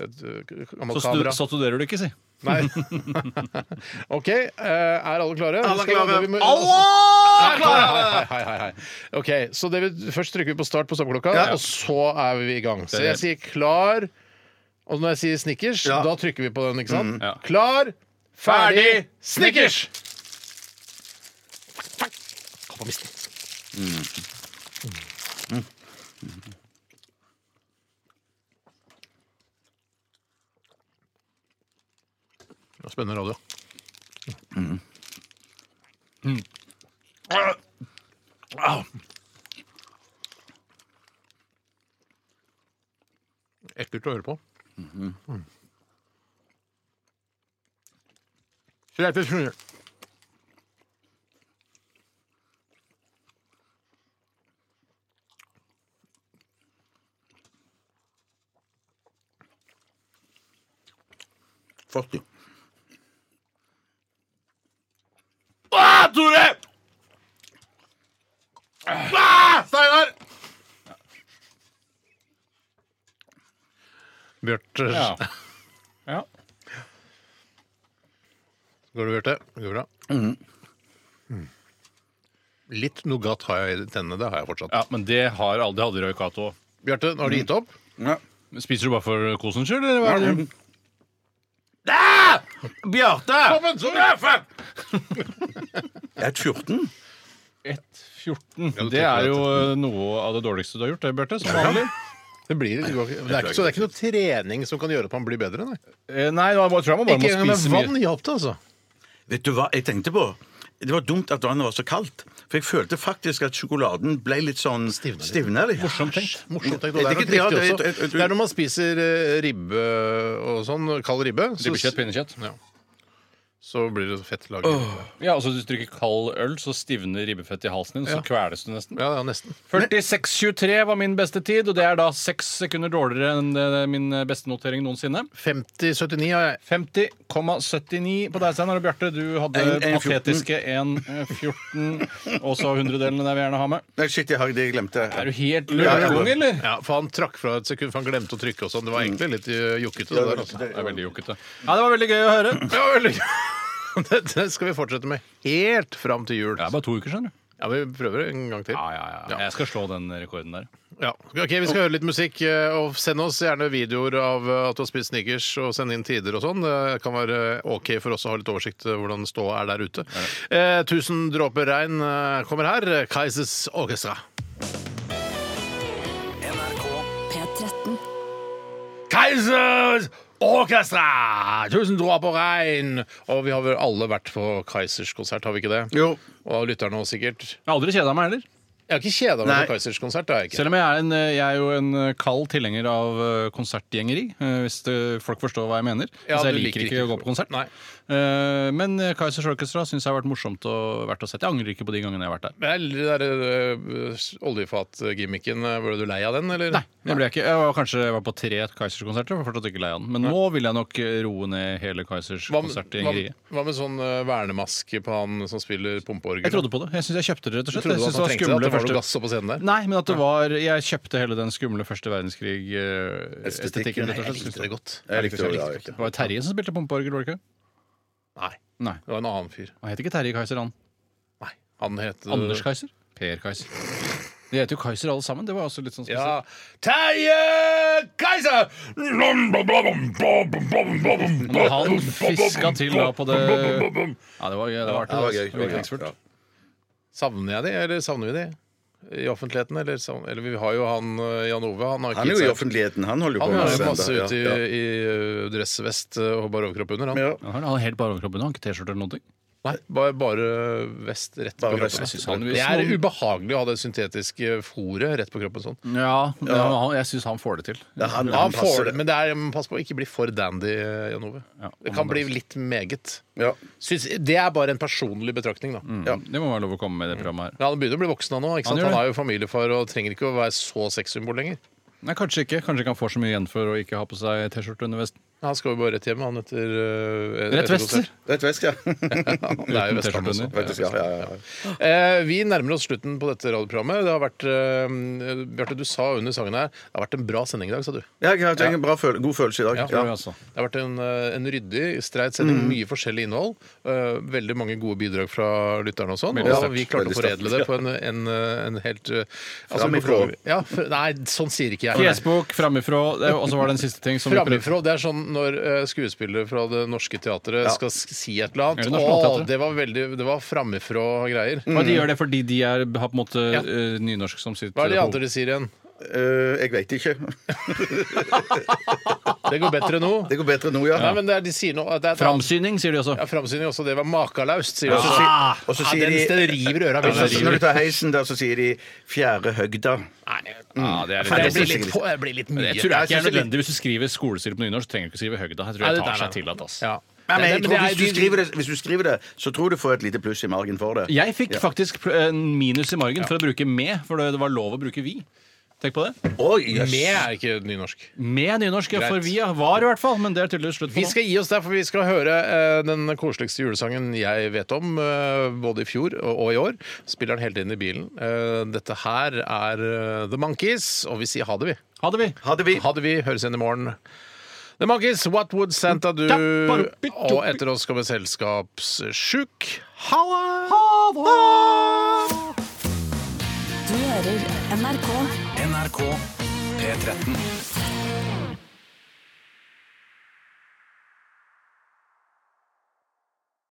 et eh, gammelt
Så stu-
kamera.
så studerer du ikke, si.
Nei. OK, eh, er alle klare?
Alle er
Skal vi-
klare.
vi må-
Alle er
Hei, hei, hei, hei. OK, så det vi, først trykker vi på start på stoppeklokka, og så er vi i gang. Så
Det er
jeg sier klar, og når jeg sier Snickers, da trykker vi på den, ikke sant?
Mm, Ja.
Klar, ferdig, Snickers! Kom på misten. Det var Spennende radio. Mm. Ah. Ekkelt å høre på. Mm. Så jeg til Snorre.
Ah, Tore!
Ah, Steinar! Bjarte.
Ja. Ja.
Går det, Bjarte? Det Går bra? Mm. Litt nougat har jeg i tennene. Det har jeg fortsatt. Mm.
ja, men det har aldri hadde Røy Cato.
Bjarte, nå har du gitt opp?
Spiser du bare for kosens skyld, eller hva Mm. er det?
Bjarte!
men så ræffen!
Jeg er 14.
1,14. Det er jo eh, noe av det dårligste du har gjort, det, Bjarte. Som vanlig.
Det blir, det går, ikke- men det er ikke, så det er ikke noe trening som kan gjøre at man blir bedre? Nei.
Eh, Nei, nå tror jeg man bare må
Ikke engang med
spise mye.
vann hjalp det, altså.
Vet du hva jeg tenkte på? Det var dumt at vannet var så kaldt. For jeg følte faktisk at sjokoladen ble litt sånn
Stivna litt.
stivna litt.
Morsomt tenkt. Morsomt tenkt. Og det
Mm. Det er
er nok
ikke- ja,
riktig
det-
også.
jeg- jeg-
Det er når man spiser eh, ribbe og sånn, kald ribbe, så,
Ribbekjøtt, pinnekjøtt.
Ja. så blir det fettlager.
Ja, altså Hvis du drikker kald øl, så stivner ribbefettet i halsen din, så
Ja.
kveles du nesten.
Ja, ja, nesten.
46,23 var min beste tid, og det er da seks sekunder dårligere enn eh, min beste notering noensinne.
50-79 har jeg.
50,79 på deg, Steinar. Og Bjarte, du hadde
En- en
patetiske 1,14. Og så hundredelene der vi gjerne har med.
Nei, shit, jeg har det jeg glemte.
Er du helt
Ja, ja.
løkung, eller?
Ja, for han trakk fra et sekund, for han glemte å trykke og sånn. Det var egentlig litt eh, jukkete. Det, der, altså.
Det er veldig jokkete. Ja, det var veldig gøy å høre.
Det var veldig Dette skal vi fortsette med helt fram til jul.
Det er bare to uker, skjønner du.
Ja, Vi prøver en gang til.
Ja, ja, ja. Jeg skal slå den rekorden der.
Ja. Ok, Vi skal høre litt musikk. eh, Og send oss gjerne videoer av eh, at du har spist snickers, og send inn tider og sånn. Det kan være eh, OK for oss å ha litt oversikt eh, hvordan ståa er der ute. Eh, 1000 dråper regn eh, kommer her. Kaizers Orchestra.
P13.
Kaizers Orchestra! 1000 dråper regn! Og vi har vel alle vært på Kaizers konsert, har vi ikke det?
Jo.
Og lytterne også sikkert.
Jeg har aldri kjeda meg heller.
Jeg har ikke kjeda meg
Nei.
på Kaizers konsert. Det har jeg ikke.
Selv om jeg er, en, eh, jeg er jo en kald tilhenger av eh, konsertgjengeri, eh, hvis det, folk forstår hva jeg mener.
Ja,
altså, jeg
du
liker ikke å gå på konsert.
Nei.
Eh, Men Kaizers Orchestra syns jeg har vært morsomt å, vært å sette. Jeg angrer ikke på de gangene jeg har vært der.
Men er det der øh, oljefatgimmicken, øh, ble du lei av den, eller?
Nei, det ble jeg ikke. Jeg var kanskje jeg var på tre Kaizers-konserter og var fortsatt ikke lei av den. Men nå vil jeg nok eh, roe ned hele
Hva, med-
Kaizers-konsert i
hva,
Engeriet.
hva med sånn øh, vernemaske på han som spiller pumpeorgel?
Jeg trodde på det. Jeg syns jeg kjøpte det, rett og
du
slett.
trodde
Jeg
at
synes det
han
var
trengte det, at
skumle
det var noe
første
gass oppå scenen der?
Nei, men at det var Jeg kjøpte hele den skumle første verdenskrig-estetikken,
Estetikken.
rett og
Jeg
slett. synes
likte det godt.
Jeg likte det, ja, jeg likte
Det var jo Terje som spilte pumpeorgel, var det ikke?
Nei,
Nei.
det var en annen fyr.
Han heter ikke Terje Kaiser, han.
Nei, han het øh,
Anders Kaiser? Per Kaiser. De heter jo Kaiser alle sammen. Det var også litt sånn spesielt.
Ja. Terje Kaiser! Men
Men han fiska til da på det Ja, det var, det var, artig,
det var
altså.
gøy.
Det var virkelighetsfullt.
Ja.
Savner jeg de, eller savner vi de? i offentligheten? Eller, sånn- eller vi har jo han eh, Jan Ove. Han har
Han
ikke
er jo i
gitt seg.
offentligheten. Han holder jo på
Han
med
er jo
det
masse
enda.
ute i,
Ja, ja.
i eh, dressvest eh, og bare overkropp under, han.
Ja.
Han har helt bare overkroppen, han har ikke T-skjorte eller noen ting.
Nei, bare, bare vest rett på
Bare vest,
kroppen.
jeg synes
han-
det er ubehagelig å ha det syntetiske fòret rett på kroppen sånn.
Ja, men han- jeg syns han får det til.
Ja, han,
Ja,
han
han får
passer
det,
det.
men det er, men pass på å ikke bli for dandy, eh, Jan Ove.
Ja,
det kan bli litt meget.
Ja.
Syns, det er bare en personlig betraktning, da.
Ja. Det må være lov å komme med i det programmet her.
Ja, han begynner å bli voksen han nå.
Mm.
Ikke
Han
sant?
gjør
Han,
det.
er jo familiefar og trenger ikke å være så sexsymbol lenger.
Nei, Kanskje ikke. Kanskje ikke han får så mye igjen for å ikke ha på seg T-skjorte under vesten.
Han skal jo bare rett hjem, han etter eh,
Rett
etter
vester!
Rett vest, ja.
konsert. Ja, han er jo
Uten
vestland
T-skjorte
også.
under.
Rett vest, ja, ja, ja.
altså. Eh, vi nærmer oss slutten på dette radioprogrammet. Det har vært eh, Bjarte, du sa under sangen her Det har vært en bra sending i dag, sa du.
ja jeg har jeg har en bra føl god følelse i dag.
Ja.
Ja.
Tror jeg, altså.
Det har vært en, eh, en ryddig, streit sending, mye forskjellig innhold. eh, veldig mange gode bidrag fra lytterne og sånn.
Veldig
Og
sterkt.
vi klarte å
Veldig
foredle det
sterkt,
på en, en, eh, en helt eh,
Fram ifrå.
Ja, f- nei, sånn sier ikke jeg.
Fjesbok, framifrå, det- og så var det en siste ting som vi prøvde-
Framifrå, det er sånn når eh, skuespillere fra det norske teatret skal s- si et eller
Er
annet.
det
Å,
Nationaltheatret?
det Mm. var veldig Det var framifrå greier.
Og de gjør det fordi de er, har på en måte eh, nynorsk som sitt
Hva er det
hoved-
andre de sier igjen?
Eh, jeg veit ikke.
Det går bedre nå.
Det går bedre nå, ja.
Nei, men det er, de sier noe at det er et annet-
Framsyning, sier de også.
Ja, framsyning også. Det var makalaust, sier de.
Og så sier, og så
Ja,
sier
den
de
stedet river øra.
og så-
veldig.
Når du tar heisen der, så sier de 'fjerde høgda'.
Ja, det er
For det
litt,
Nei,
blir litt, det blir litt mye.
jeg tror det er ikke
Jeg synes
er
det er
nødvendig hvis du skriver skolestil på nynorsk. trenger du ikke skrive høgda. Jeg tror
Nei,
jeg
det
tar
der,
seg til at, ass.
Ja.
Nei, men
Det- men
jeg tror
det er-
hvis, du skriver det, hvis du skriver det, så tror jeg du får et lite pluss i margen for det.
Jeg fikk faktisk pl- en minus i margen for å bruke med, for det var lov å bruke vi. Tenk på det.
Oi, jøss.
Med er ikke nynorsk.
Med nynorsk, ja, for
Greit.
vi var i hvert fall, men det er tydeligvis slutt
Vi
på nå.
skal gi oss der, for vi skal høre eh, den koseligste julesangen jeg vet om, eh, både i fjor og, og i år. Spiller den hele tiden i bilen. Eh, dette her er eh, The Monkees, og vi sier ha det, vi.
Ha det, vi.
Hadde vi
Ha det, vi. Høres igjen i morgen. The Monkees, What Would Santa Do? Og etter oss kommer Selskapssjuk. Ha det!
Du hører NRK.
NRK P13.
P13.